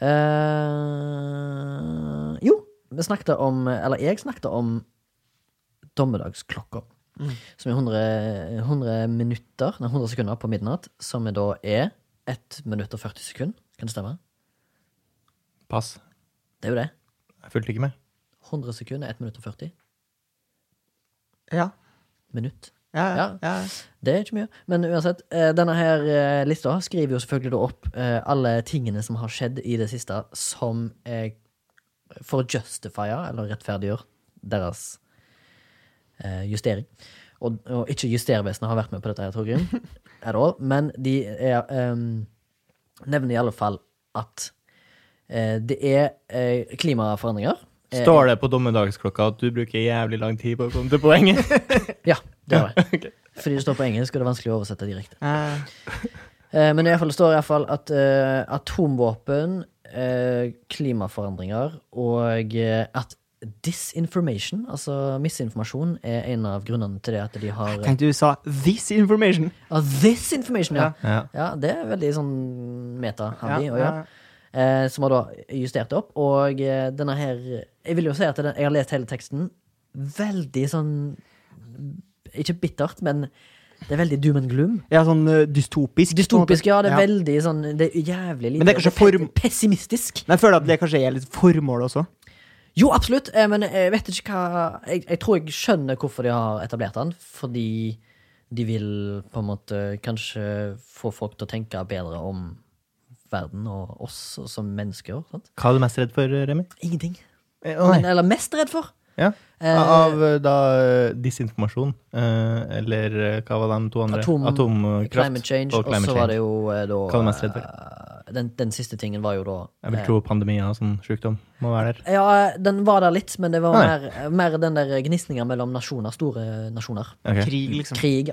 S1: Eh, jo, vi snakket om Eller jeg snakket om dommedagsklokka. Som er 100, 100 minutter Nei, 100 sekunder på midnatt. Som er da er 1 minutt og 40 sekunder. Kan det stemme?
S3: Pass.
S1: Det er jo det.
S3: Jeg fulgte ikke med.
S1: 100 sekunder er 1 minutt og 40
S2: Ja.
S1: minutt.
S2: Ja, ja,
S1: Ja.
S2: ja.
S1: Det er ikke mye. Men uansett, eh, denne her eh, lista skriver jo selvfølgelig da opp eh, alle tingene som har skjedd i det siste, som eh, for å justifye, eller rettferdiggjøre, deres eh, justering. Og, og ikke Justervesenet har vært med på dette, her, Torgrim, at all, men de er, em, nevner i alle fall at eh, det er eh, klimaforandringer. Eh,
S3: Står det på dommedagsklokka at du bruker jævlig lang tid på å komme til poenget?
S1: Ja, det var det. Fordi det står på engelsk, og det er vanskelig å oversette direkte.
S2: Eh,
S1: Eh, men i alle fall, det står i hvert fall at eh, atomvåpen, eh, klimaforandringer og eh, at disinformation, altså misinformasjon, er en av grunnene til det at de har
S2: Jeg tenkte du sa 'this information'.
S1: Ah, This information, ja.
S3: Ja.
S1: ja. det er veldig sånn meta-handy
S2: Ja,
S1: å
S2: ja,
S1: gjøre. Eh, som har da justert det opp. Og eh, denne her Jeg vil jo si at den, jeg har lest hele teksten veldig sånn Ikke bittert, men det er veldig doom and gloom.
S2: Ja, sånn eh, dystopisk. på en
S1: Dystopisk,
S2: måte.
S1: ja. Det er veldig sånn Det er jævlig lite
S2: Men det er kanskje form-
S1: pe- Pessimistisk.
S2: Men jeg føler at det kanskje er litt formål også.
S1: Jo, absolutt, eh, men jeg vet ikke hva jeg, jeg tror jeg skjønner hvorfor de har etablert den. Fordi de vil på en måte kanskje få folk til å tenke bedre om verden og oss og som mennesker. Sant?
S3: [laughs] Hva er du mest redd for, Remi?
S1: Ingenting.
S3: Eh, å,
S1: Men,
S3: nei.
S1: eller mest redd for.
S3: Ja.
S1: Eh,
S3: Av eh, da eh, disinformasjon, eh, eller eh, hva var de to andre?
S1: Atom-
S3: Atomkraft
S1: Climate change, og så var det jo eh, da
S3: Hva er du mest redd for?
S1: eh, Den, den siste tingen var jo da
S3: Jeg vil
S1: eh,
S3: tro pandemier og sånn sjukdom må være der.
S1: Ja, den var der litt, men det var
S3: Nei.
S1: mer, mer den der gnisninga mellom nasjoner, store nasjoner.
S3: Ok.
S2: Krig, liksom.
S1: Krig.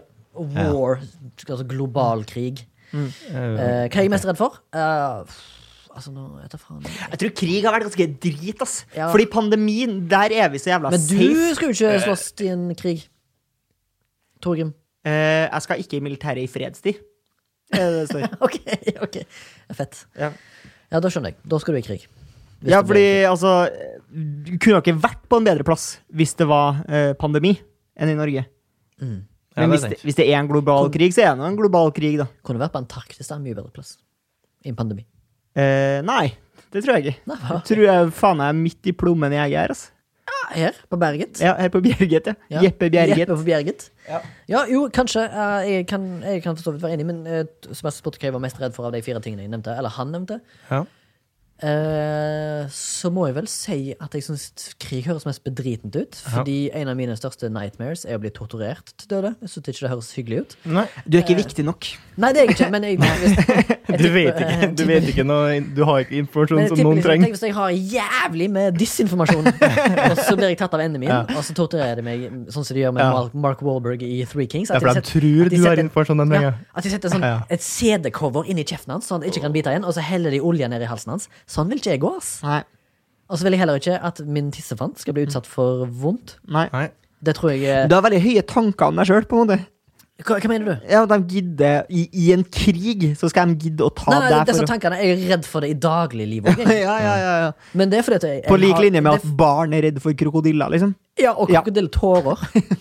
S1: War. Altså global krig.
S3: Eh,
S1: Eh, hva er jeg mest redd for? Eh, pff, altså, nå vet jeg faen.
S2: Jeg tror krig har vært ganske drit, ass.
S1: Ja.
S2: Fordi pandemien, der er vi så jævla
S1: Men
S2: safe.
S1: du skal jo ikke slåss i en krig. Torgrim. [laughs]
S2: Eh, jeg skal ikke i militæret i fredstid. Er det det
S1: [laughs]
S2: det står?
S1: OK, ok. Fett.
S2: Ja.
S1: Ja, da skjønner jeg. Da skal du i krig. Hvis
S2: ja,
S1: det blir-
S2: fordi altså Du kunne ikke vært på en bedre plass hvis det var eh, pandemi enn i Norge.
S3: Ja,
S2: Men
S3: det
S2: hvis,
S3: er
S2: det,
S3: sant.
S2: hvis det er en global krig, så er det nå en global krig, da.
S1: Kunne vært på Antarktis. Det er en mye bedre plass. I en pandemi.
S2: Eh, nei, det tror jeg ikke.
S1: Nei,
S2: Jeg
S1: hva?
S2: tror jeg faen jeg er midt i plommen jeg er, altså.
S1: Her, på Berget.
S2: Ja, her på Bjerget, ja.
S1: Ja.
S2: Jeppe Bjerget.
S1: Jeppe på Bjerget.
S2: Ja.
S1: Ja, jo, kanskje. eh, jeg, kan, jeg kan forstå vidt være enig, men eh, Sebastian spurte hva jeg var mest redd for av de fire tingene jeg nevnte, eller han nevnte.
S3: ja.
S1: Eh, så må jeg vel si at jeg syns krig høres mest bedritent ut. Fordi en av mine største nightmares er å bli torturert til døde. Jeg synes ikke det høres hyggelig ut.
S3: Nei,
S2: Du er ikke viktig nok.
S1: Nei, det er jeg ikke, men [laughs] jeg, hvis,
S3: [laughs] du vet ikke, du vet ikke noe, du har ikke
S1: men
S3: informasjon
S1: jeg
S3: som
S1: tipper
S3: noen
S1: liksom, tenk
S3: trenger.
S1: hvis jeg har jævlig med
S3: [laughs]
S1: disinformasjon, og så blir jeg tatt av endene mine, og så torturerer de meg sånn som de gjør med
S3: Ja.
S1: Mark- Mark Wahlberg i Three Kings.
S3: Det
S1: at
S3: er fordi
S1: jeg setter- at de
S3: de tror du har
S1: setter-
S3: informasjon den
S1: Ja,
S3: trenger.
S1: at de setter sånn,
S3: Ja.
S1: et CD-cover inn i kjeften hans, så han ikke kan bite igjen, og så heller de olje ned i halsen hans. Sånn vil ikke jeg gå, ass.
S2: Nei.
S1: Og så vil jeg heller ikke at min tissefant skal bli utsatt for vondt.
S2: nei.
S3: Nei.
S1: Det tror jeg eh,
S2: Du har veldig høye tanker om deg sjøl, på en måte.
S1: Hva, hva mener du?
S2: Ja, de gidder i, I en krig så skal de gidde å ta
S1: Nei, nei,
S2: deg
S1: disse
S2: for å
S1: tankene Jeg er redd for det i dagliglivet òg.
S2: [laughs] ja, ja, ja, ja.
S1: Men det er fordi at jeg, jeg
S2: På lik
S1: har-
S2: linje med
S1: det-
S2: at barn er redd for krokodiller, liksom.
S1: Ja, og
S2: Ja.
S1: krokodilletårer. [laughs]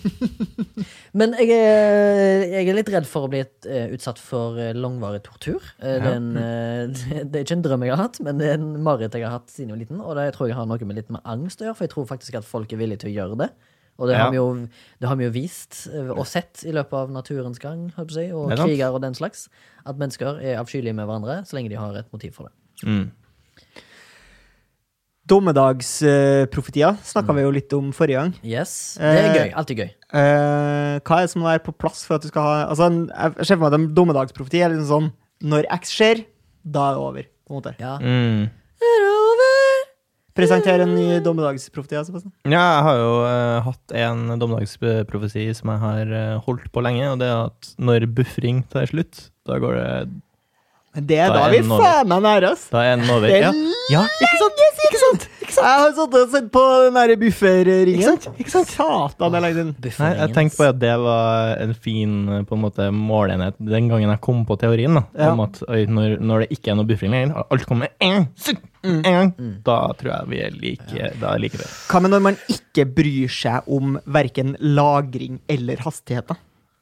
S1: Men jeg er, jeg er litt redd for å bli et, eh, utsatt for eh, langvarig tortur. Eh, det, er en, eh,
S3: Mm.
S1: [laughs] det er ikke en drøm jeg har hatt, men det er en mareritt jeg har hatt siden jeg var liten. Og det tror jeg har noe med litt med angst å gjøre, for jeg tror faktisk at folk er villige til å gjøre det. Og det,
S3: Ja.
S1: har vi jo, det har vi jo vist eh, og sett i løpet av naturens gang, holdt på å si, og
S3: Det er sant.
S1: kriger og den slags, at mennesker er avskyelige med hverandre så lenge de har et motiv for det.
S3: Mm.
S2: Dommedagsprofetier uh,
S3: Mm.
S2: snakka vi jo litt om forrige gang.
S1: Yes, Det er
S2: Eh,
S1: gøy. Alltid gøy.
S2: Eh, hva er det som må være på plass for at du skal ha Altså, en- Jeg ser for meg at en dommedagsprofeti er liksom sånn Når X skjer, da er det over. På en måte.
S1: Ja.
S3: Mm.
S2: Presenter en ny dommedagsprofeti. Altså, Sebastian.
S3: Ja, jeg har jo eh, hatt en dommedagsprofesi som jeg har eh, holdt på lenge, og det er at når buffring tar slutt, da går det
S2: Men det er
S3: Da
S2: da,
S3: er
S2: vi
S3: den over.
S2: faen meg nære oss.
S3: Da er den over.
S2: Det er
S3: Ja. ja, ikke sant? Ikke sant? Ikke
S2: Jeg
S3: sant?
S2: har sittet og sett på den der bufferringen.
S3: Ikke sant? Ikke sant?
S2: Satan, jeg lagde den.
S3: Nei, jeg tenkte på at det var en fin eh, på en måte, målenhet den gangen jeg kom på teorien. da,
S2: Ja.
S3: om at oi, når, når det ikke er noe buffering lenger, alt kommer med en, sekund,
S2: Mm.
S3: en gang, da tror jeg vi er like, da er like det.
S2: Hva med når man ikke bryr seg om verken lagring eller hastigheter?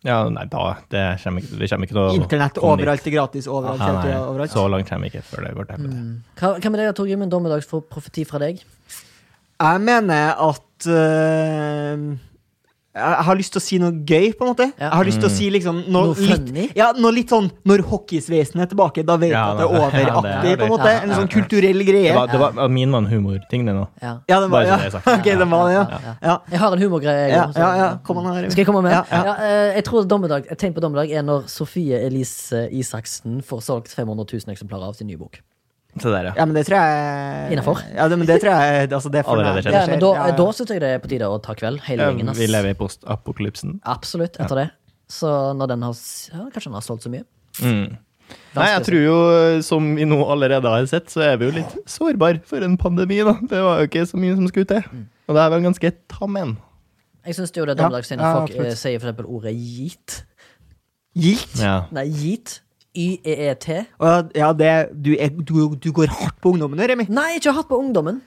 S3: Ja, nei, da, det kommer ikke, det kommer ikke til å
S2: Internett
S3: komme dit.
S2: overalt er gratis overalt.
S3: Ja,
S2: hele
S3: Ah, nei,
S2: tida, overalt. Mm.
S3: så langt kommer vi ikke før det går til helvete.
S1: Hva, hva med deg, Torgrim? En dommedagsprofeti fra deg?
S2: Jeg mener at øh, Jeg har lyst til å si noe gøy, på en måte.
S1: Ja. Mm.
S2: Jeg har lyst til å si liksom noe,
S1: Noe funny?
S2: litt, ja, noe litt sånn Når hockeysveisen er tilbake, da vet jeg
S4: Ja,
S2: at
S4: det- ja, det er
S2: det er overaktig, på en
S4: litt-
S2: måte.
S1: ja,
S2: En
S4: ja,
S2: sånn
S4: ja.
S2: kulturell greie.
S4: Det var, det var, min var en humorting, det nå.
S1: Ja.
S2: Ja, den var,
S4: Bare så
S2: ja.
S4: det er sagt.
S2: [laughs] Ok, den var det,
S1: Ja, ja.
S2: ja. Ja,
S1: Jeg har en humorgreie, jeg
S2: ja,
S1: også. sånn,
S2: ja, ja. Kom an her.
S1: Skal jeg komme med?
S2: Ja, ja.
S1: eh, jeg tror dommedag, et tegn på dommedag er når Sofie Elise Isaksen får solgt 500 000 eksemplarer av sin nye bok.
S4: Se der, ja.
S2: Ja, men det tror jeg
S1: Innenfor?
S2: Ja, det, men det tror jeg altså, det er for
S4: Allerede
S2: nært.
S4: skjer.
S1: Ja, men da
S2: Ja, ja.
S1: da syns jeg det er på tide å ta kveld, hele gjengen.
S4: Vi
S1: ass.
S4: lever i postapokalypsen.
S1: Absolutt, etter det. Så når den har s- ja, Kanskje den har solgt så mye.
S3: Mm. Nei, jeg tror jo, eh, som vi nå allerede har sett, så er vi jo litt sårbar for en pandemi, da. Det var jo ikke så mye som skulle til.
S1: Mm.
S3: Og det er vel ganske tam en.
S1: Jeg syns det er
S2: Ja,
S1: dommedagstegn når
S2: ja,
S1: folk eh,
S2: absolutt.
S1: sier for eksempel ordet yeet.
S2: Gilt?
S4: Ja.
S1: Nei, yeet. Y-e-e-t.
S2: Og ja, det, du, er, du, du går hardt på ungdommen, Remi.
S1: Nei, ikke hatt på ungdommen.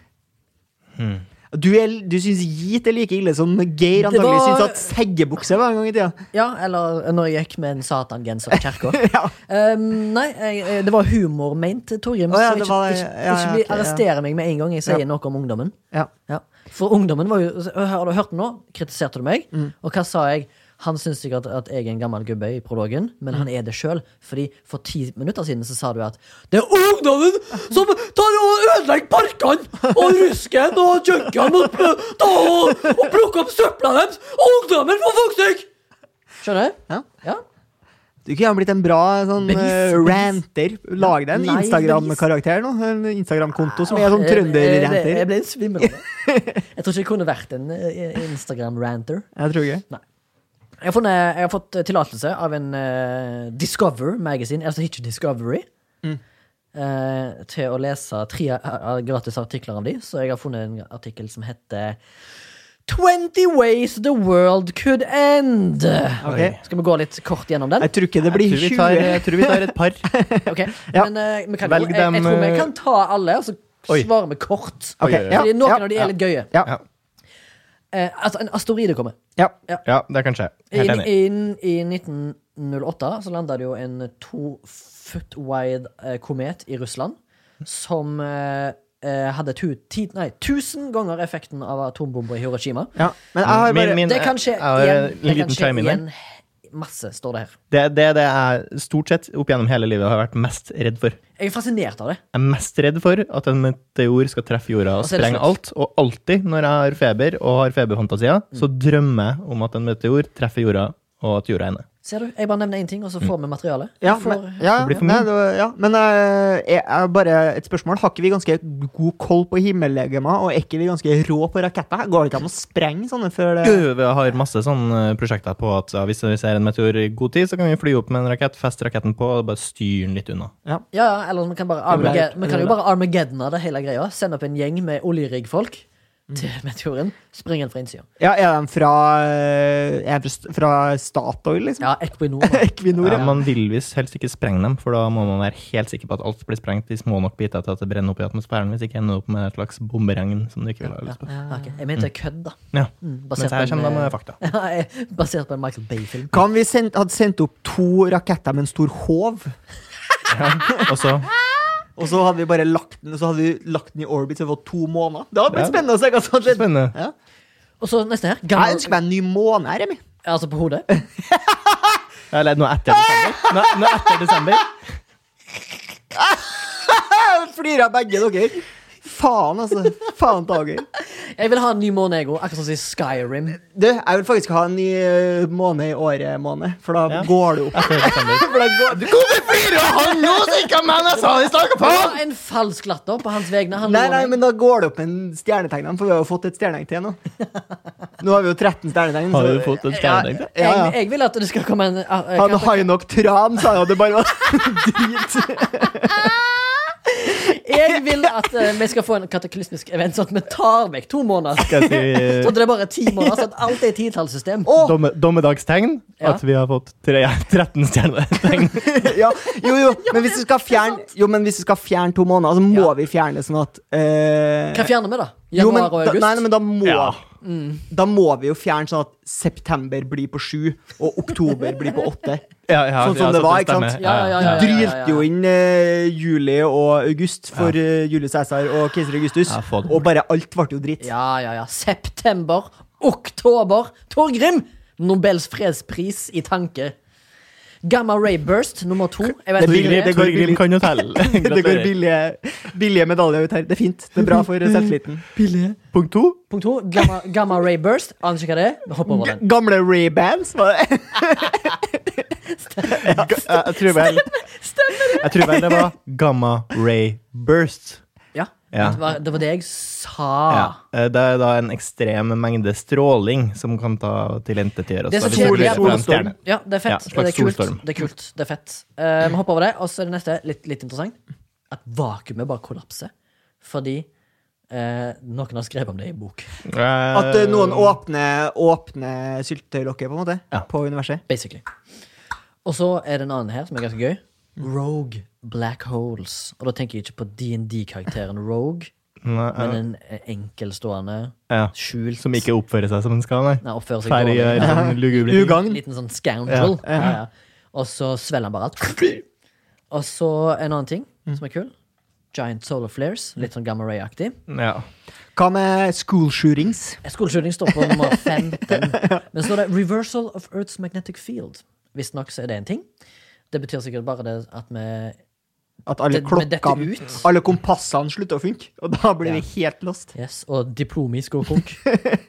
S2: Du, er- du syns git er like ille som Geir
S1: Det
S2: antagelig
S1: var-
S2: syns at seggebukse var en gang i
S1: [laughs]
S2: tida.
S1: Ja, eller eh, når jeg gikk med en satangenser på kirka.
S2: Ja.
S1: Um, nei, jeg, eh, det var humor meint, Torgrim.
S2: Å ja,
S1: så
S2: det
S1: ikke,
S2: var det.
S1: ikke,
S2: Ja, ja,
S1: ikke bli-
S2: ok, ja.
S1: arrestere meg med en gang jeg sier
S2: Ja.
S1: noe om ungdommen.
S2: Ja.
S1: Ja. For ungdommen var jo altså, Har du hørt meg nå? Kritiserte du meg?
S2: Mm.
S1: Og hva sa jeg? Han syns sikkert at jeg er en gammel gubbe i prologen,
S2: Mm.
S1: men han er det sjøl. Fordi for ti minutter siden så sa du at det er ungdommen som tar og ødelegger parkene og rusken og junkene og, pl- ta og, og plukker opp søpla deres! Ungdommen, for fuck's sake! Skjønner du?
S2: Ja.
S1: Ja.
S2: Du kunne ha blitt en bra sånn
S1: Bevis,
S2: eh,
S1: bevis.
S2: ranter. Lag deg en
S1: Nei,
S2: Instagram-karakter nå. En Instagram-konto som er
S1: Åh,
S2: sånn
S1: jeg- jeg- Jeg, jeg
S2: trønder-ranter.
S1: ble litt svimmel av det. Jeg tror ikke jeg kunne vært en eh, Instagram-ranter.
S2: Jeg tror ikke.
S1: Jeg har, funnet, jeg har fått eh, tillatelse av en eh, Discover Magazine, altså ikke Discovery, eh, til å lese tre eh, eh, gratis artikler av de, så jeg har funnet en artikkel som heter 20 Ways The World Could End.
S2: Ok.
S1: Skal vi gå litt kort gjennom [laughs] den?
S2: Jeg tror ikke det blir
S3: Jeg tror vi tar,
S1: eh,
S2: 20.
S3: jeg tror vi tar et par.
S1: Ok,
S2: Ja.
S1: Men eh, vi kan,
S3: Velg
S1: jo- jeg,
S3: dem,
S1: jeg tror vi
S3: eh,
S1: kan ta alle, og så
S3: Oi.
S1: svarer vi kort.
S2: Ok,
S3: Oi, oi, oi.
S2: ja,
S1: Fordi noen
S2: ja,
S1: av de er litt gøye.
S2: Ja.
S1: Eh, altså, en asteroide kommer.
S2: Ja.
S3: [laughs] Ja, det kan skje.
S1: I,
S4: Helt enig.
S1: i, I 1908 så landa det jo en to foot wide eh, komet i Russland som eh, eh, hadde tu, ti, nei, tusen ganger effekten av atombomber i Hiroshima.
S2: ja. Men jeg har bare
S3: Min- min-
S1: det kan skje
S3: jeg har
S1: igjen.
S3: en
S1: Det
S3: liten
S1: kan skje
S3: chime inn der.
S1: igjen. Masse, står det her.
S3: Det er det, det jeg stort sett opp gjennom hele livet har vært mest redd for.
S1: Jeg er fascinert av det.
S3: Jeg er mest redd for at en meteor skal treffe jorda og
S1: Og så er det
S3: sprenge alt.
S1: slutt.
S3: Og alltid når jeg har feber og har feberfantasier,
S1: Mm.
S3: så drømmer jeg om at en meteor treffer jorda, og at jorda er nede.
S1: Ser du? Jeg bare nevner én ting, og så får vi materialet.
S2: ja,
S1: Vi får-
S2: men, ja,
S3: Det blir for mye.
S2: nei, det var, ja. men eh, jeg, jeg, bare et spørsmål. Har ikke vi ganske god koll på himmellegemer, og er ikke vi ganske rå på raketter? Går det ikke an å sprenge sånne før det
S3: Gud, Vi har masse sånne prosjekter på at ja, hvis vi ser en meteor i god tid, så kan vi fly opp med en rakett, feste raketten på og bare styre den litt unna.
S1: Ja, ja, eller vi kan, bare Armaged- vi kan jo bare Armageddon det hele greia. Sende opp en gjeng med oljeriggfolk til meteoren. Springe den fra innsida.
S2: Ja, er de fra, eh, er de fra st- fra Statoil, liksom?
S1: Ja, Equinor. da.
S2: [laughs] Equinor,
S3: Ja,
S2: ja.
S3: man vil visst helst ikke sprenge dem, for da må man være helt sikker på at alt blir sprengt i små nok biter til at det brenner opp i atmosfæren, hvis ikke ender det opp med et slags bomberegn som du ikke vil ha lyst på.
S1: Ja, Ah, ok. Jeg mente kødd, da.
S3: Ja.
S1: Mm,
S3: Mens
S1: Basert, på
S3: her
S1: en,
S3: kommer de
S1: eh,
S3: med fakta.
S1: [laughs] ja, eh, basert på en Michael Bay-film.
S2: Hva om vi sendt, hadde sendt opp to raketter med en stor håv,
S3: Og så
S2: og så hadde vi bare lagt den, så hadde vi lagt den i orbit så det var to måneder? Det hadde blitt
S3: Ja.
S2: spennende å se hva som hadde skjedd.
S3: Spennende.
S2: Ja.
S1: Og så neste her.
S2: Jeg
S1: Gammel,
S2: ønsker meg en ny måne, Remi.
S1: altså på hodet.
S3: Eller nå etter desember. Nå, nå etter desember.
S2: Jeg Flirer av begge dere. Faen, altså. Faen tager.
S1: Jeg vil ha en ny Monego, akkurat som i Skyrim.
S2: Du, jeg vil faktisk ha en ny eh, måne i året, måne, for da
S3: Ja.
S2: går det opp.
S3: Etter desember.
S2: [laughs] For da går,
S3: Hvorfor flirer han nå, sikkert, men jeg sa det snakka på!
S1: Og en falsk latter på hans vegne. Han
S2: nei,
S1: lover
S2: nei,
S1: meg.
S2: men da går det opp en stjernetegnene, for vi har jo fått et stjernetegn til nå. Nå har vi jo 13 stjernetegn.
S3: Har
S2: så-
S3: du fått en stjernetegn?
S2: Ja, ja.
S1: Jeg, jeg vil at det skal komme en eh, eh,
S2: Han
S1: karakter-
S2: har jo nok tran, sa jeg, og det bare var [laughs] drit.
S1: Jeg vil at eh, vi skal få en kataklysmisk event, sånn at vi tar vekk to måneder.
S3: Skal
S2: Eh.
S3: jeg
S1: Så det er bare ti måneder, så at alt er titallssystem.
S3: si domme, dommedagstegn?
S1: Ja.
S3: At vi har fått tre, [laughs] 13 stjernetegn?
S2: Ja, jo, jo, men hvis vi skal fjerne Jo, men hvis vi skal fjerne to måneder, så må
S1: Ja.
S2: vi fjerne sånn at eh,
S1: Hva fjerner vi, da?
S2: jo, men,
S1: Januar og
S2: da,
S1: august?
S2: nei, nei,
S1: Mm.
S2: men da må
S3: Ja.
S2: Da må vi jo fjerne sånn at september blir på sju, og oktober blir på åtte.
S3: Ja, ja,
S2: Sånn som
S3: ja,
S2: det var,
S3: stemmer.
S2: ikke sant?
S1: Ja, ja, [laughs] ja, ja.
S2: Du drylte jo inn eh, juli og august for eh, Julius Cæsar og keiser Augustus,
S3: Ja, få det
S2: og bare alt ble jo dritt.
S1: Ja, ja, ja. September, oktober. Torgrim! Nobels fredspris i tanke. Gamma Ray Burst nummer to. Jeg vet
S2: Det
S1: ikke
S2: billig,
S1: hva det
S2: det
S1: er.
S2: går
S4: Torgrim
S2: billig.
S4: kan jo telle.
S2: [laughs] Det går
S4: Gratulerer.
S2: billige, billige medaljer ut her. Det er fint. Det er bra for selvtilliten.
S3: Punkt to.
S1: Punkt to. Gamma, gamma Ray Burst. Aner ikke hva det er. Hopp over den.
S2: G- Gamle Ray-bands, var
S1: eh,
S2: det?
S3: Ga- eh, Jeg jeg tror vel Jeg tror vel det var Gamma Ray Burst.
S1: Ja.
S3: Ja.
S1: Det, var, det var det jeg sa.
S3: Ja. Eh, Det er da en ekstrem mengde stråling som kan ta tilintetgjøre oss.
S1: Det som
S3: da, hvis
S1: skjer-
S3: vi blir på en
S2: solstorm.
S3: stjerne.
S1: Ja, det er
S3: Ja,
S1: fett.
S3: slags
S1: det, er kult.
S3: solstorm.
S1: det er kult. Det er fett. Eh, Vi hopper over det, og så er det neste litt, litt interessant. At vakuumet bare kollapser fordi eh, noen har skrevet om det i bok.
S2: At eh, noen
S1: Mm.
S2: åpner, åpner syltetøylokket, på en måte,
S3: Ja.
S2: på universet.
S1: Basically. Og så er det en annen her som er ganske gøy. Rogue Black Holes. Og da tenker jeg ikke på DND-karakteren Rogue,
S3: Nei,
S1: men en eh, enkelstående,
S3: ja.
S1: skjult
S3: Som ikke oppfører seg som en skal, nei.
S1: Nei, altså, oppfører seg
S3: Færre
S1: dårlig.
S3: gjør sånn lugubre ting.
S2: Ugagn.
S1: Liten sånn scoundrel. Ja, ja. Og så svelger han bare alt. Og så en annen ting som er kul. Giant solar flares. Litt sånn Gamma Ray-aktig.
S3: Ja.
S2: Hva med school shootings?
S1: Skoleskjøring står på nummer 15. Men så er det Reversal of Earth's Magnetic Field. Visstnok så er det en ting. Det betyr sikkert bare det at vi
S2: At alle
S1: Det- men dette
S2: klokkene
S1: ut?
S2: Alle kompassene slutter å funke, og da blir
S1: Ja.
S2: vi helt lost.
S1: Yes, og diplomis går konk.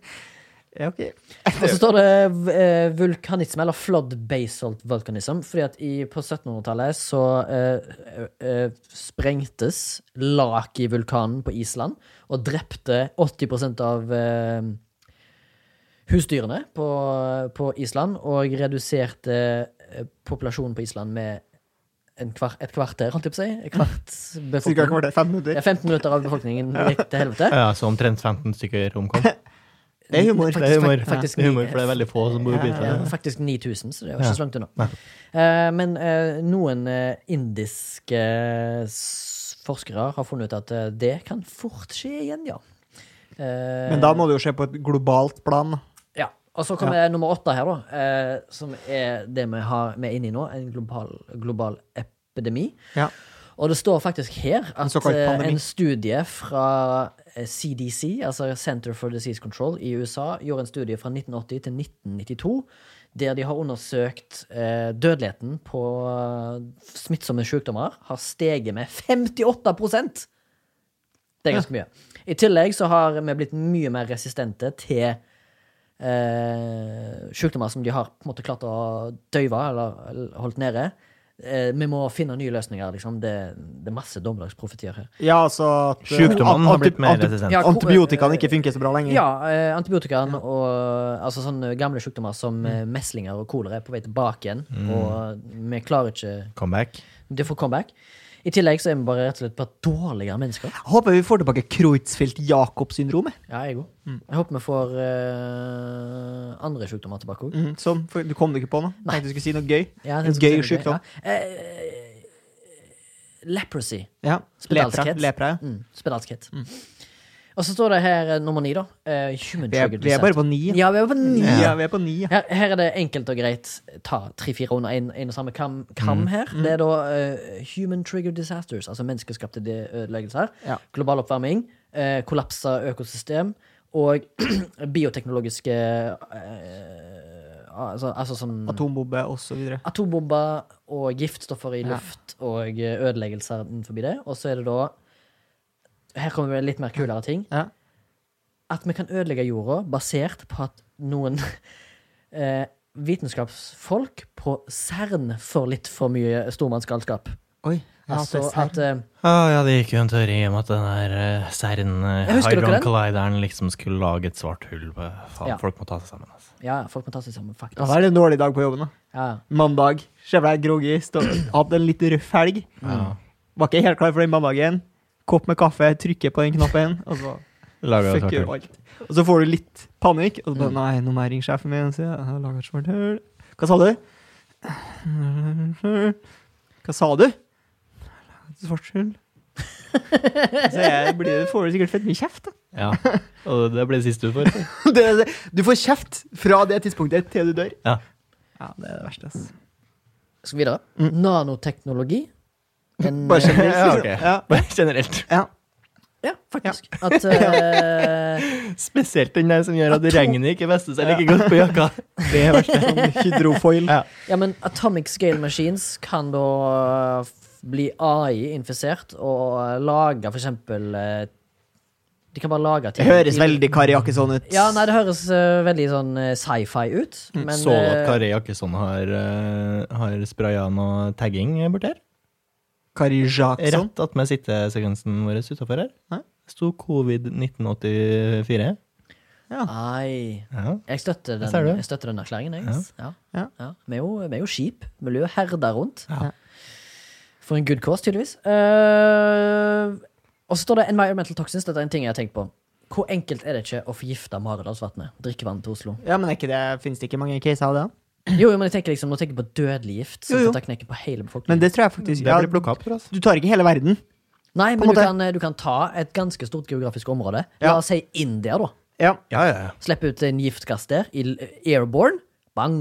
S2: Ja, ok.
S1: Og så står det eh, vulkanisme, eller flood basalt vulkanism. Fordi at i, på 1700-tallet så eh, eh, sprengtes Laki-vulkanen på Island og drepte 80 av eh, husdyrene på, på Island. Og reduserte eh, populasjonen på Island med en kvar, et kvarter, holdt jeg på å si. Et kvart
S2: Cirka
S1: befolkning.
S2: kvarter, fem
S1: Det
S2: minutter.
S1: er 15 minutter av befolkningen gikk til helvete.
S4: Ja, så omtrent 15 stykker
S2: [laughs]
S4: omkom.
S2: Det er humor.
S1: Faktisk,
S3: Det er humor.
S1: faktisk-
S3: Det er humor, for det er veldig få som bor i
S1: Ja,
S3: Bitra.
S1: faktisk 9000, så det var ikke
S3: Ja.
S1: så langt unna.
S3: Nei.
S1: Eh, men eh, noen eh, indiske s- forskere har funnet ut at eh, det kan fort skje igjen, ja. Eh,
S2: Men da må du jo se på et globalt plan.
S1: ja. Og så kommer nummer åtte her, da, eh, som er det vi, har, vi er inne i nå, en global, global epidemi.
S2: Ja.
S1: Og det står faktisk her at
S2: såkalt
S1: eh,
S2: pandemi.
S1: en studie fra eh, CDC, altså Center for Disease Control i USA, gjorde en studie fra 1980 til 1992, der de har undersøkt eh, dødeligheten på eh, smittsomme sykdommer har steget med 58 Det er ganske mye. I tillegg så har vi blitt mye mer resistente til eh, sykdommer som de har på en måte klart å døyve eller eller holdt nede. Eh, vi må finne nye løsninger. Liksom. Det, det er masse dommedagsprofetier her.
S2: Ja, altså at
S4: Sjukdommen har blitt mer
S2: anti-
S4: resistent.
S1: Ja, ko-
S2: Antibiotikaene ikke funker så bra lenger.
S1: Ja, eh, antibiotikaen og altså sånne gamle sykdommer som eh, meslinger og kolera er på vei tilbake igjen. Og eh, vi klarer ikke
S4: Comeback.
S1: Det får comeback. I tillegg så er vi bare rett og slett bare dårligere mennesker.
S2: Håper vi får tilbake Kreutzfeldt-Jakob-syndromet.
S1: Ja, jeg òg. Mm. Jeg håper vi får eh, andre sykdommer tilbake òg.
S2: Mm, som, for, du kom deg ikke på noe? Tenkte du skulle si noe gøy?
S1: Ja,
S2: en
S1: det-
S2: gøy
S1: det-
S2: sykdom.
S1: ja. Eh, leprosy.
S2: Ja. Lepra.
S1: Spedalskhet.
S2: Lepra, ja.
S1: Mm, Spedalskhet. Og så står det her eh, nummer ni, da. Eh, human
S2: Vi er,
S1: trigger
S2: vi er bare på ni.
S1: Ja, vi er på ni.
S2: Ja, vi er på ni. Ja.
S1: Her, her er det enkelt og greit. Ta tre-fire under en, en og samme kam,
S2: Mm.
S1: kam her. Det er da eh, human trigger disasters, altså menneskeskapte de- ødeleggelser.
S2: Ja.
S1: Global oppvarming, uh, kollapsa økosystem og [clears throat] bioteknologiske eh, altså, altså sånn
S2: Atombombe og så videre.
S1: atombomber og giftstoffer i
S2: Ja.
S1: luft og eh, ødeleggelser innenfor det. Og så er det da Her kommer det litt mer kulere ting.
S2: Ja.
S1: At vi kan ødelegge jorda basert på at noen [laughs] eh, vitenskapsfolk på CERN får litt for mye stormannsgalskap.
S2: Oi. Ja,
S1: Altså
S2: det er
S1: at eh,
S4: Ah, ja, det gikk jo en teori om at den der eh, CERN,
S1: Jeg husker dere den?
S4: Hydron-collideren, liksom skulle lage et svart hull. på- Faen,
S1: Ja.
S4: folk må ta seg sammen. Altså.
S1: Ja, folk må ta seg sammen, faktisk.
S2: Ja, da er det en dårlig dag på jobben. da
S1: Ja.
S2: Mandag. Se for deg groggy. stå- Hatt en litt røff helg.
S1: Mm.
S4: Ja.
S2: Var ikke helt klar for den mandagen. Kopp med kaffe, trykker på den knappen, og så
S4: Lager et
S2: fuck
S4: svart
S2: you
S4: hull.
S2: alt. Og så får du litt panikk. Og så bare,
S1: Mm.
S2: nei, nå må jeg ringe sjefen min og si jeg har laget et svart hull. Hva sa du? Hva sa du? Et svart hull. så jeg blir, får du sikkert fett mye kjeft, da.
S3: [laughs]
S4: Ja. Og det blir det siste du får.
S2: [laughs]
S4: [laughs]
S2: Det, det, du får kjeft fra det tidspunktet til du dør.
S4: Ja.
S2: Ja, det er det verste, ass.
S1: Skal vi videre?
S2: Mm. [laughs]
S1: Nanoteknologi. En,
S2: Bare
S4: [laughs]
S2: generelt.
S4: Ja,
S2: liksom.
S4: ok.
S2: Ja.
S4: Bare generelt.
S2: Ja.
S1: Ja, faktisk.
S2: [laughs]
S1: At eh,
S3: Spesielt den der som gjør at regnet ikke fester seg like godt på jakka.
S4: [laughs]
S2: Det er verst. Sånn hydrofoil.
S3: Ja.
S1: Ja, men Atomic Scale Machines kan da f- bli AI-infisert og lage for eksempel eh, De kan bare lage
S2: Det høres veldig Kari Jakkesson ut.
S1: Ja, nei, det høres eh, veldig sånn eh, sci-fi ut, men
S3: Mm, Så du at
S1: eh,
S3: Kari Jakkesson har, eh, har spraya noe tagging borti her?
S2: Kari
S1: Sånn.
S2: Jakkesson.
S3: Rett attmed sittesekvensen vår utafor her.
S2: Hæ?
S3: Det sto covid-1984.
S1: Nei.
S3: Ja.
S1: Jeg støtter den,
S3: ser du.
S1: jeg støtter den erklæringen, jeg. Ja.
S2: Ja.
S1: Ja. Vi, er jo, vi er jo skip. Miljøet herder rundt.
S3: Ja.
S1: For en good cause, tydeligvis. Eh, og så står det environmental toxins. Dette er en ting jeg har tenkt på. Hvor enkelt er det ikke å forgifte Maridalsvatnet? Drikkevannet til Oslo?
S2: Ja, men er ikke det, finnes det ikke mange caser av det? da?
S1: Jo, jo, men jeg tenker liksom, nå tenker jeg på dødelig gift. Så
S2: Jo, jo.
S1: dette knekker på hele befolkningen.
S2: Men det tror jeg faktisk
S5: Det
S2: ja,
S5: blir plukka opp, tror jeg. altså.
S2: Du tar ikke hele verden.
S1: Nei,
S2: på en
S1: men du
S2: måte-
S1: kan, eh, du kan ta et ganske stort geografisk område. La
S2: Ja.
S1: oss si India, da.
S2: Ja.
S5: Ja, ja, ja.
S1: Slippe ut en giftgass der. i l- eh, Airborne. Bang!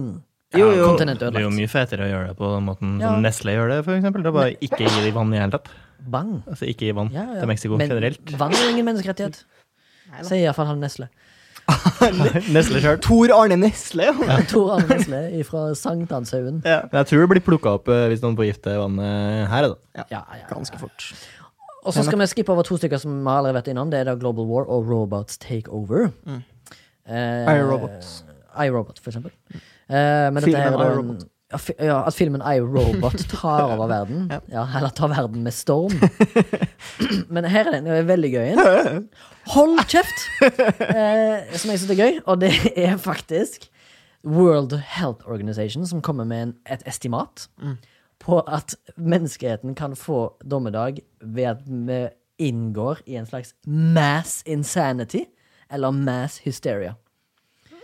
S2: Jo, jo.
S1: Kontinentet
S3: Det er jo
S1: ødelagt.
S3: mye fetere å gjøre det på den måten
S1: Ja.
S3: som Nestle gjør det, for eksempel. Det er bare ikke gi dem vann i det hele tatt.
S1: Bang.
S3: Altså ikke gi vann
S1: Ja, ja.
S3: til Mexico
S1: Men [laughs]
S3: generelt.
S1: Vann er ingen menneskerettighet.
S2: Nei da.
S1: Sier iallfall han Nesle.
S3: Nestle sjøl.
S2: Tor Arne Nesle. Ja.
S1: Tor Arne Nesle fra Sankthanshaugen.
S2: Ja.
S3: Jeg tror det blir plukka opp eh, hvis noen forgifter vannet her, da.
S1: Ja, ja, ja.
S2: Ganske fort.
S1: Og så skal vi skippe over to stykker som vi allerede har vært innom. Det er da Global War og Robots Take Over.
S2: Mm.
S1: Eh,
S2: iRobot.
S1: iRobot, for eksempel. Eh, men dette
S2: Filmen
S1: her er da en,
S2: iRobot.
S1: ja, fi, ja, at filmen iRobot tar over
S2: [laughs]
S1: verden. ja. Eller tar verden med storm. men her er det en veldig gøy en. Hold kjeft! Eh, som jeg syns er gøy, og det er faktisk World Health Organization som kommer med en, et estimat
S2: Mm.
S1: på at menneskeheten kan få dommedag ved at vi inngår i en slags mass insanity, eller mass hysteria.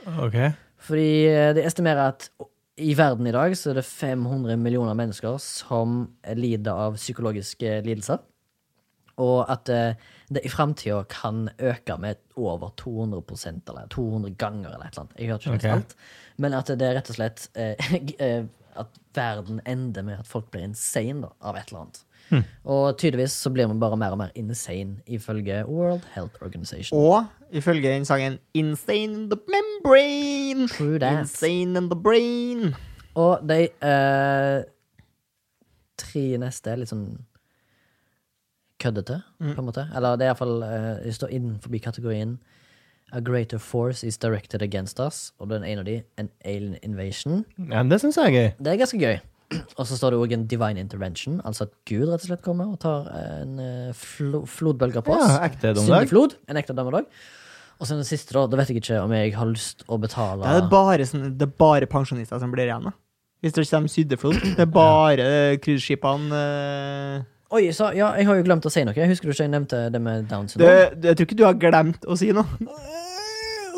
S3: Ok.
S1: Fordi eh, det estimerer at i verden i dag så er det 500 millioner mennesker som lider av psykologiske lidelser. Og at eh, det i framtida kan øke med over 200 eller 200 ganger eller et eller annet. Jeg hørte ikke
S3: Ok.
S1: helt alt. Men at det er rett og slett eh, [laughs] g- eh, at verden ender med at folk blir insane da, av et eller annet. Og tydeligvis så blir vi bare mer og mer insane, ifølge World Health Organization.
S2: Og ifølge den sangen Insane in the membrane.
S1: True that.
S2: Insane in the brain.
S1: Og de eh, tre neste er litt sånn køddete, på en måte. Eller det er iallfall eh, de står innenfor kategorien A greater force is directed against us. Og den ene av de, an alien invasion.
S3: Ja, men det syns jeg er gøy.
S1: Det er ganske gøy. Og så står det òg en divine intervention, altså at Gud rett og slett kommer og tar en eh, flo flodbølge på oss.
S3: Ja, ekte dommedag.
S1: Syndig flod. En ekte dommedag. Og så den siste, da. Da vet jeg ikke om jeg har lyst å betale
S2: Det er bare, sånn, det er bare pensjonister som blir igjen. da. Hvis det ikke er syddeflod. Det er bare eh, cruiseskipene eh.
S1: Oi, så, ja, jeg har jo glemt å si noe. Jeg husker du ikke jeg nevnte det med Downs
S2: du,
S1: syndrom?
S2: du, Jeg tror ikke du har glemt å si noe.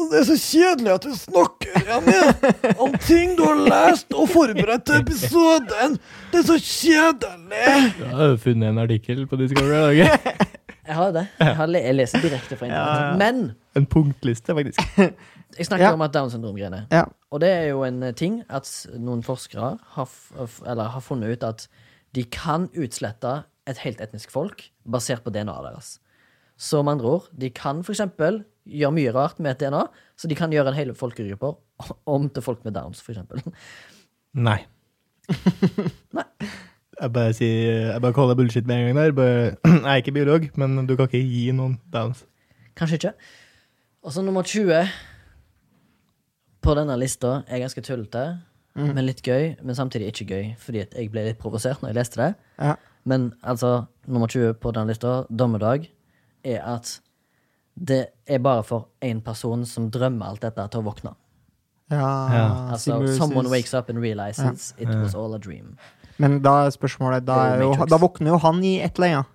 S6: Det er så kjedelig at du snakker Janne, om ting du har lest og forberedt til episoden. Det er så kjedelig.
S3: Jeg har jo funnet en artikkel på Discovery i dag.
S1: Jeg har det. Jeg, har le jeg leser direkte fra
S2: Ja, ja.
S1: internett. Men
S3: [laughs] En punktliste, faktisk.
S1: jeg snakker
S2: Ja.
S1: om at Downs syndrom-greiene.
S2: Ja.
S1: Og det er jo en eh, ting at s- noen forskere har, f f- eller har funnet ut at de kan utslette et helt etnisk folk basert på DNA-et deres. Så med andre ord, de kan f.eks. gjøre mye rart med et DNA, så de kan gjøre en hel folkegruppe om til folk med Downs, f.eks.
S3: Nei.
S1: [laughs] Nei.
S3: Jeg bare, sier, jeg bare kaller bullshit med en gang der. Bare, [clears throat] jeg er ikke biolog, men du kan ikke gi noen downs.
S1: Kanskje ikke. Og så nummer 20 på denne lista er ganske tullete, men litt gøy. Men samtidig ikke gøy, fordi at jeg ble litt provosert når jeg leste det.
S2: Ja.
S1: Men altså, nummer 20 på den lista, dommedag, er at det er bare for én person som drømmer alt dette, til å våkne.
S2: Ah,
S3: Ja.
S1: Altså,
S2: Simus-
S1: someone wakes up and realizes it was all a dream.
S2: Men da er spørsmålet Da,
S1: Det er
S2: er
S1: jo
S2: jo,
S1: Matrix.
S2: da våkner jo han i et eller annet.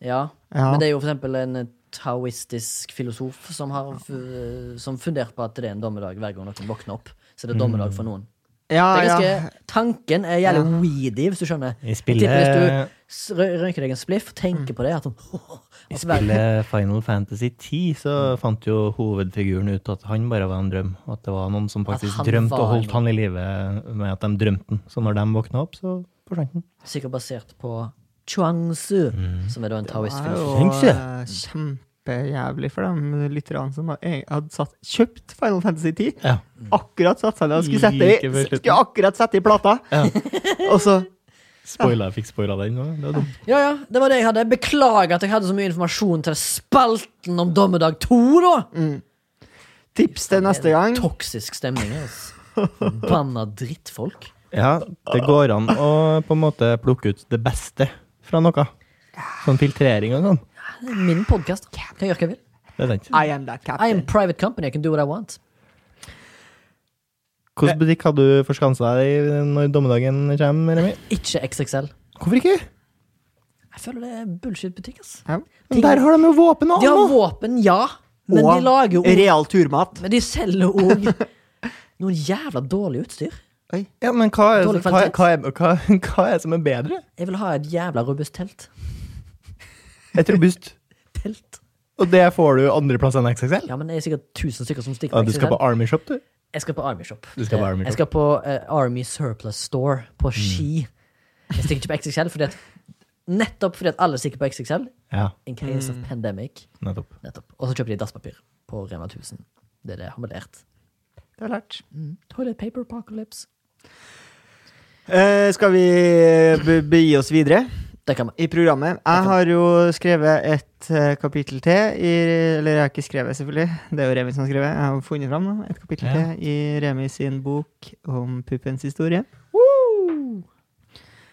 S1: Ja.
S2: Ja.
S1: Men det er jo for eksempel en taoistisk filosof som har fu- som fundert på at det er en dommedag hver gang noen våkner opp. Så det er dommedag for noen.
S2: Ja,
S1: Det er
S2: Ah, ja.
S1: ganske, tanken er jævlig weedy, hvis du skjønner.
S3: Jeg
S1: Jeg tipper
S3: spiller,
S1: Hvis du rø- røyker deg en spliff og
S2: Mm.
S1: tenker på det at, sånn, [laughs]
S3: jeg
S1: at Mm. verden-
S3: spiller Final Fantasy 10, så fant jo hovedfiguren ut at han bare var en drøm. og At det var noen som
S1: At
S3: faktisk
S1: han
S3: drømte
S1: var
S3: og holdt
S1: en-
S3: han i live med at de drømte den. Så når de våkna opp, så forsvant den.
S1: Sikkert basert på Chuangzu, som er da en
S2: Mm. Det
S1: taoistfilosof.
S2: var jo
S4: Tenk
S2: eh, kjempejævlig for de lytterne som har- eh, hadde satt, kjøpt Final Fantasy 10.
S4: Ja.
S2: Akkurat satt seg ned og skulle sette,
S4: Like før
S2: i,
S4: slutten.
S2: skulle akkurat sette i plata. [laughs] og så
S4: Spoila, jeg fikk spoila den òg. Det er dumt.
S1: Ja, ja, det var det jeg hadde. Beklager at jeg hadde så mye informasjon til spalten om Dommedag 2, da!
S2: tips til Mm. neste gang.
S1: Toksisk stemning, altså. Forbanna drittfolk.
S4: Ja, det går an å på en måte plukke ut det beste fra noe. Sånn filtrering og sånn.
S1: Det er min podkast. Kan jeg gjøre hva jeg vil?
S4: Det er sant.
S2: I am that
S1: I am
S2: captain.
S1: private company. I can do what I want.
S4: Hvilken butikk hadde du forskansa deg i når dommedagen kommer, Remi?
S1: Ikke XXL.
S4: Hvorfor ikke?
S1: Jeg føler det er bullshit-butikk, ass.
S2: Ja.
S4: Men der har de jo våpen og
S1: De har
S4: annet!
S1: våpen, ja, men de lager jo
S2: Og real turmat.
S1: Men de selger òg noen jævla dårlig utstyr.
S4: Ja, men hva er,
S1: Dårlig
S4: hva, er,
S1: kvalitet.
S4: hva, er, hva, hva er det som er bedre?
S1: Jeg vil ha et jævla robust telt.
S4: Et robust.
S1: Telt?
S4: Og det får du andreplass enn XXL?
S1: Ja, men det er sikkert 1000 stykker som stikker
S4: Ja,
S1: på
S4: du skal
S1: XXL.
S4: på Army Shop, du?
S1: Jeg skal på Army Shop.
S4: Du skal på Army
S1: Eh,
S4: Shop. Mm.
S1: Jeg skal på eh, Army Surplus Store på Ski. Jeg stikker ikke på XXL, fordi at, nettopp fordi at alle stikker på XXL.
S4: Ja,
S1: In case
S4: Mm.
S1: of pandemic.
S4: nettopp.
S1: Nettopp. Og så kjøper de dasspapir på Rema 1000. Det er det jeg har lært.
S2: Det har jeg lært.
S4: Mm.
S1: Toilet paper apocalypse.
S2: Eh, skal vi be- begi oss videre
S1: Det kan man.
S2: i programmet? Jeg har jo skrevet et eh, kapittel til i Eller jeg har ikke skrevet, selvfølgelig. Det er jo Remi som har skrevet. Jeg har funnet fram da, et kapittel
S4: Ja.
S2: til i Remi sin bok om puppens historie.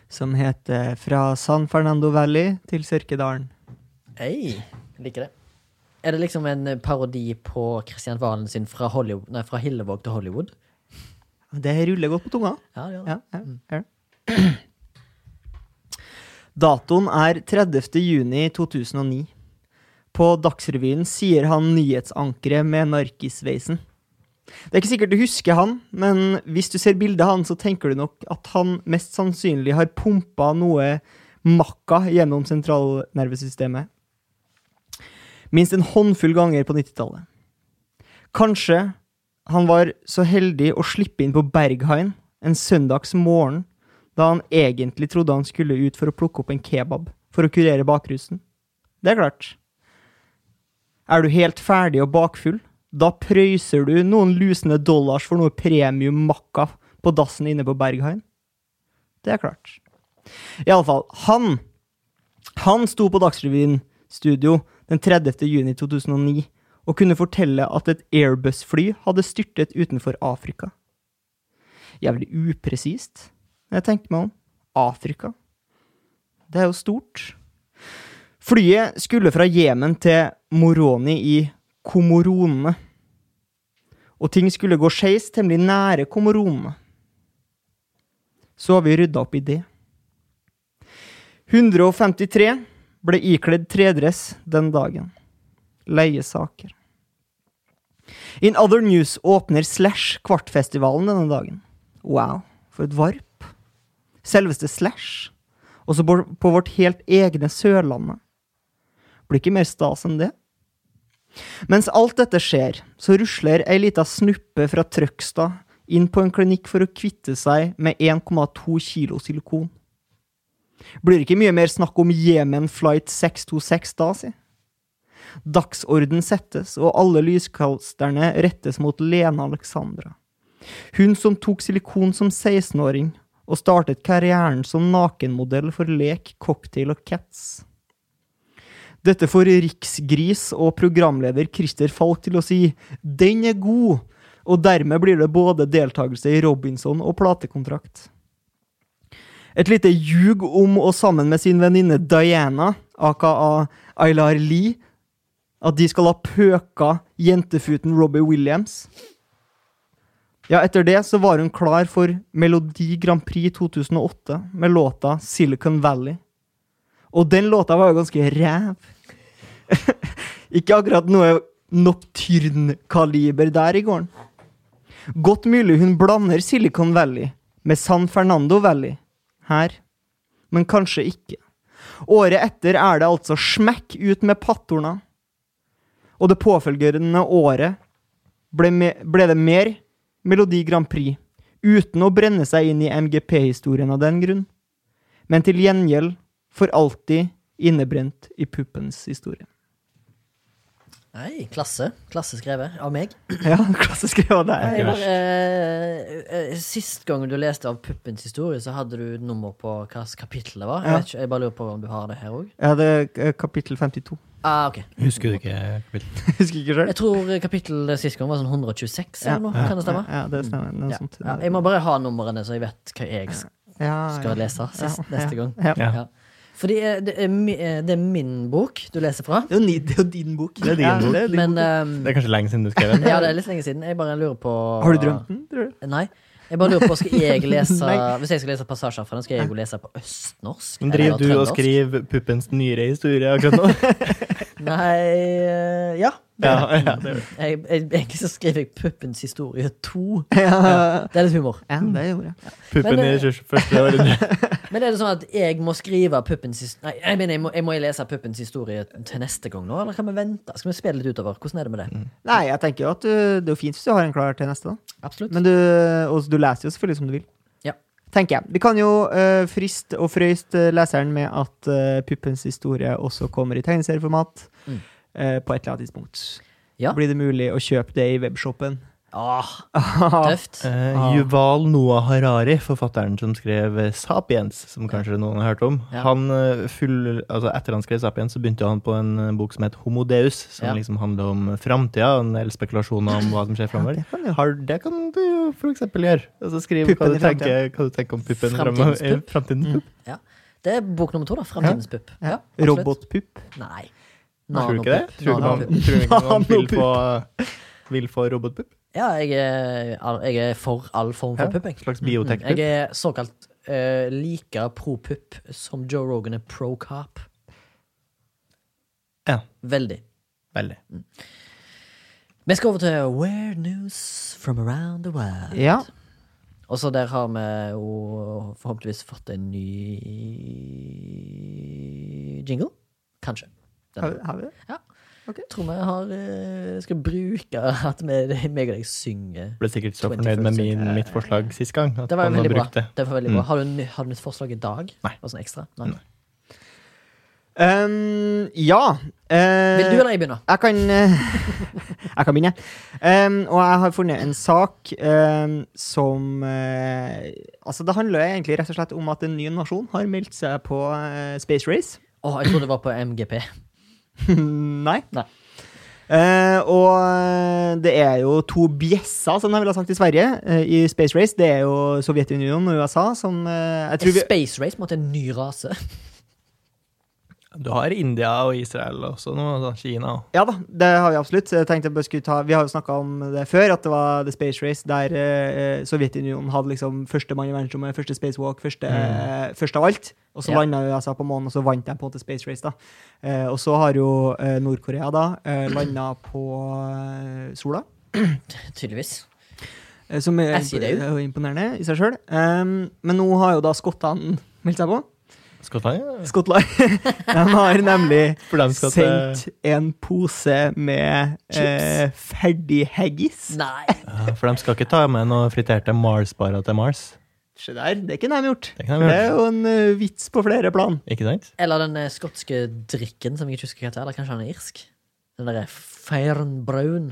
S2: Som heter 'Fra San Fernando Valley til Sørkedalen'.
S1: Hei, liker det. Er det liksom en eh, parodi på Kristian Valen sin fra, Hollywood, nei, fra Hillevåg til Hollywood?
S2: Det ruller godt på tunga.
S1: Ja, det gjør det.
S2: Ja, ja, ja. [clears throat] Datoen er 30. juni 2009. På Dagsrevyen sier han nyhetsankeret med narkissveisen. Det er ikke sikkert du husker han, men hvis du ser bildet av han, så tenker du nok at han mest sannsynlig har pumpa noe makka gjennom sentralnervesystemet. Minst en håndfull ganger på 90-tallet. Kanskje han var så heldig å slippe inn på Berghain en søndags morgen, da han egentlig trodde han skulle ut for å plukke opp en kebab for å kurere bakrusen. Det er klart. Er du helt ferdig og bakfull, da prøyser du noen lusende dollars for noe premium makka på dassen inne på Berghain. Det er klart. Iallfall, han han sto på Dagsrevyen studio den 30. juni 2009 og kunne fortelle at et Airbus-fly hadde styrtet utenfor Afrika. Jævlig upresist, når jeg tenker meg om. Afrika. Det er jo stort. Flyet skulle fra Jemen til Moroni i Komoronene. Og ting skulle gå skeis temmelig nære Komoronene. Så har vi rydda opp i det. 153 ble ikledd tredress den dagen. Leiesaker. In Other News åpner Slash Kvartfestivalen denne dagen. Wow, for et varp. Selveste Slash. Også på på vårt helt egne Sørlandet. Blir ikke mer stas enn det. Mens alt dette skjer, så rusler ei lita snuppe fra Trøgstad inn på en klinikk for å kvitte seg med 1,2 kilo silikon. Blir det ikke mye mer snakk om Jemen Flight 626 da, si? Dagsorden settes, og alle lyskasterne rettes mot Lena Alexandra. Hun som tok silikon som 16-åring, og startet karrieren som nakenmodell for lek, cocktail og cats. Dette får riksgris og programleder Christer Falk til å si 'den er god', og dermed blir det både deltakelse i Robinson og platekontrakt. Et lite ljug om og sammen med sin venninne Diana, aka Aylar Lee, at de skal ha pøka jentefuten Robbie Williams. Ja, etter det så var hun klar for Melodi Grand Prix 2008 med låta Silicon Valley. Og den låta var jo ganske ræv. [laughs] Ikke akkurat noe Nocturne-kaliber der i gården. Godt mulig hun blander Silicon Valley med San Fernando Valley her, men kanskje ikke. Året etter er det altså smekk ut med pattorna. Og det påfølgende året ble, me ble det mer Melodi Grand Prix, uten å brenne seg inn i MGP-historien av den grunn. Men til gjengjeld for alltid innebrent i puppens historie. [clears throat]
S1: Nei, klasse. Klasse skrevet av meg.
S2: Ja, klassisk greie. Det
S1: Nei,
S2: er
S1: bare, eh, eh, sist gang du leste av Puppens historie, så hadde du et nummer på hva slags kapittel det var. Jeg,
S2: Ja.
S1: vet ikke, jeg bare lurer på om du har det her òg.
S2: Ja, det er eh, kapittel [laughs] 52.
S1: Ah, ok.
S3: Husker du ikke? Kapittel?
S2: Husker ikke sjøl.
S1: Jeg tror eh, kapittel sist gang var sånn 126
S2: Ja.
S1: eller noe. Kan det stemme?
S2: Ja, det stemmer. Noe
S1: Ja.
S2: sånt.
S1: Ja, jeg må bare ha numrene, så jeg vet hva jeg s-
S2: Ja, ja.
S1: skal lese sist,
S2: Ja,
S1: neste gang.
S2: Ja.
S3: Ja.
S1: Fordi eh, det er, mi, eh, det er min bok du leser fra,
S2: Det er jo ni- det er jo din bok.
S3: Det er din bok.
S2: det er din
S1: men
S2: bok.
S1: ehm,
S3: Det er kanskje lenge siden du skrev den.
S1: [laughs] Ja, det er litt lenge siden. Jeg bare lurer på
S2: Har du drømt den, tror du?
S1: Nei. Jeg bare lurer på, skal jeg
S3: [laughs]
S1: lese
S2: Nei.
S1: Hvis jeg skal lese passasjer fra den, skal jeg jo lese på østnorsk?
S3: Men Driver
S1: eller
S3: du og
S1: trøndersk?
S3: skriver puppens nyere historie akkurat
S1: [laughs]
S3: nå?
S1: Nei eh, Ja.
S3: Ja, ja, det gjør du.
S1: Jeg, jeg, egentlig så skriver jeg Puppens historie 2.
S2: Ja,
S1: Det er litt humor.
S2: [laughs] ja det gjorde jeg.
S1: Men,
S3: Puppen i
S1: eh,
S3: det tjue- første
S1: [laughs]
S3: århundret.
S1: Men er det sånn at jeg må skrive Puppens historie Nei, jeg mener, jeg må, jeg må lese Puppens historie til neste gang nå? Eller kan vi vente? Skal vi spille litt utover? Hvordan er det med det?
S2: Nei, jeg tenker jo at du, det er jo fint hvis du har en klar til neste, da.
S1: Absolutt.
S2: Men du, og du leser jo selvfølgelig som du vil.
S1: Ja.
S2: Tenker jeg. Vi kan jo eh, friste og frøyste leseren med at eh, puppens historie også kommer i tegneserieformat
S1: Mm.
S2: eh, på et eller annet tidspunkt.
S1: Ja.
S2: Blir det mulig å kjøpe det i webshopen?
S1: Åh,
S2: Tøft.
S1: [laughs] Ah, tøft.
S3: Eh, Yuval Noah Harari, forfatteren som skrev eh, 'Sapiens', som kanskje noen har hørt om.
S1: Ja.
S3: Han eh, full, altså Etter han skrev 'Sapiens', så begynte han på en eh, bok som het 'Homo Deus', som
S1: Ja.
S3: liksom handler om framtida og en del spekulasjoner om hva som
S1: [laughs]
S3: skjer framover.
S2: kan du.
S3: Har- Det kan du jo for eksempel gjøre. Altså Skriv hva
S2: Puppen i
S3: du,
S2: fremtiden.
S3: tenker, hva du tenker om puppen.
S1: Fremtidens
S3: fremover- eh,
S1: pupp.
S3: Fremtidens pupp.
S1: Det er bok nummer to, da. Framtidens pupp. Ja, absolutt.
S2: Robotpupp.
S1: Nei.
S3: Tror du ikke det?
S1: Nanopupp.
S3: Tror du
S1: Mm.
S3: ikke
S1: Nanopupp.
S3: man, tror du ikke man vil
S2: Nanopupp.
S3: få, vil få robotpupp?
S1: Ja, jeg er, all- jeg er for all form for
S3: Ja,
S1: pupp, jeg.
S3: Slags
S1: Mm, Jeg
S3: biotekpupp?
S1: er såkalt eh, like pro-pupp som Joe Rogan er pro-cop.
S3: Ja.
S1: Veldig.
S3: Veldig.
S1: Vi skal over til Weird News from around the world.
S2: Ja.
S1: Og så der har vi jo forhåpentligvis fått en ny jingle. Kanskje.
S2: Har, vi- har vi det?
S1: Ja.
S2: Ok.
S1: Tror vi har eh, Skal bruke at vi, meg og deg synger.
S3: Ble sikkert så fornøyd med min, mitt forslag sist gang. At
S1: Det var
S3: man har
S1: veldig bra.
S3: brukt det. Mm.
S1: Det var veldig bra. Har, du, ny- har du nytt forslag i dag?
S3: Nei.
S1: Og sånn ekstra? Nei.
S2: Um, ja. eh,
S1: Vil du eller jeg begynne?
S2: Jeg kan eh, [laughs] Jeg kan begynne. Um, og jeg har funnet en sak um, som eh, Altså, det handler jo egentlig rett og slett om at en ny nasjon har meldt seg på eh, Space Race. [laughs]
S1: Å, jeg trodde det var på MGP.
S2: Nei.
S1: Nei.
S2: Eh, og eh, det er jo to bjesser, som de ville ha sagt i Sverige, eh, i Space Race. Det er jo Sovjetunionen og USA som eh, jeg tror vi,
S1: Space Race måtte en ny rase. [laughs]
S3: Du har India og Israel også nå, altså Kina og
S2: Ja da, det har vi absolutt. Jeg tenkte jeg bare skulle ta, Vi har jo snakka om det før, at det var The Space Race, der eh, Sovjetunionen hadde liksom førstemann i verdensrommet, første spacewalk, første, eh, først av alt. Og så
S1: Mm. Ja.
S2: landet landa USA på månen, og så vant de på en måte Space Race. da. Eh, og så har jo eh, Nord-Korea da uh, landa på eh, sola.
S1: Tydeligvis.
S2: eh, Som er
S1: Jeg sier det jo.
S2: er jo imponerende i seg sjøl. men nå har jo da skottene meldt seg på.
S3: Skottland. ja.
S2: Skottland. [laughs] De har nemlig
S3: For dem skal til
S2: sendt en pose med eh, ferdig haggis.
S1: Nei.
S3: Ja, For de skal ikke ta med noen friterte Mars-barer til Mars.
S2: Se der, det er ikke nærmere gjort.
S3: Det kan
S2: For
S3: de
S2: det er
S3: gjøre.
S2: jo en ø, vits på flere plan.
S3: Ikke sant?
S1: Eller den eh, skotske drikken som jeg ikke husker hva heter. Eller kanskje han er irsk? Den derre Fernbraun.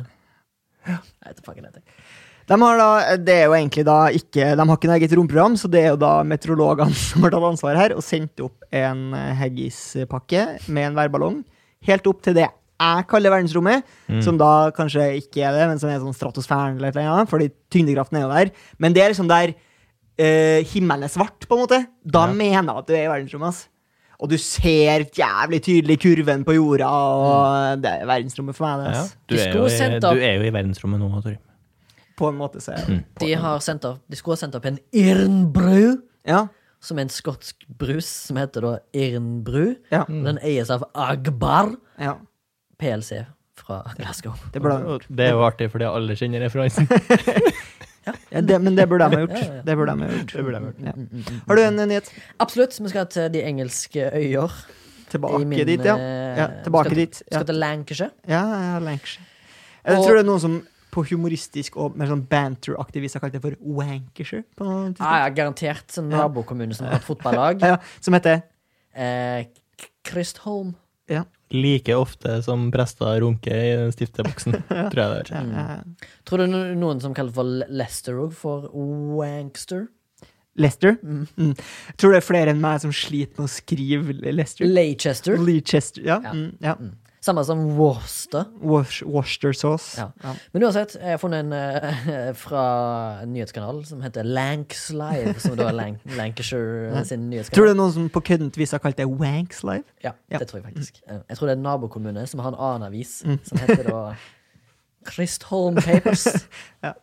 S1: Jeg vet ikke hva den heter.
S2: De har da, det er jo egentlig da ikke, de har ikke noe eget romprogram, så det er jo da meteorologene [laughs] som har tatt ansvar her og sendt opp en ø, haggispakke med en værballong helt opp til det jeg kaller verdensrommet, som da kanskje ikke er det, men som er sånn stratosfæren eller et eller annet, fordi tyngdekraften er jo der. Men det er liksom der ø, himmelen er svart, på en måte. Da mener jeg at du er i verdensrommet, ass. Og du ser jævlig tydelig kurven på jorda, og det er verdensrommet for meg, det,
S3: Ja.
S2: ass.
S3: Du,
S1: De
S3: er
S1: skulle
S3: jo i,
S1: sendt opp-
S3: du er jo i verdensrommet nå, Torim.
S2: På en måte, så er
S1: De, har sendt opp, de skulle ha sendt opp en Irnbru,
S2: Ja.
S1: som er en skotsk brus som heter da Irnbru.
S2: Ja.
S3: Mm.
S1: Den eies av Agbar
S2: ja.
S1: PLC fra Glasgow.
S2: Det burde de
S3: Og
S2: gjort.
S3: Det er jo artig, fordi alle kjenner referansen.
S2: Ja, det, men det burde de ha gjort.
S1: [laughs] Ja, ja, ja.
S2: Det burde de ha gjort.
S3: Det burde de ha
S2: Ja.
S1: Mm,
S2: Har du en en nyhet?
S1: Absolutt. Vi skal til de engelske øyer.
S2: Tilbake
S1: i min,
S2: dit, ja.
S1: eh,
S2: ja tilbake
S1: skal,
S2: dit. Ja,
S1: Skal til Lancashire.
S2: ja, ja Lancashire. Jeg
S1: Og-
S2: tror det er noen som på humoristisk og mer sånn banter-aktig vis har kalt det for
S1: Ah,
S2: Wankishire. På noe tidspunkt.
S1: Ja, ja, garantert en nabokommune som har et fotballag.
S2: Ja, som heter
S1: Eh, K- Kristholm.
S4: Like ofte som prester runker i stifteboksen, tror jeg det er.
S1: Mm.
S2: Eh,
S1: Tror du no- noen som kaller for Le- Lester òg for wankster?
S2: Lester. Mm. Jeg tror det er flere enn meg som sliter med å skrive Lester.
S1: Leicester?
S2: Leicester. Ja.
S1: Ja.
S2: Mm, ja.
S1: Samme som Worcester.
S2: Wors- Worcester sauce.
S1: Ja.
S2: Ja.
S1: Men uansett, jeg har funnet en eh, [laughs] fra en nyhetskanal som heter Lanks Live, som da er Lank Lancashire sin nyhetskanal.
S2: Tror du det er noen som på køddent vis har kalt det Wanks Live?
S1: Ja,
S2: Ja. Mm.
S1: det tror jeg faktisk. Eh, Jeg tror det er en nabokommune som har en annen avis, som heter da
S2: [laughs]
S1: Christholm Papers.
S2: Ja.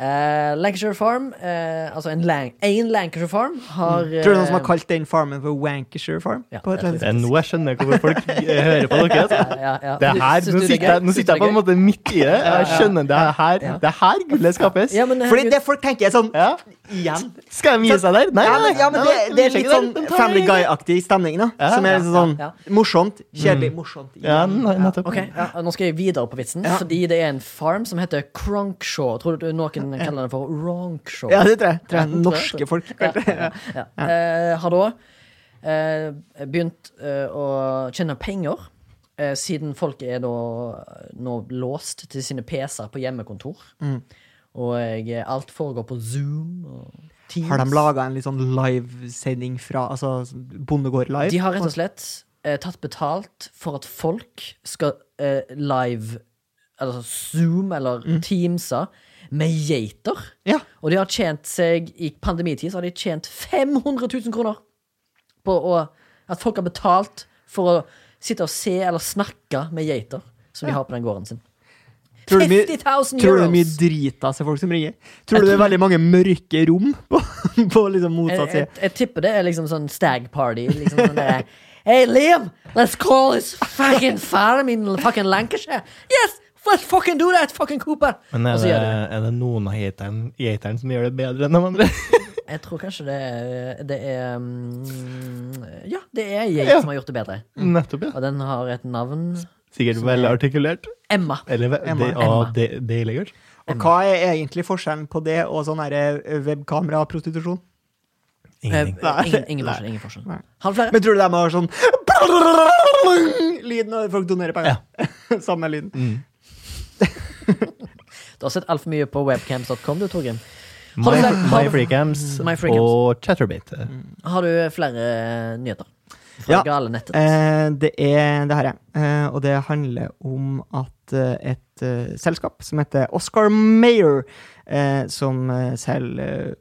S1: Eh, Lancashire Farm, eh, altså en, Lan en Lancashire Farm, har
S2: Mm. Tror du det er noen som
S1: eh,
S2: har kalt den farmen for Wankishire Farm?
S1: Ja,
S2: på et
S1: det
S2: eller annet
S4: Det er nå jeg skjønner hvorfor folk eh, hører på dere. altså.
S1: ja, ja.
S4: Det er her,
S1: Syns
S4: nå
S1: du det er
S4: sitter, jeg,
S1: gøy?
S4: nå
S1: Syns du
S4: sitter jeg på
S1: det er
S4: en
S1: gøy?
S4: måte midt i det. Jeg skjønner det er her, det er her gullet skapes.
S1: Ja, men, eh,
S2: Fordi
S1: herregud,
S2: det folk tenker, er sånn
S4: Ja.
S2: Igjen.
S4: Skal de gi seg der? Nei,
S2: Ja,
S4: nei.
S2: men, ja, men det, det er
S4: de
S2: litt
S4: sjekker
S2: sånn
S4: det. De tar
S2: Family
S4: det.
S2: Guy-aktig stemning, da.
S4: Ja,
S2: Som
S4: ja,
S2: er litt sånn
S1: ja.
S2: morsomt, kjedelig, morsomt.
S4: Ja,
S2: igjen.
S4: nei, nettopp.
S1: Ok, ja, Nå skal jeg videre på vitsen,
S2: Mm. Ja.
S1: fordi det er en farm som heter Cronkshaw. Tror du noen kaller den for Ronkshaw?
S2: Ja, det tror jeg.
S1: Ja, det tror
S2: Tror jeg.
S1: jeg.
S2: Norske folk.
S1: Ja,
S2: kalte det.
S1: ja, ja. Eh, har da eh, begynt eh, å tjene penger, eh, siden folk er da nå låst til sine PC-er på hjemmekontor. Og jeg, eh, alt foregår på Zoom og Teams.
S2: Har de laga en litt sånn livesending fra altså, Bondegård live?
S1: De har rett og slett eh, tatt betalt for at folk skal eh, live Altså Zoom eller Teamsa med geiter.
S2: Ja.
S1: Og de har tjent seg I pandemitid så har de tjent 500 000 kroner på å, at folk har betalt for å sitte og se eller snakke med geiter som de har på den gården sin.
S2: Tror du mye-
S1: 50.000
S2: Tror du det er mye
S1: euros.
S2: drita seg folk som ringer? Tror du det er veldig mange mørke rom på, på liksom
S1: Jeg, jeg,
S2: motsatt side?
S1: jeg tipper det er liksom sånn stag party. Liksom sånn der, Hey Liam, let's call this fucking farm in fucking Lancashire. Yes, let's fucking do that, fucking Cooper.
S4: Men
S1: Og
S4: er
S1: så
S4: det,
S1: gjør
S3: eh,
S1: de det.
S4: er det noen av geiteren- geiteren som gjør det bedre enn de andre?
S1: Jeg tror kanskje det er, det er mm, Ja, det er jeg
S4: Ja.
S1: som har gjort det bedre.
S4: Nettopp, ja.
S1: Og den har et navn
S4: Sikkert veldig artikulert.
S1: Emma.
S4: Eller ve-
S2: Emma.
S4: det- ja, det- Deilig, kanskje.
S1: eh,
S2: Og hva er egentlig forskjellen på det og sånn her, eh, webkameraprostitusjon?
S1: Eh,
S4: Ingenting.
S1: Ingen, ingen forskjell. ingen forskjell
S2: Nei.
S1: Har du flere?
S2: Men tror du de har sånn [laughs] Lyd når folk donerer penger? [laughs] Samme lyden.
S1: Du har sett altfor mye på webcams.com, du, Torgrim. Har
S4: My,
S1: du flere- har
S4: my
S1: du-
S4: freecams
S1: My Free Camps. Mm.
S4: og chatterbait.
S1: Har du flere eh, nyheter? Fra
S2: Ja.
S1: ja. gale nettet.
S2: Eh, det er det her, ja. Eh, og det handler om at eh, et eh, selskap som heter Oscar Mayer, eh, som eh, selger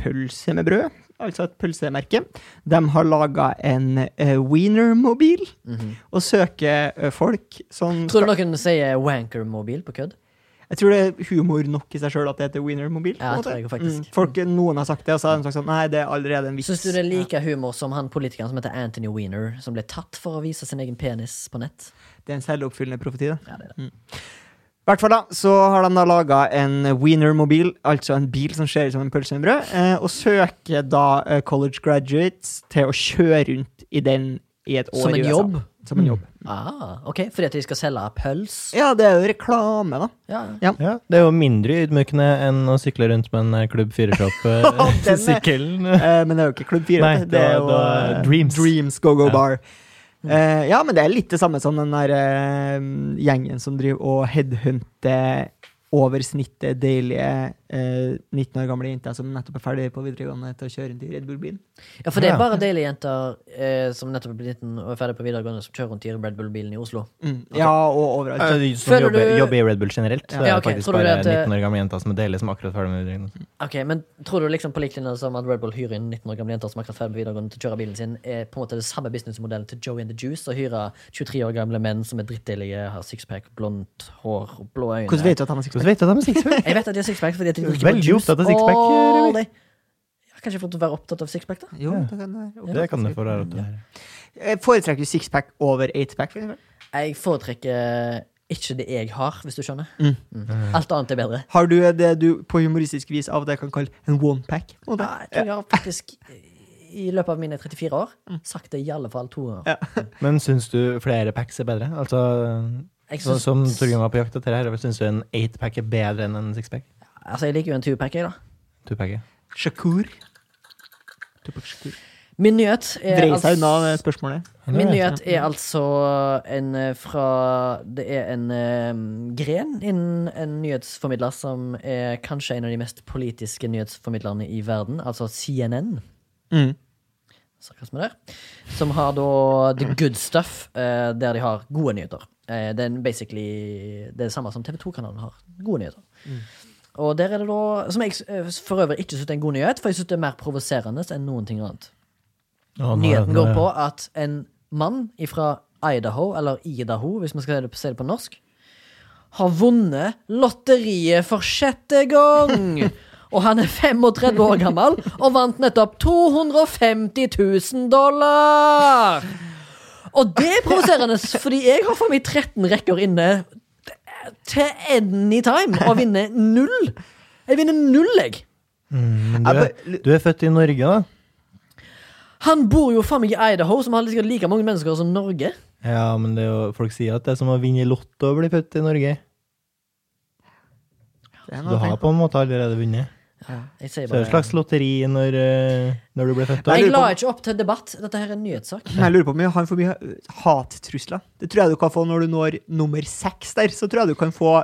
S2: pølse med brød, altså et pølsemerke, de har laga en eh, wienermobil
S1: Mhm.
S2: og søker eh, folk som
S1: Tror du noen sier wankermobil på kødd?
S2: Jeg tror det er humor nok i seg sjøl at det heter wienermobil. på
S1: Ja,
S2: en
S1: jeg tror
S2: måte.
S1: jeg faktisk.
S2: Mm, folk, noen har sagt det, og så har de sagt sånn Nei, det er allerede en vits.
S1: Syns du det er like humor som han politikeren som heter Anthony Weiner, som ble tatt for å vise sin egen penis på nett?
S2: Det er en selvoppfyllende profeti, det.
S1: Ja, det er det.
S2: I hvert fall da, så har de da laga en wienermobil, altså en bil som ser ut som en pølse med brød, eh, og søker da eh, college graduates til å kjøre rundt i den i et år
S1: Som en
S2: i USA.
S1: jobb?
S2: Som en jobb.
S1: Ah, ok, Fordi at de skal selge pøls?
S2: Ja, det er jo reklame, da.
S1: Ja.
S4: Ja, det er jo mindre ydmykende enn å sykle rundt med en eh, Klubb
S1: [laughs]
S4: 4-shop.
S2: Den er-
S4: [laughs] Sykkelen.
S2: Eh, men det er jo ikke Klubb 4.
S4: Nei,
S2: det er
S4: da-
S2: jo
S4: da er
S2: eh,
S4: Dreams.
S2: Dreams Go Go
S4: Ja.
S2: Bar. Eh, ja, men det er litt det samme som den der eh, gjengen som driver og headhunter over snittet deilige eh, 19 år gamle jenter som nettopp er ferdig på videregående til å kjøre rundt i Red Bull-bilen.
S1: ja, for det
S4: Ja.
S1: er bare deilige jenter eh, som nettopp er blitt 19 og er ferdig på videregående, som kjører rundt i Red Bull-bilen i Oslo.
S2: Mm. Ja, og overalt.
S4: Eh, de Som
S1: Føler
S4: jobber,
S1: du-
S4: jobber i Red Bull generelt. Så
S1: Ja,
S4: det er
S1: ok,
S4: faktisk
S1: tror du
S4: bare
S1: at, eh,
S4: 19 år gamle jenter som er deilige, som er akkurat ferdig med videregående.
S1: Ok, Men tror du liksom på lik linje som at Red Bull hyrer inn 19 år gamle jenter som akkurat ferdig på videregående til å kjøre bilen sin, er på en måte det samme businessmodellen til Joey and the Juice, å hyre 23 år gamle menn som er drittdeilige, har sixpack, blondt hår og blå øyne?
S2: Hvordan vet du at han er
S4: Hvordan
S2: sixpack?
S4: vet du at de er sixpack?
S1: Jeg vet at de har sixpack fordi at de
S4: Du er
S1: drikker på
S4: veldig
S1: juice
S4: opptatt av sixpack, eh,
S1: all
S4: Remi.
S1: day. Jeg har kanskje fått å være opptatt av sixpack, da.
S2: Jo, det kan det være.
S4: [laughs] Det kan du få lære opp til.
S2: Jeg foretrekker du sixpack over eightpack, for eksempel?
S1: Jeg foretrekker ikke det jeg har, hvis du skjønner.
S2: Mm.
S1: Mm. Alt annet er bedre.
S2: Har du det du på humoristisk vis av og til kan kalle en onepack?
S1: Ja, jeg tror jeg har faktisk i løpet av mine 34 år
S4: Mm.
S1: sagt det i alle fall to ganger.
S4: Men syns du flere packs er bedre? Altså,
S1: Jeg,
S4: så,
S1: syns-
S4: Sånn som Torgrim var på jakt etter her, syns du en 8-pack er bedre enn en 6-pack?
S1: altså, jeg liker jo en 20-pack, jeg, da.
S4: 2-pack?
S2: Shakur. Tupac Shakur.
S1: Min nyhet er
S2: Dreier seg
S1: altså-
S2: unna spørsmålet.
S1: Min nyhet er altså en eh, fra Det er en eh, gren innen en nyhetsformidler som er kanskje en av de mest politiske nyhetsformidlerne i verden, altså CNN.
S2: Mm.
S1: Sarkasme der. Som har da The Good Stuff, eh, der de har gode nyheter. Eh, det er basically det samme som TV 2-kanalen har. Gode nyheter.
S2: Mm.
S1: Og der er det da Som jeg eh, for øvrig ikke syns er en god nyhet, for jeg syns det er mer provoserende enn noen ting annet. Nyheten
S4: sånn
S1: går på at en mann fra Idaho, eller Idaho hvis man skal si det på- si det på norsk, har vunnet lotteriet for sjette
S3: [laughs]
S1: gang! Og han er 35 år gammel og vant nettopp 250 000 dollar! Og det er provoserende, fordi jeg har for meg 13 rekker inne til any time og vinner null. Jeg vinner null, jeg.
S4: Mm,
S3: Men du, er, du er født i Norge, da?
S1: Han bor jo faen meg i Idaho, som har sikkert like mange mennesker som Norge.
S3: Ja, men det er jo, folk sier at det er som å vinne i Lotto å bli født i Norge.
S2: Det er
S3: Du
S2: noe
S3: har
S2: jeg
S3: på en måte allerede vunnet.
S1: Jeg sier
S3: Så det er
S1: bare
S3: et slags lotteri når, eh, når du blir født. da.
S1: Jeg
S2: Jeg lurer
S1: la
S2: på-
S1: ikke opp til debatt. Dette her er en nyhetssak.
S2: Men jeg lurer på om vi har for mye eh, hattrusler. Det tror jeg du kan få når du når nummer seks der. Så tror jeg du kan få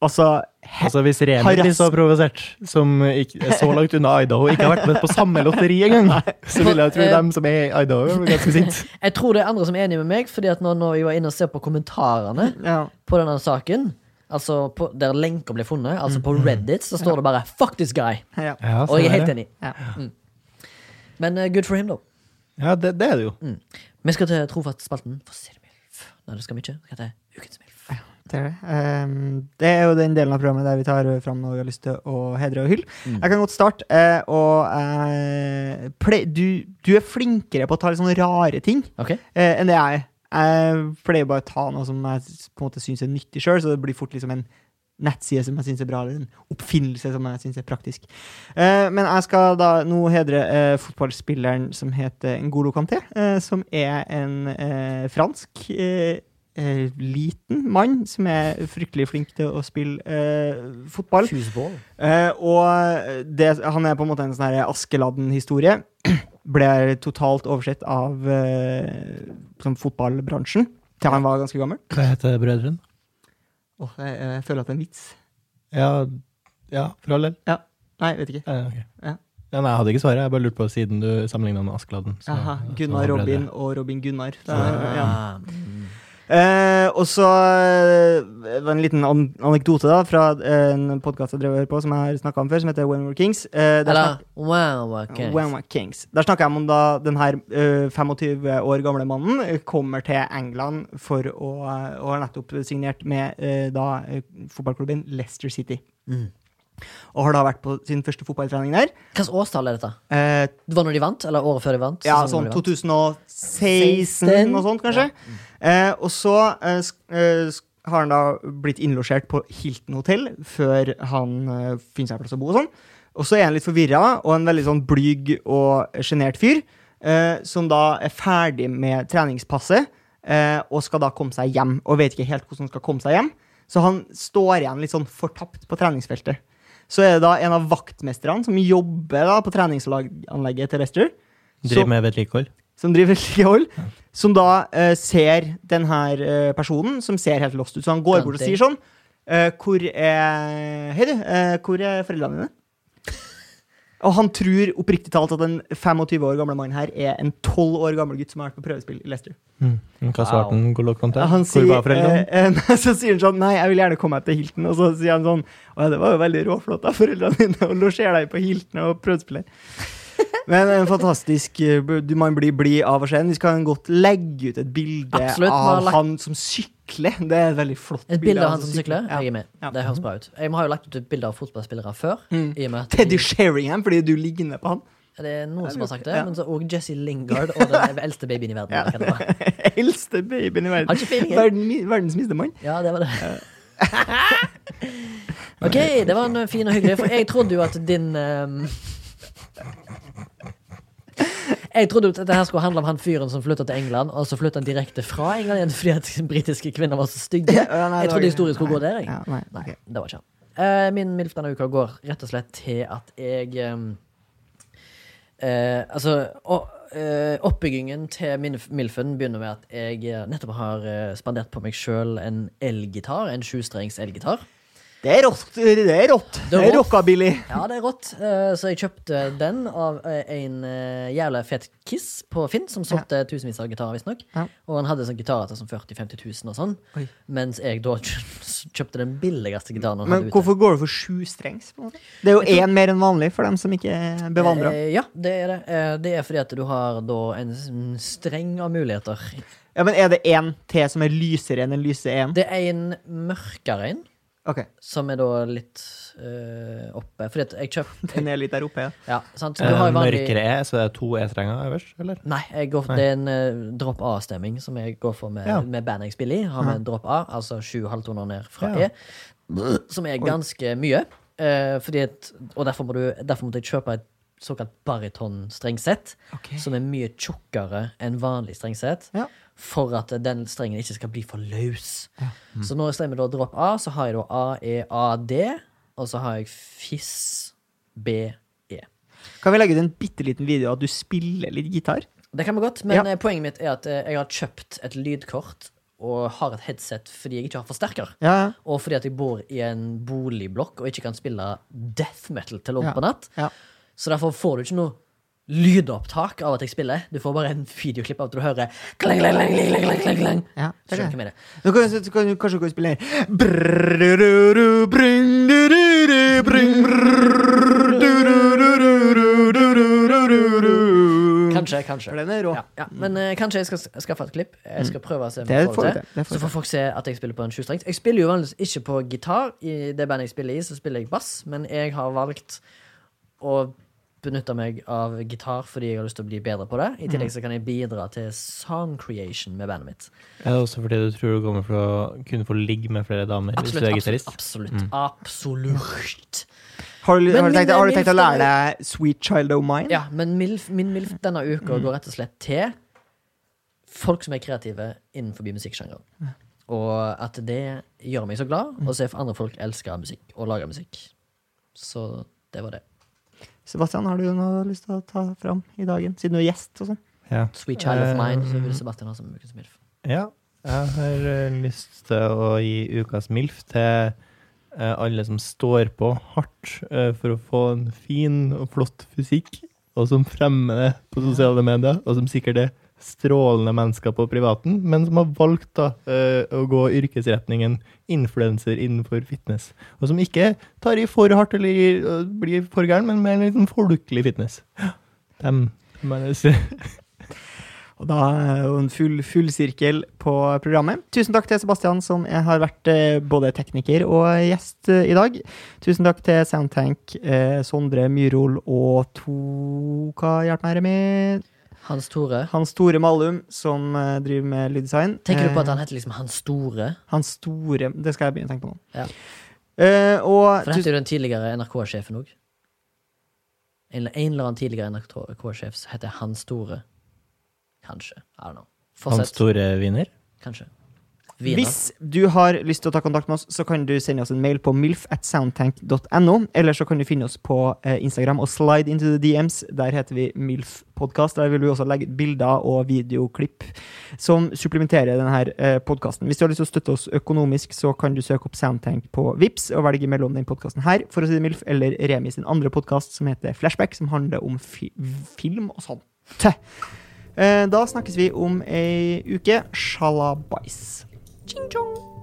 S2: Altså, he-
S3: Altså Hvis Remi
S2: Harass-
S3: blir så provosert, som ikke, er så langt unna Idaho, ikke har vært med på samme lotteri engang, så vil jeg tro
S1: Eh,
S3: dem som er i Idaho, blir ganske sint.
S1: Jeg tror det er andre som er enige med meg, fordi at nå når jeg var inne og ser på kommentarene
S2: ja.
S1: på denne saken, altså på, der lenker ble funnet, altså på Reddit, så står det bare 'fuck this guy'.
S2: ja.
S3: Ja,
S1: Og jeg er helt enig.
S2: Ja.
S1: Mm. Men eh, good for him, da.
S3: Ja, det, det er det jo.
S1: Vi skal til Trofast-spalten. For si det mildt. Nei, det skal vi ikke. Vi skal til Ukens milf.
S2: Det er, det. Ehm, det er jo den delen av programmet der vi tar fram noe vi har lyst til å hedre og hylle.
S3: Mm.
S2: Jeg kan godt starte. eh, og eh, ple du, du er flinkere på å ta litt sånne rare ting
S1: Ok?
S2: eh, enn det jeg er. Jeg pleier bare å ta noe som jeg s- på en måte syns er nyttig sjøl, så det blir fort liksom en nettside som jeg syns er bra, eller en oppfinnelse som jeg syns er praktisk. Eh, men jeg skal da nå hedre eh, fotballspilleren som heter Ngolo Kanté, eh, som er en eh, fransk eh, eh, liten mann som er fryktelig flink til å spille eh, fotball.
S1: Fuseball.
S2: Eh, og det, han er på en måte en sånn her Askeladden-historie. [clears throat] Ble totalt oversett av eh, sånn fotballbransjen til han var ganske gammel.
S3: Hva heter brødrene?
S2: Åh, jeg, jeg føler at det er en vits.
S3: Ja, ja, for all del.
S2: Nei, vet ikke.
S3: Eh, ok.
S2: Ja.
S3: Ja, nei, jeg hadde ikke svaret. Jeg bare lurte på siden du sammenligna med Askeladden. så-
S2: Aha,
S3: så
S2: Gunnar
S3: var brødre.
S2: Robin og Robin Gunnar. Det er- ja.
S1: Ah.
S2: Eh, og så eh, det var en liten an anekdote da fra eh, en podkast jeg drev og hørte på, som jeg har snakka om før, som heter Wenmore Kings. Eh, der
S1: Eller wow, ok.
S2: Wenwa Kings. Der snakker jeg om da den her ø, 25 år gamle mannen ø, kommer til England for å ø, Og har nettopp signert med ø, da ø, fotballklubben Leicester City.
S1: Mm.
S2: Og har da vært på sin første fotballtrening der.
S1: Hvilket årstall er dette?
S2: Eh,
S1: Det var når de vant? Eller året før de vant?
S2: ja,
S1: Sesongen
S2: sånn
S1: de vant?
S2: 2016, noe sånt kanskje. Eh, og så eh, sk- eh, sk- har han da blitt innlosjert på Hilton hotell før han eh, finner seg plass å bo og sånn. Og så er han litt forvirra og en veldig sånn blyg og sjenert fyr, eh, som da er ferdig med treningspasset eh, og skal da komme seg hjem. Og vet ikke helt hvordan han skal komme seg hjem. Så han står igjen litt sånn fortapt på treningsfeltet. Så er det da en av vaktmesterne som jobber da på treningsanlegget til Lester.
S3: Driver med vedlikehold.
S2: som driver [laughs] vedlikehold, som da eh, ser den her eh, personen, som ser helt lost ut. Så han går bort og
S1: Dante.
S2: sier sånn eh, Hvor er Hei, du. eh, hvor er foreldrene dine? [laughs] Og han tror oppriktig talt at den 25 år gamle mannen her er en 12 år gammel gutt som har vært på prøvespill i Leicester.
S3: Hva svarte han? Hvor lå kontent?
S2: Han sier,
S3: Hvor var foreldrene?
S2: eh, [laughs] eh, nei, så sier han sånn Nei, jeg vil gjerne komme meg til Hilton. Og så sier han sånn Å ja, det var jo veldig råflott av foreldrene dine å losjere deg på Hilton og
S1: [laughs]
S2: prøvespille. Men en fantastisk eh, du, Man blir blid av å se den. Vi skal godt legge ut et bilde
S1: Absolutt, man har
S2: av
S1: lagt-
S2: han som sykler. Det er et veldig flott
S1: Et bilde av han som sykler? Jeg er med.
S2: Ja.
S1: Det høres bra ut. Jeg har jo lagt ut et bilde av fotballspillere før.
S2: Mm.
S1: I og med at
S2: Teddy Sheringham, fordi du ligner på han. [laughs]
S1: Det er noen som har sagt det,
S2: Ja.
S1: men så og Jesse Lingard og
S2: [laughs]
S1: den eldste babyen i verden.
S2: Ja.
S1: eller hva det var.
S2: Eldste babyen i
S1: Har
S2: verden.
S1: ikke peiling. jeg.
S2: Verden, mi- verdens minste mann.
S1: Ja, det var det. OK, det var en fin og hyggelig, for jeg trodde jo at din ehm, Jeg trodde jo at dette her skulle handle om han fyren som flytta til England, og så flytta han direkte fra England igjen fordi at britiske kvinner var så stygge.
S2: Ja, nei,
S1: [laughs] Jeg
S2: det
S1: trodde
S2: var-
S1: historien skulle gå der, jeg.
S2: Ja, nei,
S1: Nei,
S2: ok.
S1: det var ikke han. Eh, min MILF denne uka går rett og slett til at jeg eh, eh, ehm, Altså, og, eh, oppbyggingen til min- Milfen begynner med at jeg eh, nettopp har eh, spandert på meg sjøl en elgitar. En sjustrengs elgitar.
S2: Det er rått. Det er rått. Det er
S1: rått.
S2: rockabilly.
S1: Ja, det er rått. Eh, Så jeg kjøpte den av eh, en eh, jævla fet kiss på Finn, som solgte tusenvis av gitarer, visstnok.
S2: Ja.
S1: Og han hadde sånn gitarer til sånn 40 000-50 000 og sånn.
S2: Oi.
S1: Mens jeg da [laughs] kjøpte den billigste gitaren han
S2: Men
S1: hadde ute.
S2: hvorfor går du for sju strengs? på en måte? Det er jo én mer enn vanlig for dem som ikke er bevandra.
S1: Eh, Ja, det er det. Eh, Det er fordi at du har da en s- en streng av muligheter.
S2: Ja, men er det én til som er lysere enn en lyse én?
S1: Det er en mørkere en,
S2: Ok,
S1: som er da litt eh, oppe. Fordi at jeg kjøpte
S2: Den er litt der oppe, ja.
S1: Ja, sant. Du
S4: Eh,
S1: har jo vanlig
S4: Mørkere E, så det er to E-strenger øverst, eller?
S1: Nei, jeg går, det er en eh, drop A-stemming som jeg går for med,
S4: Ja.
S1: med bandet jeg spiller i. Har med en drop A, altså sju halvtoner ned fra
S4: Ja.
S1: E, som er ganske mye. eh, fordi et, og derfor, må du, derfor måtte jeg kjøpe et såkalt baryton-strengsett, som er mye tjukkere enn vanlig strengsett,
S2: Ja.
S1: for at den strengen ikke skal bli for løs.
S2: Mm.
S1: Så når jeg stemmer da drop A, så har jeg da A, E, A, D, og så har jeg FIS, B, E.
S2: Kan vi legge ut en bitte liten video av at du spiller litt gitar?
S1: Det kan vi godt, men
S2: Ja.
S1: eh, poenget mitt er at eh, jeg har kjøpt et lydkort og har et headset fordi jeg ikke har forsterker.
S2: Ja,
S1: Og fordi at jeg bor i en boligblokk og ikke kan spille death metal til langt
S2: Ja.
S1: på natt.
S2: ja.
S1: Så derfor får du ikke noe lydopptak av at jeg spiller. Du får bare en videoklipp av at du hører klang, klang, klang, klang, klang, klang, klang.
S2: ja det
S1: Skjønner
S2: er
S1: ikke
S2: det.
S1: med det.
S2: Nå kan, så kan du kanskje gå og spille her. Brrruru, brrruru, brrruru.
S1: Kanskje, kanskje.
S2: For den er rå.
S1: Ja, ja. Men eh, kanskje jeg skal s- skaffe et klipp. Jeg skal prøve å se om
S2: Det
S1: jeg
S2: får du til. Det får du
S1: Så får folk se at jeg spiller på en sjustrengs. Jeg spiller jo vanligvis ikke på gitar. I det bandet jeg spiller i, så spiller jeg bass, men jeg har valgt å benytte meg av gitar fordi jeg har lyst til å bli bedre på det. I tillegg så kan jeg bidra til song creation med bandet mitt.
S4: Er det også fordi du tror du kommer for å kunne få ligge med flere damer hvis du er
S1: absolutt,
S4: gitarist?
S1: absolutt, absolutt.
S2: Har du,
S1: Men
S2: har, du tenkt,
S1: min-
S2: har du tenkt å
S1: min-
S2: lære deg Sweet Child O' Mine?
S1: Ja, men milf, min MILF denne uka går rett og slett til folk som er kreative innenfor musikksjangeren. Og at det gjør meg så glad å se for andre folk elsker musikk og lager musikk. Så det var det.
S2: Sebastian, har du noe du har lyst til å ta fram i dagen, siden du er gjest? og sånn?
S4: Ja.
S1: Sweet Child of
S4: Eh,
S1: Mine så vil Sebastian ha som ukens MILF.
S4: Ja, jeg har eh, lyst til å gi ukas MILF til eh, alle som står på hardt eh, for å få en fin og flott fysikk, og som fremmer det på sosiale medier, og som sikkert er strålende mennesker på privaten, men som har valgt da, eh, å gå yrkesretningen influenser innenfor fitness. Og som ikke tar i for hardt eller gir- og blir for gæren, men mer en liten folkelig fitness. Dem, dem er det-
S2: Og da er jo en full, full sirkel på programmet. Tusen takk til Sebastian, som er- har vært eh, både tekniker og gjest eh, i dag. Tusen takk til Soundtank, eh, Sondre Myrhol og to Hva hjelper meg her med?
S1: Hans Tore.
S2: Hans Tore Malum, som eh, driver med lyddesign.
S1: Tenker du på
S2: Eh,
S1: at han heter liksom Han Store?
S2: Hans Store Det skal jeg begynne å tenke på nå.
S1: Ja.
S2: Eh, og
S1: For det heter jo den tidligere NRK-sjefen òg. En, en eller annen tidligere NRK-sjef heter Han Store. Kanskje. I don't know.
S4: Hans
S1: Fortsett.
S4: Tore Wiener.
S1: Kanskje. Wiener.
S2: Hvis du har lyst til å ta kontakt med oss, så kan du sende oss en mail på milf at soundtank.no. Eller så kan du finne oss på eh, Instagram og slide into the DMs. Der heter vi MILF-podkast. Der vil vi også legge ut bilder og videoklipp som supplementerer denne eh, podkasten. Hvis du har lyst til å støtte oss økonomisk, så kan du søke opp Soundtank på Vips og velge mellom den podkasten her, for å si det MILF, eller Remi sin andre podkast som heter Flashback, som handler om fi film og sånt. Eh, Da snakkes vi om ei uke. Shalabais. Ching chong.